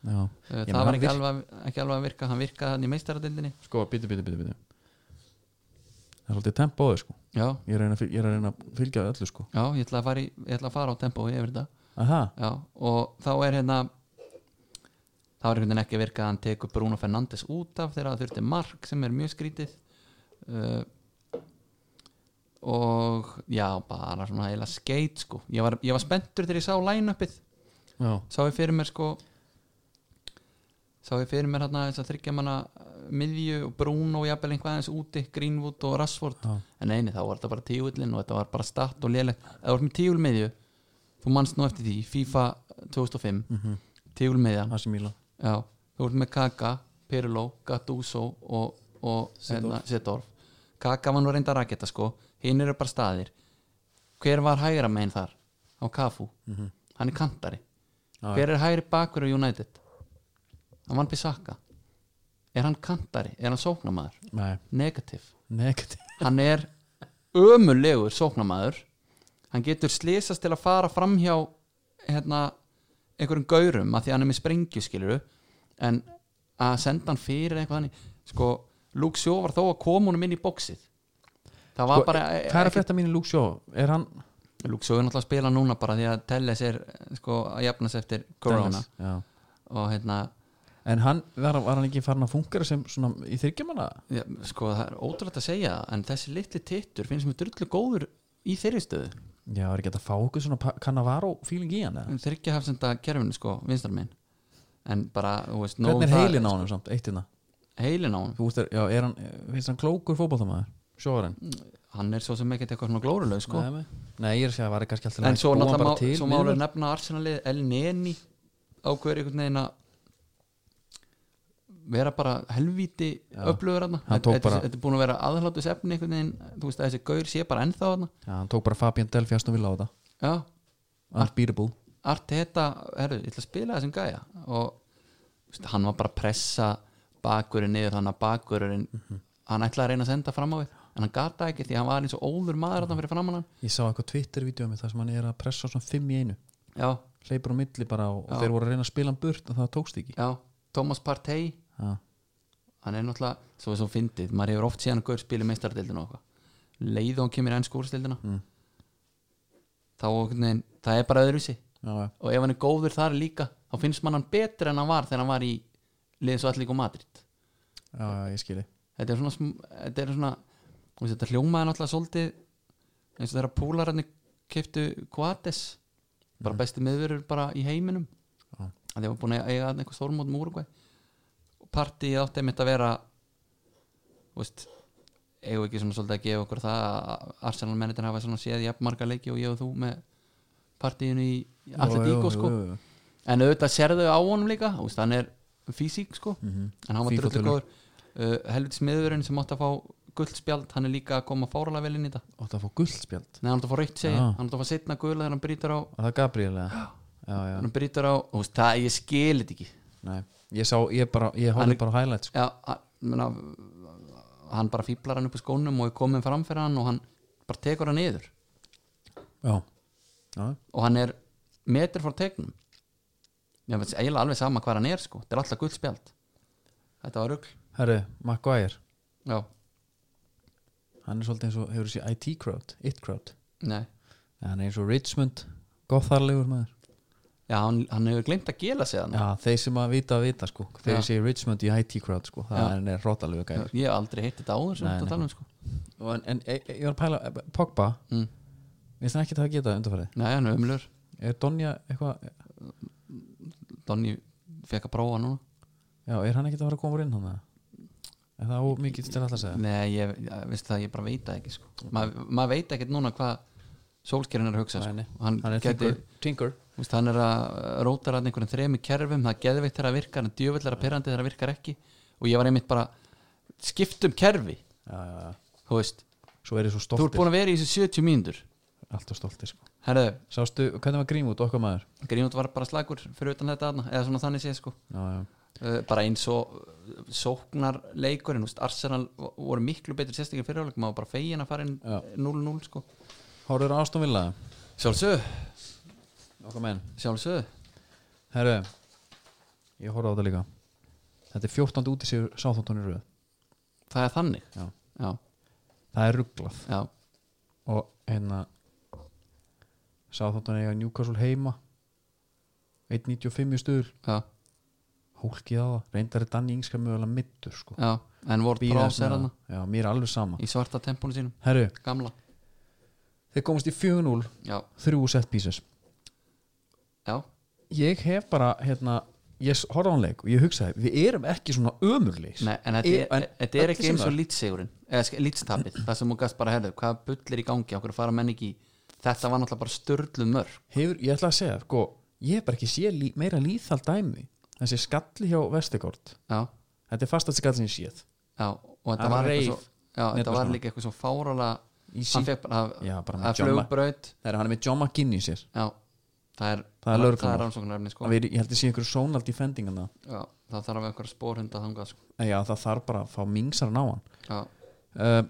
[SPEAKER 2] já.
[SPEAKER 1] það
[SPEAKER 2] menn
[SPEAKER 1] var
[SPEAKER 2] hann
[SPEAKER 1] ekki
[SPEAKER 2] virk-
[SPEAKER 1] alveg, ekki alveg að virka hann virkaði hann í meistaradildinni
[SPEAKER 2] sko, bíti, bíti, bíti, bíti það er alltaf tempóðu sko
[SPEAKER 1] já,
[SPEAKER 2] ég er að reyna að fyl- ég er að reyna að fylgja öllu sko
[SPEAKER 1] já, ég ætla að fara, í, ég ætla að fara á tempói yfir þetta
[SPEAKER 2] aha
[SPEAKER 1] Já, og þá er hérna þá er einhvern veginn ekki að virka að hann tekur Bruno Fernandes út af þegar það þurfti mark sem er mjög skrítið uh, og já, bara svona heila skeit sko, ég var, ég var spenntur þegar ég sá line-upið,
[SPEAKER 2] já,
[SPEAKER 1] sá ég fyrir mér sko sá ég fyrir mér hérna þess að þryggja manna miðju og Bruno og jafnvel einhvað aðeins úti Greenwood og Rashford
[SPEAKER 2] já,
[SPEAKER 1] en eini þá var þetta bara tíullin og þetta var bara statt og lélegt það var með tíulmiðju þú manst nú eftir því, FIFA 2005
[SPEAKER 2] mm -hmm.
[SPEAKER 1] tíulmiðjan,
[SPEAKER 2] Asi Mílan
[SPEAKER 1] já þú ert með Kaka, Pirlo, Gattuso og, og hérna, Setorf Kaka var nú reynda að raketa sko hinn eru bara staðir hver var hægra megin þar á Kafu hann er kantari,
[SPEAKER 2] Mhm. Já,
[SPEAKER 1] hver er hægri bakur á United hann var Bissaka er hann kantari, er hann sóknamaður
[SPEAKER 2] nei,
[SPEAKER 1] negativ
[SPEAKER 2] negativ
[SPEAKER 1] hann er ömulegur sóknamaður hann getur slísast til að fara framhjá hérna, einhverjum gaurum að því hann er með sprengju skiluru en að senda hann fyrir eitthvað hann sko, Luke Sjó var þó að koma honum inn í bóksið það var
[SPEAKER 2] Sko,
[SPEAKER 1] bara
[SPEAKER 2] hvað er að frétta mínu Luke Shaw er hann
[SPEAKER 1] Luke Sjó er náttúrulega að spila núna bara því að Telles er sko, að jafnast eftir Corona
[SPEAKER 2] Dallas, já.
[SPEAKER 1] og hérna
[SPEAKER 2] en hann var, var hann ekki farin að fungera sem svona í þyrkjumanna
[SPEAKER 1] já, sko, það er ótrúlega að segja það, en þessi litli tittur finnst mér drullu góður í þeirri stöðu
[SPEAKER 2] já, er ekki hægt að fá okkur svona Cannavaro feeling í hann eða?
[SPEAKER 1] um þryggja hafsenda kerfinu sko, vinstar minn en bara, þú veist, nóg um
[SPEAKER 2] hvernig er
[SPEAKER 1] það,
[SPEAKER 2] heilin á
[SPEAKER 1] sko.
[SPEAKER 2] hann samt, eittina
[SPEAKER 1] heilin á hann?
[SPEAKER 2] þú veist, er, já, er hann, finnst hann klókur fótballtamaður sjóren
[SPEAKER 1] hann er svo sem ekkert eitthvað svona glóruleg sko.
[SPEAKER 2] nei, nei, ég er að segja að var kannski alltaf
[SPEAKER 1] en svo náttúrulega má, svo má alveg
[SPEAKER 2] nefn
[SPEAKER 1] nefna Arsenalið El Neni ákveður einhvern veginn að vera bara helvíti
[SPEAKER 2] Já.
[SPEAKER 1] öflugur hann
[SPEAKER 2] Hann tók
[SPEAKER 1] þetta
[SPEAKER 2] bara-
[SPEAKER 1] þetta er búin að vera aðhlátus efni einhvern veginn, þú veist að þessi gaur sé bara ennþá hann
[SPEAKER 2] ja, hann tók bara Fabian Delphi að snúvila á þetta
[SPEAKER 1] já, Ah.
[SPEAKER 2] unbeatable
[SPEAKER 1] Arteta, herru, ég ætla að spila þessum gæja og þú veist, hann var bara að pressa bakurinn niður þannig að bakurinn hann ætlaði að reyna að senda fram á við en hann gata ekki því hann var eins og óður maður þarna fyrir framann hann
[SPEAKER 2] ég sá eitthvað Twitter-vídeó með það sem hann er að pressa svona fimm í einu
[SPEAKER 1] já,
[SPEAKER 2] hleypur á milli bara og,
[SPEAKER 1] Já.
[SPEAKER 2] og þeir voru að reyna að spila hann burt og það tókst ekki
[SPEAKER 1] já, Thomas Partey
[SPEAKER 2] ja.
[SPEAKER 1] hann er náttúrulega, svo er svo fyndið maður hefur oft síðan að gaur spila meistardildina og eitthvað leið og hann kemur í ennsku úrstildina
[SPEAKER 2] Mm.
[SPEAKER 1] þá, einhvern veginn, það er bara öðruvísi
[SPEAKER 2] Já, já.
[SPEAKER 1] og ef hann er góður þar líka þá finnst mann hann betur en hann var þegar hann var í liðin svo allir Madrid
[SPEAKER 2] já, já, ég skili
[SPEAKER 1] þetta er svona, sm- þetta, er svona þú veist, þetta hljómaði náttúrulega svolítið eins og þeirra púlararnir keftu Quates bara besti miðverur bara í heiminum
[SPEAKER 2] Já.
[SPEAKER 1] að þeir var búin að eiga þarna eitthvað stórmót um Úrugvæ og partíið átti einmitt að vera þú veist eigum við ekki svona svolítið að gefa okkur það að Arsenal mennitin hafa svona séð jafnmarga leiki og ég og þú með partíinu í Atletico sko en auðvitað sérðu á honum líka þú veist, hann er físík sko
[SPEAKER 2] Mhm.
[SPEAKER 1] en hann var
[SPEAKER 2] Fífó
[SPEAKER 1] drullu góður uh, helviti smiðurinn sem átti að fá guldspjald hann er líka að koma fáralega vel inn í þetta
[SPEAKER 2] og það fór guldspjald
[SPEAKER 1] Nei, hann átti að fá rautt segi,
[SPEAKER 2] Já.
[SPEAKER 1] hann átti að fá setna gula þegar hann brýtur á,
[SPEAKER 2] og það er Gabriel eða? já, já,
[SPEAKER 1] hann brýtur á þú veist, það, ég skil þetta ekki
[SPEAKER 2] nei ég sá, ég bara, ég
[SPEAKER 1] Hann
[SPEAKER 2] horfði
[SPEAKER 1] er-
[SPEAKER 2] bara á highlights sko.
[SPEAKER 1] Já, hann, menna, hann bara fýblar hann upp í skónum og er komin fram fyrir hann og hann bara tekur hann niður
[SPEAKER 2] já, já,
[SPEAKER 1] og hann er metri frá tegnum ég veist eiginlega alveg sama hvað hann er sko þetta er alltaf guldspjald þetta var rugl
[SPEAKER 2] herru, Maguire
[SPEAKER 1] já,
[SPEAKER 2] hann er svolítið eins og, hefur þessi IT crowd IT crowd,
[SPEAKER 1] nei,
[SPEAKER 2] ja, hann er eins og Richmond gotharlegur maður
[SPEAKER 1] já hann, hann hefur glemt að gela sig hann
[SPEAKER 2] já, þeir sem að vita að vita sko þeir
[SPEAKER 1] Já.
[SPEAKER 2] séu Richmond í IT crowd sko það
[SPEAKER 1] Já.
[SPEAKER 2] er hann er rotalegur gæður
[SPEAKER 1] ég hef aldrei heitt þetta áður sem
[SPEAKER 2] Nei,
[SPEAKER 1] þetta
[SPEAKER 2] nei.
[SPEAKER 1] tala um sko
[SPEAKER 2] Og en, en e, e, ég var að pæla, e, Pogba
[SPEAKER 1] Mm.
[SPEAKER 2] minnst hann ekki það að geta undanfærið
[SPEAKER 1] Nei, hann er umlur
[SPEAKER 2] er Donja eitthvað,
[SPEAKER 1] Donny fekk að prófa núna
[SPEAKER 2] já, er hann ekki að fara að koma úr inn hann eða? er það ómikið til alltaf að segja
[SPEAKER 1] Nei, ég, ég veist það, ég bara veit það ekki sko. maður maður veit ekkert núna hvað sólskerinn er að hugsa sko.
[SPEAKER 2] Nei, nei.
[SPEAKER 1] hann,
[SPEAKER 2] hann er
[SPEAKER 1] gæti,
[SPEAKER 2] tinker, tinker.
[SPEAKER 1] veist, hann er að róta hann einhverjum þremi kerfum, það er geðveitt þegar það virkar en djöfull er að pyrrandi þegar það virkar ekki og ég var einmitt bara, skiptum kerfi
[SPEAKER 2] Já, já, já.
[SPEAKER 1] þú veist,
[SPEAKER 2] svo er ég svo
[SPEAKER 1] þú ert
[SPEAKER 2] stoltir
[SPEAKER 1] búin að vera í þessu 70 mínútur
[SPEAKER 2] alltaf stoltir sko.
[SPEAKER 1] herðu,
[SPEAKER 2] sástu, hvernig var Grímút, okkar maður
[SPEAKER 1] Grínút var bara slagur fyrir utan þetta þarna, eða svona þannig sé sko
[SPEAKER 2] já, já,
[SPEAKER 1] Uh, bara eins og uh, sóknarleikurinn, þú veist, Arsenal vo- voru miklu betur sérstakir fyrirháleikum maður var bara fegin að fara inn
[SPEAKER 2] Já.
[SPEAKER 1] 0-0 sko.
[SPEAKER 2] hóruður ástofnvilla
[SPEAKER 1] sjálfsög,
[SPEAKER 2] okkar menn,
[SPEAKER 1] sjálfsög
[SPEAKER 2] herru ég horfði á þetta líka þetta er 14. út í sig sáþóttunni röð
[SPEAKER 1] það er þannig
[SPEAKER 2] Já.
[SPEAKER 1] Já,
[SPEAKER 2] það er rugglað
[SPEAKER 1] já,
[SPEAKER 2] og hérna sáþóttunni eiga Newcastle heima 1.95 í stuður
[SPEAKER 1] já,
[SPEAKER 2] hólkið á það, reyndar er Danni Ingskar mögulega middur sko
[SPEAKER 1] já. en voru
[SPEAKER 2] Býr
[SPEAKER 1] brás
[SPEAKER 2] aðeins með
[SPEAKER 1] er hann
[SPEAKER 2] það. já, mér er alveg sama
[SPEAKER 1] í svarta tempónu sínum,
[SPEAKER 2] herru,
[SPEAKER 1] gamla
[SPEAKER 2] þeir komast í 4-0
[SPEAKER 1] já,
[SPEAKER 2] þrjú set pieces
[SPEAKER 1] já,
[SPEAKER 2] ég hef bara, hérna ég horfði á hann leik og ég hugsaði við erum ekki svona ömurleis
[SPEAKER 1] Nei, en þetta
[SPEAKER 2] Ég-
[SPEAKER 1] er,
[SPEAKER 2] en
[SPEAKER 1] þetta er
[SPEAKER 2] öllu
[SPEAKER 1] ekki
[SPEAKER 2] sem
[SPEAKER 1] eins og
[SPEAKER 2] var.
[SPEAKER 1] lítsigurinn eða lítstapið, það sem hún gast bara herðu hvað bullir í gangi, okkur fara menn ekki í- þetta var náttúrulega bara störlu mörg
[SPEAKER 2] hefur, ég ætla að segja, sko, ég hef bara ekki sé lí, meira líþald dæmi þessi skalli hjá Vestegord
[SPEAKER 1] já,
[SPEAKER 2] þetta er fastast skall sem ég séð
[SPEAKER 1] já, og þetta
[SPEAKER 2] Hann
[SPEAKER 1] var eitthvað
[SPEAKER 2] reif
[SPEAKER 1] svo, já, þetta var
[SPEAKER 2] netverslunum.
[SPEAKER 1] líka eitthvað svo fárálega
[SPEAKER 2] Í sí-
[SPEAKER 1] hann fekk bara,
[SPEAKER 2] Já, bara með
[SPEAKER 1] að
[SPEAKER 2] John Mac-
[SPEAKER 1] flugbraut
[SPEAKER 2] það er hann er með John McGinn í sér
[SPEAKER 1] Já, það er,
[SPEAKER 2] Það er lögreglan.
[SPEAKER 1] rannsóknarefni sko.
[SPEAKER 2] það er, ég held að sé einhverju sónal defending hann
[SPEAKER 1] Já, það þarf að einhverja spórhunda þangað sko.
[SPEAKER 2] það já, það þarf bara að fá mingsarinn á hann
[SPEAKER 1] Já,
[SPEAKER 2] uh,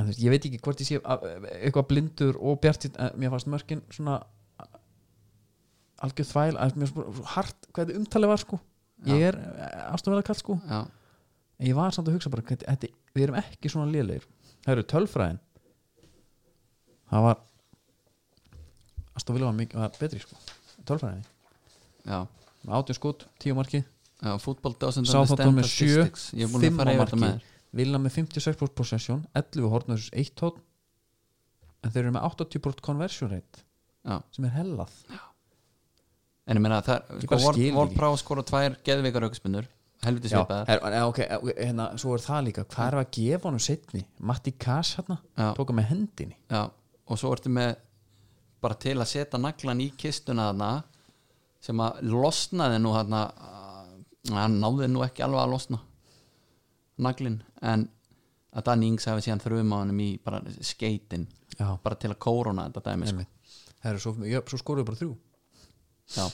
[SPEAKER 2] en þú veist, ég veit ekki hvort ég sé að- eitthvað blindur og bjartinn uh, mér fannst mörkin svona uh, algjör þvæl að mér fannst bara svo hart hvað þetta umtalið var sko ég er aðstofnverða kall sko
[SPEAKER 1] já,
[SPEAKER 2] en ég var samt að hugsa bara hvernig, þetta, við erum ekki svona lélegir það eru tölfræðin það var aðstofnverða var, mikið- var betri sko tölfræðin
[SPEAKER 1] já,
[SPEAKER 2] átjón skot, tíu marki
[SPEAKER 1] já Fútbol doesn't
[SPEAKER 2] Sáþáttan
[SPEAKER 1] understand
[SPEAKER 2] með sjö,
[SPEAKER 1] statistics Ég er búin að
[SPEAKER 2] fimm á
[SPEAKER 1] fara yfir þetta
[SPEAKER 2] marki
[SPEAKER 1] með þér.
[SPEAKER 2] Villa með 56% possession 11 horn versus 1 horn en þeir eru með 80% conversion rate
[SPEAKER 1] Já,
[SPEAKER 2] sem er hellað
[SPEAKER 1] en ég meina það
[SPEAKER 2] Ég
[SPEAKER 1] sko,
[SPEAKER 2] bara skil
[SPEAKER 1] Ward
[SPEAKER 2] ekki.
[SPEAKER 1] Ward Prowse skora tvær geðveikar auksmennur helviti
[SPEAKER 2] Já,
[SPEAKER 1] svipaðar
[SPEAKER 2] her, eh, ok, eh, hérna, svo er það líka hvað er að gefa honum setni Matti Kass hérna,
[SPEAKER 1] Já.
[SPEAKER 2] tóka með hendinni
[SPEAKER 1] Já, og svo ertu með bara til að setja naglan í kistuna þarna sem að losnaði nú þarna að hann náði nú ekki alveg að losna naglin en að Danny Ings hafi síðan þrjum á hannum í bara skeitin
[SPEAKER 2] Já,
[SPEAKER 1] bara til að kórona þetta dæmi sko.
[SPEAKER 2] einmitt Her, svo, já, svo skoruðu bara þrjú
[SPEAKER 1] Já,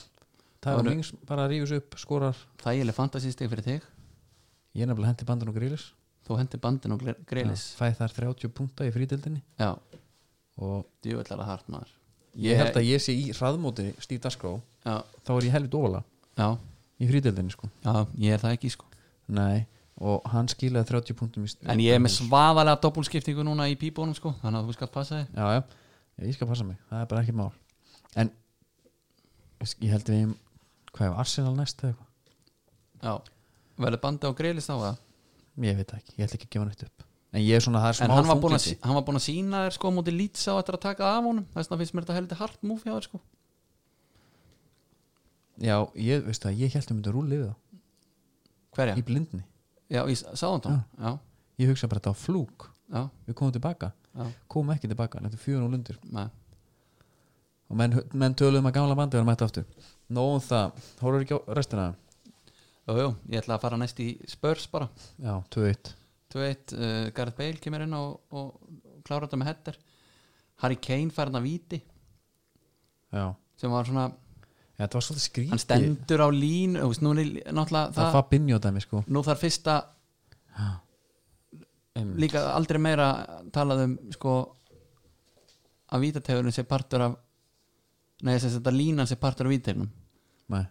[SPEAKER 2] Það
[SPEAKER 1] Voru-
[SPEAKER 2] er mings bara rífus upp, skorar
[SPEAKER 1] þægileg fantasístig fyrir þig
[SPEAKER 2] ég er nefnilega hendi bandan og grílis
[SPEAKER 1] þú hendi bandin og greilis
[SPEAKER 2] fæ þar 30 punta í frítildinni
[SPEAKER 1] Já,
[SPEAKER 2] og
[SPEAKER 1] djúvillara hart maður
[SPEAKER 2] ég, held að ég sé í hraðmóti Steve Dasgró,
[SPEAKER 1] Já,
[SPEAKER 2] þá er ég helvit óvala
[SPEAKER 1] já,
[SPEAKER 2] í frítildinni sko
[SPEAKER 1] já, ég er það ekki sko
[SPEAKER 2] Nei, og hann skilaði 30 punktum í st-
[SPEAKER 1] En ég er með svafalega doppulskiptingu núna í píbónum sko þannig að þú skalt passa þig
[SPEAKER 2] Já, já, ég skal passa mig, það er bara ekkert mál En ég held við eigum- hvað er Arsenal næst eða eitthvað?
[SPEAKER 1] Já, verður bandi á greilis þá það
[SPEAKER 2] Ég veit það ekki, ég ætla ekki að gefa hann eitt upp En ég er svona, það er smá
[SPEAKER 1] En hann var, búin að,
[SPEAKER 2] þunglyndi.
[SPEAKER 1] sí- hann var búin að sína þér sko á móti lýts á eftir að taka af honum þess vegna finnst mér þetta heldur hart múfi á þér sko
[SPEAKER 2] Já, ég, veist það, ég held um þetta rúli við það
[SPEAKER 1] Hverja?
[SPEAKER 2] Í blindni,
[SPEAKER 1] Já, í sáðantón Já,
[SPEAKER 2] ég hugsa bara þetta á flúk
[SPEAKER 1] já,
[SPEAKER 2] Við komum tilbaka,
[SPEAKER 1] já,
[SPEAKER 2] komum ekki tilbaka Þetta er fjör og lundir
[SPEAKER 1] nei,
[SPEAKER 2] Og menn, menn töluðum að gamla bandi var mætt aftur Nóum það, hóruður ekki á restina
[SPEAKER 1] jú, jú, ég ætla að fara næst í spörs bara
[SPEAKER 2] Já, 2-1
[SPEAKER 1] 2-1, uh, Gareth Bale kemur inn og, og klára þetta með hettir Harry Kane fær hann að víti
[SPEAKER 2] Já,
[SPEAKER 1] sem var svona,
[SPEAKER 2] þetta var svolítið skrítið
[SPEAKER 1] hann stendur á lín og veist, nú er náttúrulega
[SPEAKER 2] Það
[SPEAKER 1] það,
[SPEAKER 2] fað binjótaði mig sko
[SPEAKER 1] nú þarf fyrsta
[SPEAKER 2] Einmitt.
[SPEAKER 1] líka aldrei meira talað um sko að vítategurinn sé partur af nei, þess að þetta línan sé partur af vítegnum
[SPEAKER 2] Nei.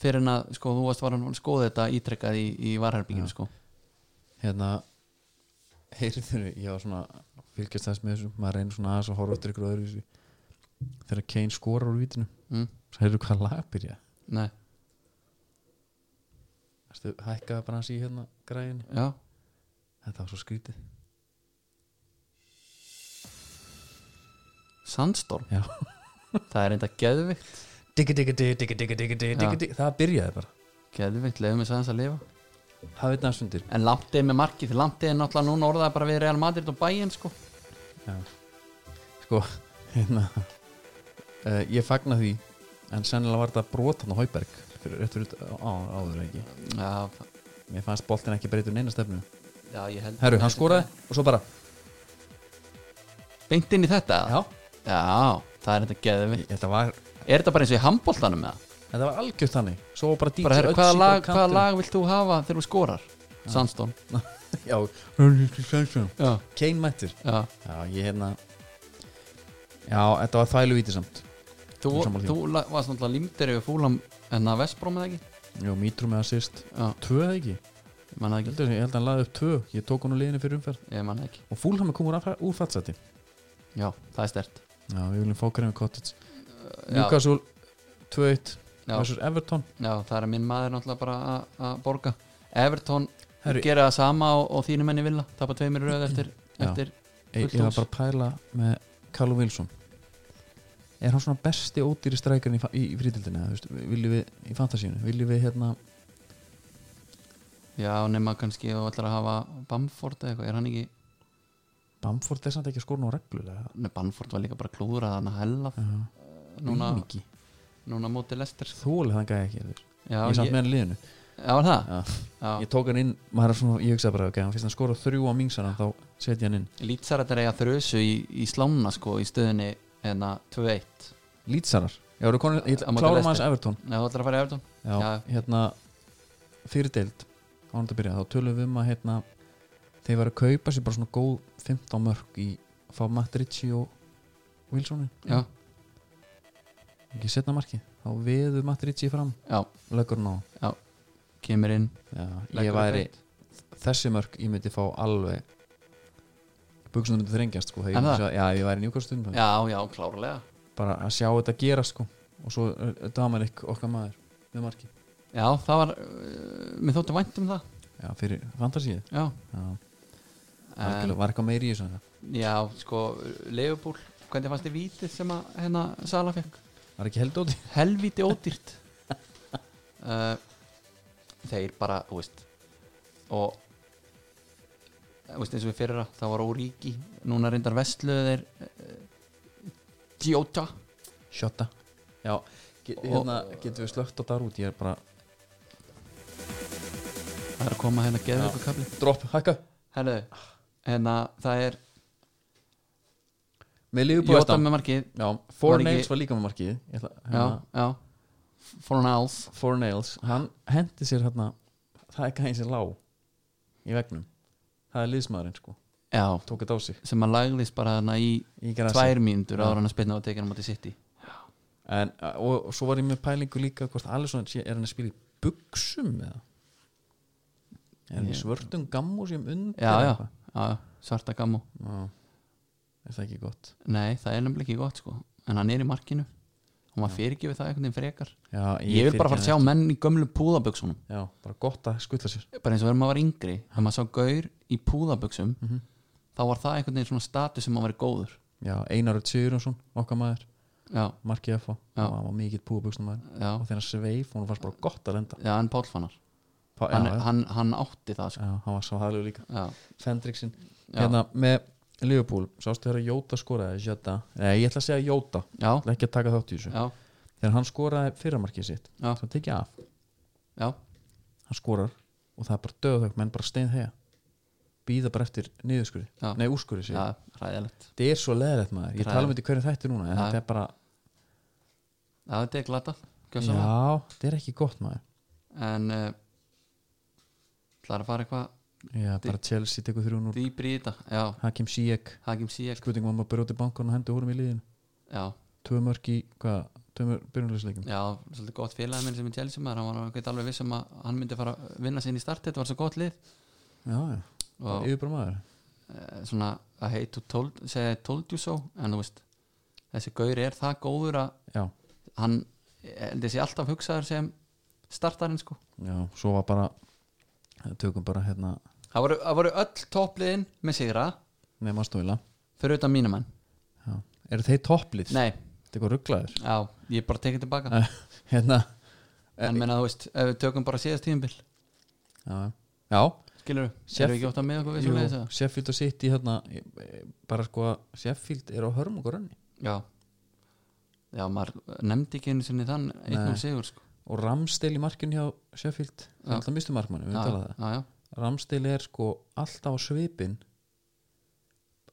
[SPEAKER 1] fyrir en að sko þú varst var að skoða þetta ítrekkað í, í varherbygginu sko
[SPEAKER 2] hérna heyrðinu, ég var svona að fylgjast þess með þessu, maður reynir svona aðeins að horfa eftir ykkur öðru þessu þegar Kane skorar úr vítinu,
[SPEAKER 1] mm,
[SPEAKER 2] svo heyrðu hvað lag byrja
[SPEAKER 1] nei,
[SPEAKER 2] Æstu, hækkaði bara hans í hérna græðinu
[SPEAKER 1] já,
[SPEAKER 2] þetta var svo skrítið
[SPEAKER 1] sandstorm
[SPEAKER 2] Já.
[SPEAKER 1] það er enda geðvikt
[SPEAKER 2] digga digga digga digga digga digga digga
[SPEAKER 1] Já.
[SPEAKER 2] digga það byrjaði bara
[SPEAKER 1] geðvikt, leiðum við sæðans að lifa
[SPEAKER 2] hafið næst undir
[SPEAKER 1] en Lamptey með markið, því Lamptey er náttúrulega núna orðaði bara við Real Madrid og Bayern sko
[SPEAKER 2] Já. sko hérna uh, ég fagna því en sennilega var þetta brot hann á Hauberg fyrir, rétt fyrir á, á- áður ekki
[SPEAKER 1] já, fa-
[SPEAKER 2] mér fannst boltin ekki breytur neina stefnu
[SPEAKER 1] já ég held
[SPEAKER 2] herru, hann skoraði og svo bara
[SPEAKER 1] beint inn í þetta,
[SPEAKER 2] já,
[SPEAKER 1] já það er enda geðvikt
[SPEAKER 2] þetta var
[SPEAKER 1] er þetta bara eins og í handbóltanum með það?
[SPEAKER 2] Þetta var algjört þannig Svo var bara DJ
[SPEAKER 1] bara, herra, hvaða,
[SPEAKER 2] Ötzi
[SPEAKER 1] lag,
[SPEAKER 2] bara
[SPEAKER 1] hvaða
[SPEAKER 2] kantinum.
[SPEAKER 1] lag vilt þú hafa þegar þú skorar Sandstone
[SPEAKER 2] Já
[SPEAKER 1] já,
[SPEAKER 2] Kane mættir
[SPEAKER 1] já.
[SPEAKER 2] Já, ég hérna Já, þetta var þvælu vítið samt
[SPEAKER 1] þú,
[SPEAKER 2] Ég er sammála því.
[SPEAKER 1] þú la- varst náttúrulega límdir yfir fúlam en að Vestbróm eða ekki
[SPEAKER 2] Jó, mítru með assist
[SPEAKER 1] já,
[SPEAKER 2] Tvö eða ekki Ég
[SPEAKER 1] ég manna ekki,
[SPEAKER 2] held, að, ég held að hann laði upp tvö Ég tók hann úr liðinu fyrir umferð
[SPEAKER 1] ég manna ekki
[SPEAKER 2] Og fúlhami kom úr, af- úr fatsæti
[SPEAKER 1] já, það er stert
[SPEAKER 2] Já, við viljum fá Graham Cottage
[SPEAKER 1] já,
[SPEAKER 2] Newcastle 2-1
[SPEAKER 1] já,
[SPEAKER 2] Versus Everton
[SPEAKER 1] já, það er minn maður náttúrulega bara að- að borga Everton
[SPEAKER 2] Herru,
[SPEAKER 1] gera það sama og, og þínu menni vilja tapa tveimur röð eftir,
[SPEAKER 2] Já.
[SPEAKER 1] eftir
[SPEAKER 2] Ég
[SPEAKER 1] fullt
[SPEAKER 2] ég var
[SPEAKER 1] hús.
[SPEAKER 2] bara að pæla með Callum Wilson Er hann svona besti ódýri strækarinn í, fa- í, í frítildinu Viljum við í fantasíunum Viljum við hérna
[SPEAKER 1] já, nema kannski og ætlar að hafa Bamford eða eitthvað, er hann ekki
[SPEAKER 2] Bamford er samt ekki að skora nú reglulega
[SPEAKER 1] Nei, Bamford var líka bara klúðrað hann að hella
[SPEAKER 2] Já,
[SPEAKER 1] núna,
[SPEAKER 2] ekki
[SPEAKER 1] núna móti Lester
[SPEAKER 2] Þólið hann gæði ekki ég,
[SPEAKER 1] já,
[SPEAKER 2] ég samt
[SPEAKER 1] ég,
[SPEAKER 2] með hann í liðinu
[SPEAKER 1] já, var það
[SPEAKER 2] Já.
[SPEAKER 1] já.
[SPEAKER 2] Ég tók hann inn, maður er svona, ég hugsaði bara okay, hann Fyrst hann skora þrjú á mingsana, þá setja hann inn
[SPEAKER 1] Lítsarat er eiga þrösu í, í slána sko í hérna, stöðinni enna 2-1
[SPEAKER 2] Lítsarar, já, eru konur, ég
[SPEAKER 1] Á móti
[SPEAKER 2] klára
[SPEAKER 1] Leicester.
[SPEAKER 2] maður Everton
[SPEAKER 1] Nei, þú ætlar að fara í Everton
[SPEAKER 2] já,
[SPEAKER 1] Já.
[SPEAKER 2] hérna Fyrir deild, ánum þetta að byrja Þá tölum við um að hérna Þeir var að kaupa sér bara svona góð 15 mörg Í að fá Matt Ritchie og Wilsonin
[SPEAKER 1] Já,
[SPEAKER 2] Ekki setna markið, þá veður Matt Ritchie fram
[SPEAKER 1] já,
[SPEAKER 2] Leggur hann á
[SPEAKER 1] kemur inn
[SPEAKER 2] já, Ég
[SPEAKER 1] leggur
[SPEAKER 2] væri
[SPEAKER 1] upp.
[SPEAKER 2] þessi mörg ég myndi fá alveg buksunum myndi þrengjast sko,
[SPEAKER 1] En
[SPEAKER 2] þegar ég,
[SPEAKER 1] það?
[SPEAKER 2] myndi sjá- já, ef ég væri njúkastund
[SPEAKER 1] Já, já, klárlega
[SPEAKER 2] bara að sjá þetta gera sko og svo damar ykkur okkar maður með marki
[SPEAKER 1] Já, það var, uh, mér þótti vænt um það
[SPEAKER 2] já, fyrir fantasíð
[SPEAKER 1] Já,
[SPEAKER 2] já,
[SPEAKER 1] en,
[SPEAKER 2] algjörlega, var eitthvað meiri í þessu en það.
[SPEAKER 1] já sko, Leifubúl Hvernig fannst þið vítið sem að hérna Sala fekk?
[SPEAKER 2] var ekki held óti
[SPEAKER 1] Helvíti ódýrt uh, Eh, þeir bara, þú veist og eh, þú veist eins og við fyrra, það var Óríki núna reyndar vestluðu þeir eh, Gjóta
[SPEAKER 2] Sjötta Já, get, hérna getum við slögt á þar út Ég er bara
[SPEAKER 1] það er að koma hérna að geða ykkur kapli
[SPEAKER 2] Dropp, hækka
[SPEAKER 1] Herðu, hérna það er
[SPEAKER 2] Með liðbúið
[SPEAKER 1] Jóta með markið
[SPEAKER 2] Já, Four
[SPEAKER 1] Var ekki-
[SPEAKER 2] Nails var líka með markið Ég ætla,
[SPEAKER 1] Já,
[SPEAKER 2] hérna,
[SPEAKER 1] já For Niles
[SPEAKER 2] Four Nails Hann hendi sér hérna Það er gæðin sér lá Í vegnum Það er liðsmaðurinn sko
[SPEAKER 1] Já,
[SPEAKER 2] Tók þetta á sig
[SPEAKER 1] sem að lagðist bara þarna í
[SPEAKER 2] Í grasi
[SPEAKER 1] tvær mínútur
[SPEAKER 2] Já.
[SPEAKER 1] ára hann að spilna á tekinu á móti City
[SPEAKER 2] en, og, og svo var ég með pælingu líka Hvort Alisson sé- er hann að spila í buksum eða Er hann í
[SPEAKER 1] Ég-
[SPEAKER 2] svörtum gammu sem undir
[SPEAKER 1] Já,
[SPEAKER 2] eða eitthvað?
[SPEAKER 1] Já, já, svarta gammu
[SPEAKER 2] Já. Er það ekki gott
[SPEAKER 1] Nei, það er nefnilega ekki gott sko En hann er í markinu og maður fyrirgefið það einhvern veginn frekar
[SPEAKER 2] Já,
[SPEAKER 1] Ég vil bara fara að sjá
[SPEAKER 2] fyrirgef
[SPEAKER 1] menn í gömlu púðaböksunum
[SPEAKER 2] þér. Já, bara gott að skutla sér
[SPEAKER 1] Bara eins og þegar maður var yngri Þegar maður sá gaur í púðaböksum
[SPEAKER 2] Mhm.
[SPEAKER 1] Þá var það einhvern veginn svona status sem maður verið góður
[SPEAKER 2] Já, Einar Örd Sigurjónsson, okkar maður
[SPEAKER 1] Já,
[SPEAKER 2] Marki F.A.
[SPEAKER 1] Já.
[SPEAKER 2] Hann var mikill púabuksna maður
[SPEAKER 1] já,
[SPEAKER 2] og þegar hann sveif, hún fannst bara gott að lenda
[SPEAKER 1] já, en Pál Fannar
[SPEAKER 2] Pá,
[SPEAKER 1] hann,
[SPEAKER 2] já,
[SPEAKER 1] hann, hann átti það sko
[SPEAKER 2] já, hann var svo hæðlegu líka
[SPEAKER 1] Já,
[SPEAKER 2] Fendriksin,
[SPEAKER 1] já,
[SPEAKER 2] hérna með Liverpool, sástu þegar Jóta skoraði Jota, nei, ég ætla að segja Jóta
[SPEAKER 1] já,
[SPEAKER 2] ætla ekki að taka þátt í þessu,
[SPEAKER 1] já,
[SPEAKER 2] þegar hann skoraði fyrramarkið sitt,
[SPEAKER 1] Já.
[SPEAKER 2] það tekja af
[SPEAKER 1] já,
[SPEAKER 2] hann skorar og það er bara döðhög menn bara stein þegar býða bara eftir niðurskurði,
[SPEAKER 1] Já.
[SPEAKER 2] nei úrskurði sér
[SPEAKER 1] já, ræðilegt
[SPEAKER 2] þetta er svo leðrætt maður, ég
[SPEAKER 1] Þetta er
[SPEAKER 2] tala um þetta í hverju þætti núna en
[SPEAKER 1] Já.
[SPEAKER 2] þetta er bara,
[SPEAKER 1] Já, þetta er glata Gjössalega
[SPEAKER 2] já, þetta er ekki gott maður
[SPEAKER 1] En uh, Það er að fara eitthvað
[SPEAKER 2] já, bara Chelsea tekur þrjún úr
[SPEAKER 1] dýbri í þetta Já,
[SPEAKER 2] Hakim Ziyech,
[SPEAKER 1] Hakim Sijek
[SPEAKER 2] skutingum að maður byrjóti bankun og hendi húrum í liðin,
[SPEAKER 1] Já,
[SPEAKER 2] tvö mörg í hvað, tvö mörg byrjunleysleikum
[SPEAKER 1] já, svolítið gott félagið minn sem er Chelsea maður Hann var ekkert alveg viss um að hann myndi fara að vinna sér inn í start Þetta var svo gott lið
[SPEAKER 2] já, já,
[SPEAKER 1] Og
[SPEAKER 2] yfir bara maður
[SPEAKER 1] eh, svona að heitu told, segja told you so En þú veist, þessi gaur er það góður að
[SPEAKER 2] já,
[SPEAKER 1] Hann, eh, þessi alltaf hugsaður sem startarinn sko
[SPEAKER 2] já, svo var bara tökum bara hérna
[SPEAKER 1] Það voru, það voru öll toppliðin með sigra
[SPEAKER 2] nema stóila,
[SPEAKER 1] Fyrir utan mínum enn
[SPEAKER 2] já, eru þeir topplið
[SPEAKER 1] Nei,
[SPEAKER 2] þetta er hvað rugglaður
[SPEAKER 1] já, ég bara tekið tilbaka
[SPEAKER 2] hérna,
[SPEAKER 1] En menna þú veist, ef við tökum bara síðast tíðumbil
[SPEAKER 2] já, já
[SPEAKER 1] Skilur við,
[SPEAKER 2] Sér-
[SPEAKER 1] erum við ekki ótt að með okkur við
[SPEAKER 2] Jú,
[SPEAKER 1] svo leiðis að
[SPEAKER 2] Sheffield og City hérna e, e, bara sko að Sheffield er á hörmungur önni
[SPEAKER 1] Já Já, maður nefndi ekki einu sinni þann einn
[SPEAKER 2] Nei.
[SPEAKER 1] og sigur sko
[SPEAKER 2] og Ramsdale í markinu hjá Sheffield það
[SPEAKER 1] Já.
[SPEAKER 2] er alltaf mistu markmanni, við
[SPEAKER 1] Já,
[SPEAKER 2] erum talað um
[SPEAKER 1] já, já,
[SPEAKER 2] það Ramsdale er sko alltaf á svipin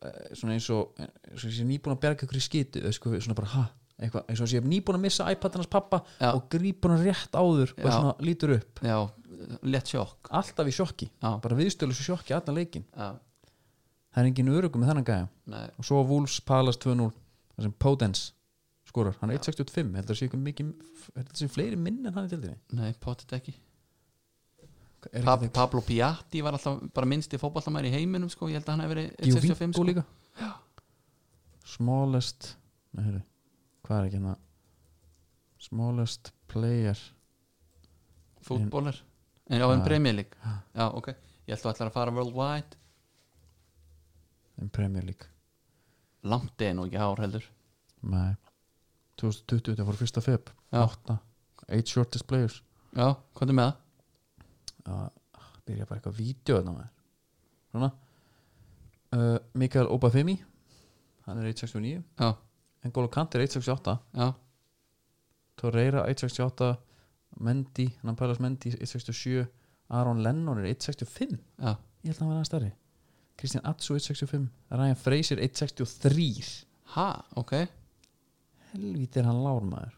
[SPEAKER 2] eh, svona eins og eins og sé nýbúin að berga ykkur í skiti eða sko, svona bara ha, eitthvað, eins og sé nýbúin að missa iPad hans pappa
[SPEAKER 1] Já.
[SPEAKER 2] og grípur hann rétt áður og
[SPEAKER 1] Já.
[SPEAKER 2] svona lítur upp
[SPEAKER 1] já, létt sjokk
[SPEAKER 2] alltaf í sjokki,
[SPEAKER 1] Já,
[SPEAKER 2] bara viðstölu svo sjokki allan leikin,
[SPEAKER 1] já,
[SPEAKER 2] það er engin örugum með þennan gæja
[SPEAKER 1] nei,
[SPEAKER 2] og svo Wolves Palace 2-0 þar sem Potence skorar hann er 1.65, heldur það sé ykkur mikið heldur það sé fleiri minn en hann í tildinni
[SPEAKER 1] nei, pottet ekki
[SPEAKER 2] er
[SPEAKER 1] pa
[SPEAKER 2] ekki
[SPEAKER 1] Pablo Piatti var alltaf bara minnsti fótballamæri í heiminum sko Ég held að hann hef verið
[SPEAKER 2] það
[SPEAKER 1] 165
[SPEAKER 2] Giovinco
[SPEAKER 1] sko
[SPEAKER 2] líka smallest nei, heru, hvað er ekki hérna smallest player
[SPEAKER 1] Fútbólar En já, en
[SPEAKER 2] Já.
[SPEAKER 1] Premier League
[SPEAKER 2] Já.
[SPEAKER 1] Já, ok, ég held að ætlar að fara worldwide
[SPEAKER 2] in Premier League
[SPEAKER 1] Langt er nú ekki hár heldur
[SPEAKER 2] nei 2020 þetta fór fyrsta feb
[SPEAKER 1] Já.
[SPEAKER 2] 8 8 shortest players
[SPEAKER 1] Já, hvað er með það?
[SPEAKER 2] að byrja bara eitthvað vídeo þarna maður svona uh, Mikael Obafemi hann er 169
[SPEAKER 1] Já,
[SPEAKER 2] N'Golo Kant er 168
[SPEAKER 1] já,
[SPEAKER 2] Torreira 168 Mendy, hann pælas Mendy 167 Aron Lennon er 165
[SPEAKER 1] já
[SPEAKER 2] ég held að hann var aðeins stærri Kristján Atsu 165 Ryan Fraser 163
[SPEAKER 1] Ha, ok,
[SPEAKER 2] helvíti er hann lármaður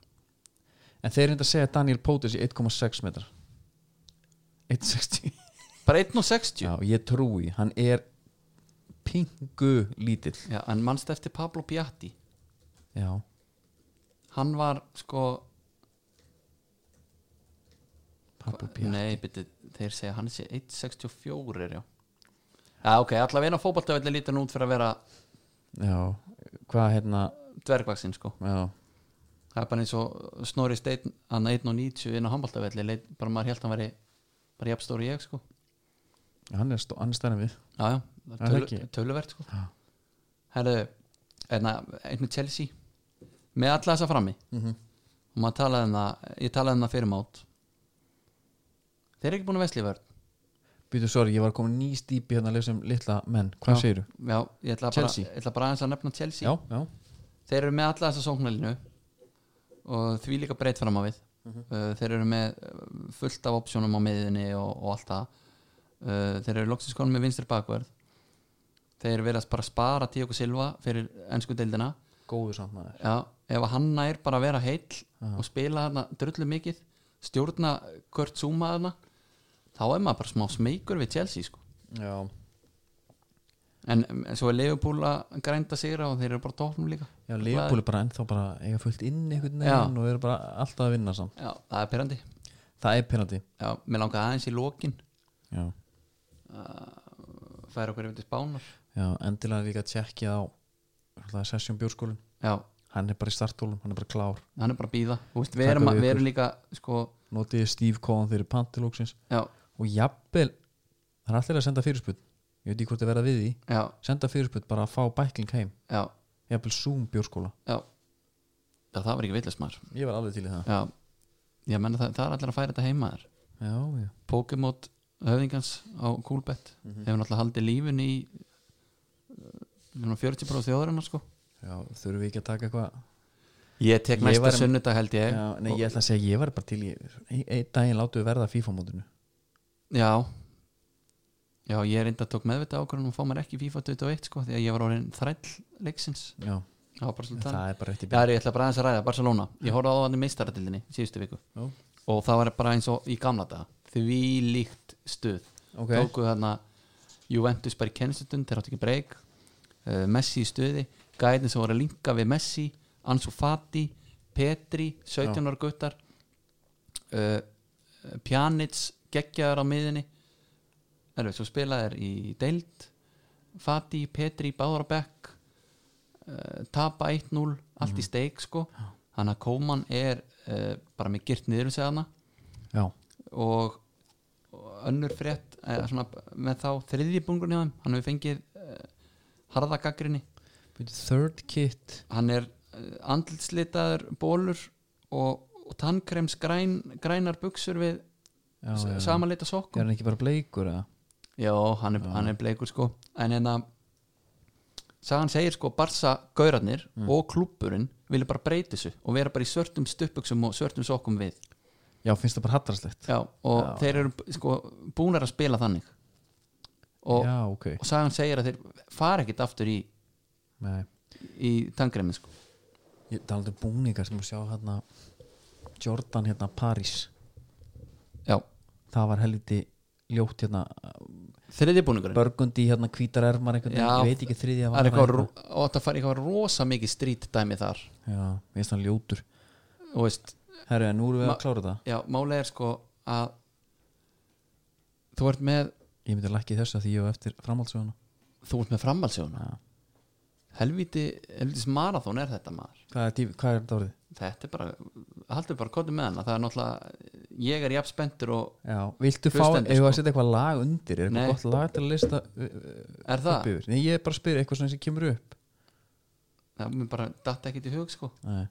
[SPEAKER 2] en þeir reynda að segja að Daniel Potis í 1,6 metrar 160
[SPEAKER 1] bara 1 og 60
[SPEAKER 2] já, ég trúi, hann er pingu lítill
[SPEAKER 1] Já, en mannst eftir Pablo Piatti
[SPEAKER 2] já,
[SPEAKER 1] Hann var sko
[SPEAKER 2] pappu pjá
[SPEAKER 1] Nei, byrju, þeir segja hann sé 1.64 er já Já, ok, allavega eina fótboltavelli lítur nú út fyrir að vera
[SPEAKER 2] já, hvað hérna
[SPEAKER 1] dvergvaksinn sko
[SPEAKER 2] já,
[SPEAKER 1] Það er bara eins og Snorri Steinn hann 1.90 inn á handboltavelli leit, bara maður held hann veri bara jafn stóri ég sko
[SPEAKER 2] hann er, stó- hann er stærri en við
[SPEAKER 1] Já, já, það er
[SPEAKER 2] Er það
[SPEAKER 1] tölu,
[SPEAKER 2] ekki?
[SPEAKER 1] töluvert sko
[SPEAKER 2] Já.
[SPEAKER 1] Herðu, einna, einn með Chelsea með alla þessa frammi
[SPEAKER 2] mm -hmm.
[SPEAKER 1] og maður talaði um það ég talaði um það fyrir mót þeir eru ekki búin að vesli vörn
[SPEAKER 2] Býtu, sorry, ég var komin ný stýpi hérna að lesa um litla menn, hvað segirðu?
[SPEAKER 1] já, ég ætla bara,
[SPEAKER 2] Chelsea.
[SPEAKER 1] ég ætla bara aðeins að nefna Chelsea
[SPEAKER 2] Já, já,
[SPEAKER 1] þeir eru með alla þessa sóknarlínu og því líka breytt fram á við uh, þeir eru með uh, fullt af opsjónum á miðinni og, og allt það uh, þeir eru loksins konum með vinstri bakverð þeir verðast bara spara Tíok og Silva fyrir ennsku deildina
[SPEAKER 2] góður samt maður
[SPEAKER 1] já, ef að hann nær bara að vera heill og spila þarna drullu mikið stjórna Kurt Zuma þarna þá er maður bara smá smeykur við Chelsea sko.
[SPEAKER 2] Já,
[SPEAKER 1] en um, svo er Leopold að grænda sigra og þeir eru bara tóknum líka
[SPEAKER 2] já Leopold er bara ennþá bara eiga fullt inn einhvern veginn og eru bara alltaf að vinna samt
[SPEAKER 1] já, það er perandi
[SPEAKER 2] Það er penalti
[SPEAKER 1] Já, mér langaði aðeins í lokin
[SPEAKER 2] Já,
[SPEAKER 1] færa okkur yfir til spánar
[SPEAKER 2] já endilega líka tjekkið á það er sessjum bjórskólin
[SPEAKER 1] Já,
[SPEAKER 2] Hann er bara í startólum, hann er bara klár
[SPEAKER 1] hann er bara að býða Þú veist, Við
[SPEAKER 2] Taka
[SPEAKER 1] erum, að-
[SPEAKER 2] við
[SPEAKER 1] við
[SPEAKER 2] ykkur.
[SPEAKER 1] erum líka sko,
[SPEAKER 2] Notiði Steve Cohen þeirri pantilóksins
[SPEAKER 1] já,
[SPEAKER 2] og jafnvel það er allir að senda fyrirsput ég veit ekki hvort þið verða við því
[SPEAKER 1] já,
[SPEAKER 2] senda fyrirsput bara að fá bækling heim
[SPEAKER 1] já,
[SPEAKER 2] jafnvel Zoom bjórskóla
[SPEAKER 1] já Já, það var ekki villast maður
[SPEAKER 2] ég var alveg til í það
[SPEAKER 1] Já, ég menna það, það er allir að færa þetta heima þér
[SPEAKER 2] já, já.
[SPEAKER 1] Pokémon höfðingans á Coolbet hefur náttúrulega haldið lífin í uh, 40% þjóðurinnar sko
[SPEAKER 2] já þurfum við ekki að taka eitthvað
[SPEAKER 1] Ég tek
[SPEAKER 2] Ég
[SPEAKER 1] næsta
[SPEAKER 2] var-
[SPEAKER 1] sunnudag held ég
[SPEAKER 2] já, nei, ég ætla að segja ég var bara til í ein- einn daginn látu við verða FIFA mótinu
[SPEAKER 1] Já Já, ég reynda tók meðvita ákvörðun og fá mér ekki FIFA 21 sko, því að ég var orðin þræll leiksins
[SPEAKER 2] já,
[SPEAKER 1] Já, bara svona
[SPEAKER 2] það
[SPEAKER 1] þannig
[SPEAKER 2] er bara rétt í
[SPEAKER 1] Já, ég ætla bara aðeins að ræða, Barcelona Ég horfði á hann í meistaratildinni síðustu viku
[SPEAKER 2] Já.
[SPEAKER 1] og það var bara eins og í gamla daga því líkt stuð
[SPEAKER 2] Ok.
[SPEAKER 1] Tóku þarna Juventus bara í kennstundun, þeir áttu ekki breyk uh, Messi í stuði, gæðin sem voru að linka við Messi, Ansu Fati Petri, 17 ára guttar uh, Pjanic geggjaðar á miðinni Erfið, svo spilaðir í deild Fati, Petri, Báður og Beck uh, tapa 1-0 allt í steik sko þannig að Kóman er uh, bara með gyrt niður um sig hana
[SPEAKER 2] já,
[SPEAKER 1] og, og önnur frétt eh, svona, með þá þriðjibungun hjá þeim hann hefur fengið uh, harðagaggrinni
[SPEAKER 2] Bíddu, third kit
[SPEAKER 1] hann er uh, andlitslitaður bólur og, og tannkrems græn, grænar buksur við
[SPEAKER 2] já, já, já.
[SPEAKER 1] samanleita sokkum
[SPEAKER 2] er hann ekki bara bleikur eða
[SPEAKER 1] Já, hann er, hann er bleikur sko En hérna Sagan segir sko Barsa gaurarnir
[SPEAKER 2] Mm.
[SPEAKER 1] og klúppurinn vilja bara breyta þessu og vera bara í svörtum stuppuksum og svörtum sokkum við
[SPEAKER 2] já, finnst það bara hattarslegt
[SPEAKER 1] Já, og þeir eru sko búnar að spila þannig og,
[SPEAKER 2] já, ok
[SPEAKER 1] og Sagan segir að þeir fara ekkit aftur í,
[SPEAKER 2] nei
[SPEAKER 1] í tangremi sko
[SPEAKER 2] Ég talaði um búningar sem þú sjá hérna Jordan hérna París
[SPEAKER 1] Já,
[SPEAKER 2] það var helviti ljótt hérna
[SPEAKER 1] þriðji búningurinn
[SPEAKER 2] Burgundy hérna hvítar ermar einhvern veginn,
[SPEAKER 1] Já,
[SPEAKER 2] ég veit ekki þriðja
[SPEAKER 1] Það er eitthvað, ro- og þetta fari eitthvað rosa mikið strít dæmi þar
[SPEAKER 2] Já, við erum ljótur
[SPEAKER 1] og veist,
[SPEAKER 2] Herru, en nú erum við
[SPEAKER 1] Ma-
[SPEAKER 2] að klára þetta
[SPEAKER 1] já, málega er sko að þú ert með
[SPEAKER 2] Ég myndi að lækki þessu að því ég hef eftir framhaldsöðuna
[SPEAKER 1] þú ert með framhaldsjóna
[SPEAKER 2] Já.
[SPEAKER 1] helviti, helvitis marathón er þetta maður
[SPEAKER 2] Hvað er, tíf, hvað er þetta orðið?
[SPEAKER 1] þetta er bara, haldur bara kóti með hana það er náttúrulega, ég er jafn spenntur og
[SPEAKER 2] Já, viltu fá,
[SPEAKER 1] Hlustandi,
[SPEAKER 2] ef
[SPEAKER 1] sko.
[SPEAKER 2] að setja eitthvað lag undir Er
[SPEAKER 1] Nei.
[SPEAKER 2] eitthvað gott lag til að lista uh,
[SPEAKER 1] er
[SPEAKER 2] upp
[SPEAKER 1] það,
[SPEAKER 2] yfir? Nei, ég er bara að spyrja eitthvað svona sem kemur upp
[SPEAKER 1] það mér bara datt ekkit í hug sko,
[SPEAKER 2] Nei.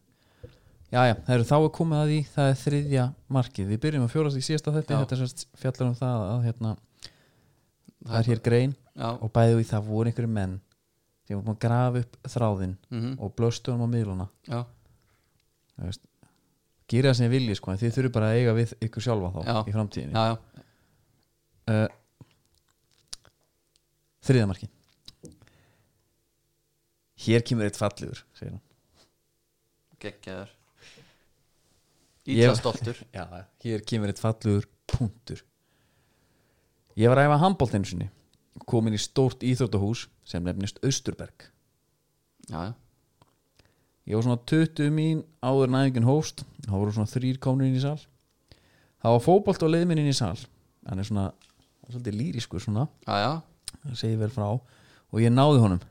[SPEAKER 2] Jæja, það eru þá að komið að því það er þriðja markið, við byrjum að fjórast í síðasta þetta,
[SPEAKER 1] Já.
[SPEAKER 2] þetta er sérst fjallar um það að hérna, það er hér grein
[SPEAKER 1] já,
[SPEAKER 2] og bæði við það voru einhverju menn sem voru búin að grafa upp þráðinn
[SPEAKER 1] mhm,
[SPEAKER 2] og blöstu honum á miðluna
[SPEAKER 1] já,
[SPEAKER 2] þú veist. gera það sem þið viljið sko en þið þurfum bara að eiga við ykkur sjálfa þá
[SPEAKER 1] Já.
[SPEAKER 2] í framtíðinni
[SPEAKER 1] já, já
[SPEAKER 2] uh, þriðja markið hér kemur eitt falliður segir hann
[SPEAKER 1] geggjaður
[SPEAKER 2] Ég-
[SPEAKER 1] ítla stoltur
[SPEAKER 2] Já, hér kemur eitt fallugur punktur Ég var að æfa handbólt einu sinni komin í stórt íþróttahús sem nefnist Austurberg
[SPEAKER 1] já, já,
[SPEAKER 2] Ég var svona 20 mín áður næðingin hóst þá voru svona þrýr komnir inn í sal Það var fótbolt á leiðminn inn í sal hann er svona, hann er svolítið lýriskur svona
[SPEAKER 1] já, já,
[SPEAKER 2] hann segir vel frá og ég náði honum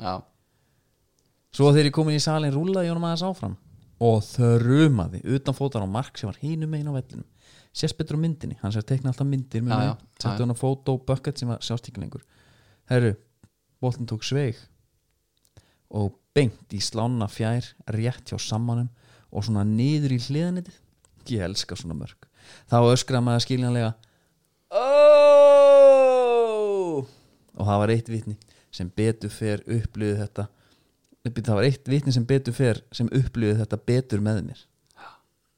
[SPEAKER 1] já.
[SPEAKER 2] Svo þegar ég komin í salin rúlaði ég honum aðeins áfram og þrumaði utan fótar á mark sem var hínum einu á vellinum sérst betur á myndinni, hann sér tekna alltaf myndir
[SPEAKER 1] Já,
[SPEAKER 2] með
[SPEAKER 1] já,
[SPEAKER 2] mig,
[SPEAKER 1] já,
[SPEAKER 2] setti
[SPEAKER 1] já.
[SPEAKER 2] hann á fótó bucket sem var sjást ekki lengur Herru, boltin tók sveig og beint í slána fjær rétt hjá sammanum og svona niður í hliðanitið ég elska svona mörg þá öskra maður skiljanlega oh! og það var eitt vitni sem betur fer upplöðu þetta Bíddu, það var eitt vitni sem betur fer sem upplöðu þetta betur með mér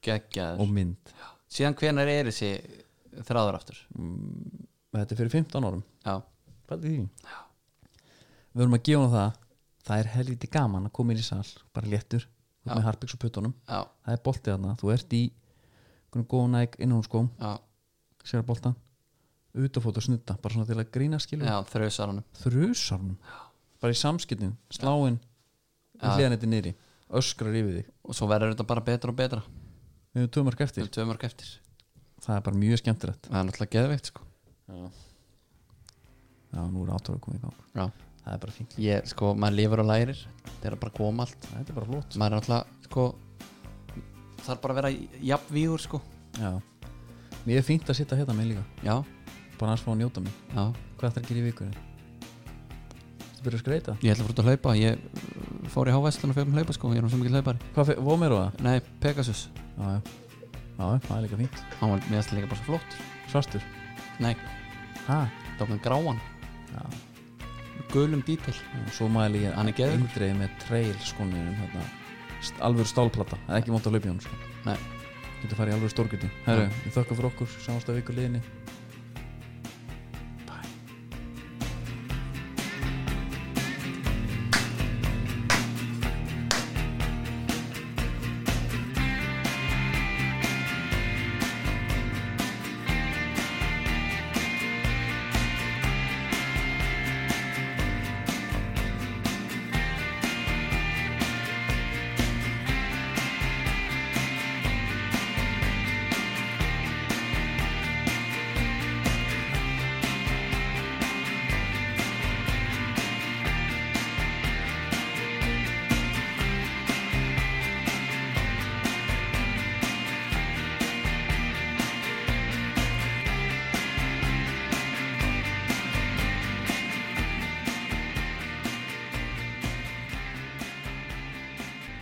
[SPEAKER 1] geggjaður
[SPEAKER 2] og mynd
[SPEAKER 1] síðan hvenær er þessi þráður aftur
[SPEAKER 2] þetta er fyrir 15 árum
[SPEAKER 1] já,
[SPEAKER 2] Pældi því Við vorum að gefa hún það Það er helviti gaman að koma inn í sal Bara léttur, þú ert
[SPEAKER 1] Já.
[SPEAKER 2] með harpiks og puttunum
[SPEAKER 1] já,
[SPEAKER 2] Það er boltið þarna, þú ert í Hvernig góðan næg innan hún skóm
[SPEAKER 1] já,
[SPEAKER 2] sko, Sér að boltan, utafót og snutta Bara svona til að grína skilur
[SPEAKER 1] já þrjusar honum
[SPEAKER 2] Þrjusarnum, bara í samskiptin Sláin,
[SPEAKER 1] Já.
[SPEAKER 2] hliðan þetta niðri Öskrar yfir þig,
[SPEAKER 1] og svo verður þetta bara betra og betra
[SPEAKER 2] við höfum tömark
[SPEAKER 1] til
[SPEAKER 2] eftir
[SPEAKER 1] tvö mörg eftir
[SPEAKER 2] Það er bara mjög skemmtilegt
[SPEAKER 1] það er náttúrulega geðveikt sko
[SPEAKER 2] Já, nú er áttúrulega komið í gang
[SPEAKER 1] já.
[SPEAKER 2] Það er bara fínt,
[SPEAKER 1] ég, sko, maður lifur og lærir það er að bara koma allt
[SPEAKER 2] þetta er bara flott
[SPEAKER 1] maður er náttúrulega, sko þarf bara að vera jafnvígur sko
[SPEAKER 2] Já, mér er fínt að sitta hérna með líka
[SPEAKER 1] já,
[SPEAKER 2] Bara aðeins fá að njóta mig
[SPEAKER 1] já,
[SPEAKER 2] Hvað ætlar að gera í vikunni? Þú byrjar að skreita?
[SPEAKER 1] ég ætla að fór út að hlaupa ég uh, fór í hávæslan og fyrir um hlaupa sko ég er nú sem ekki hlaupari,
[SPEAKER 2] Hvað fyrir, vóð mér á það?
[SPEAKER 1] nei, Pegasus
[SPEAKER 2] Já, já, já, já, það er líka fínt
[SPEAKER 1] hann var meðast líka bara svo flott
[SPEAKER 2] Svartur?
[SPEAKER 1] nei,
[SPEAKER 2] Hæ?
[SPEAKER 1] tóknum gráan,
[SPEAKER 2] Já,
[SPEAKER 1] gulum dítil
[SPEAKER 2] já, svo mæli ég
[SPEAKER 1] Hann er geðveikur.
[SPEAKER 2] Indreið með trail skonunum hérna st- Alvöru stálplata, það er ekki mót að hlaupa í hún sko
[SPEAKER 1] Nei.
[SPEAKER 2] Getur farið í alvöru stórgjöti Herru, ég þökkum fyrir okkur, samast að vikur liðinni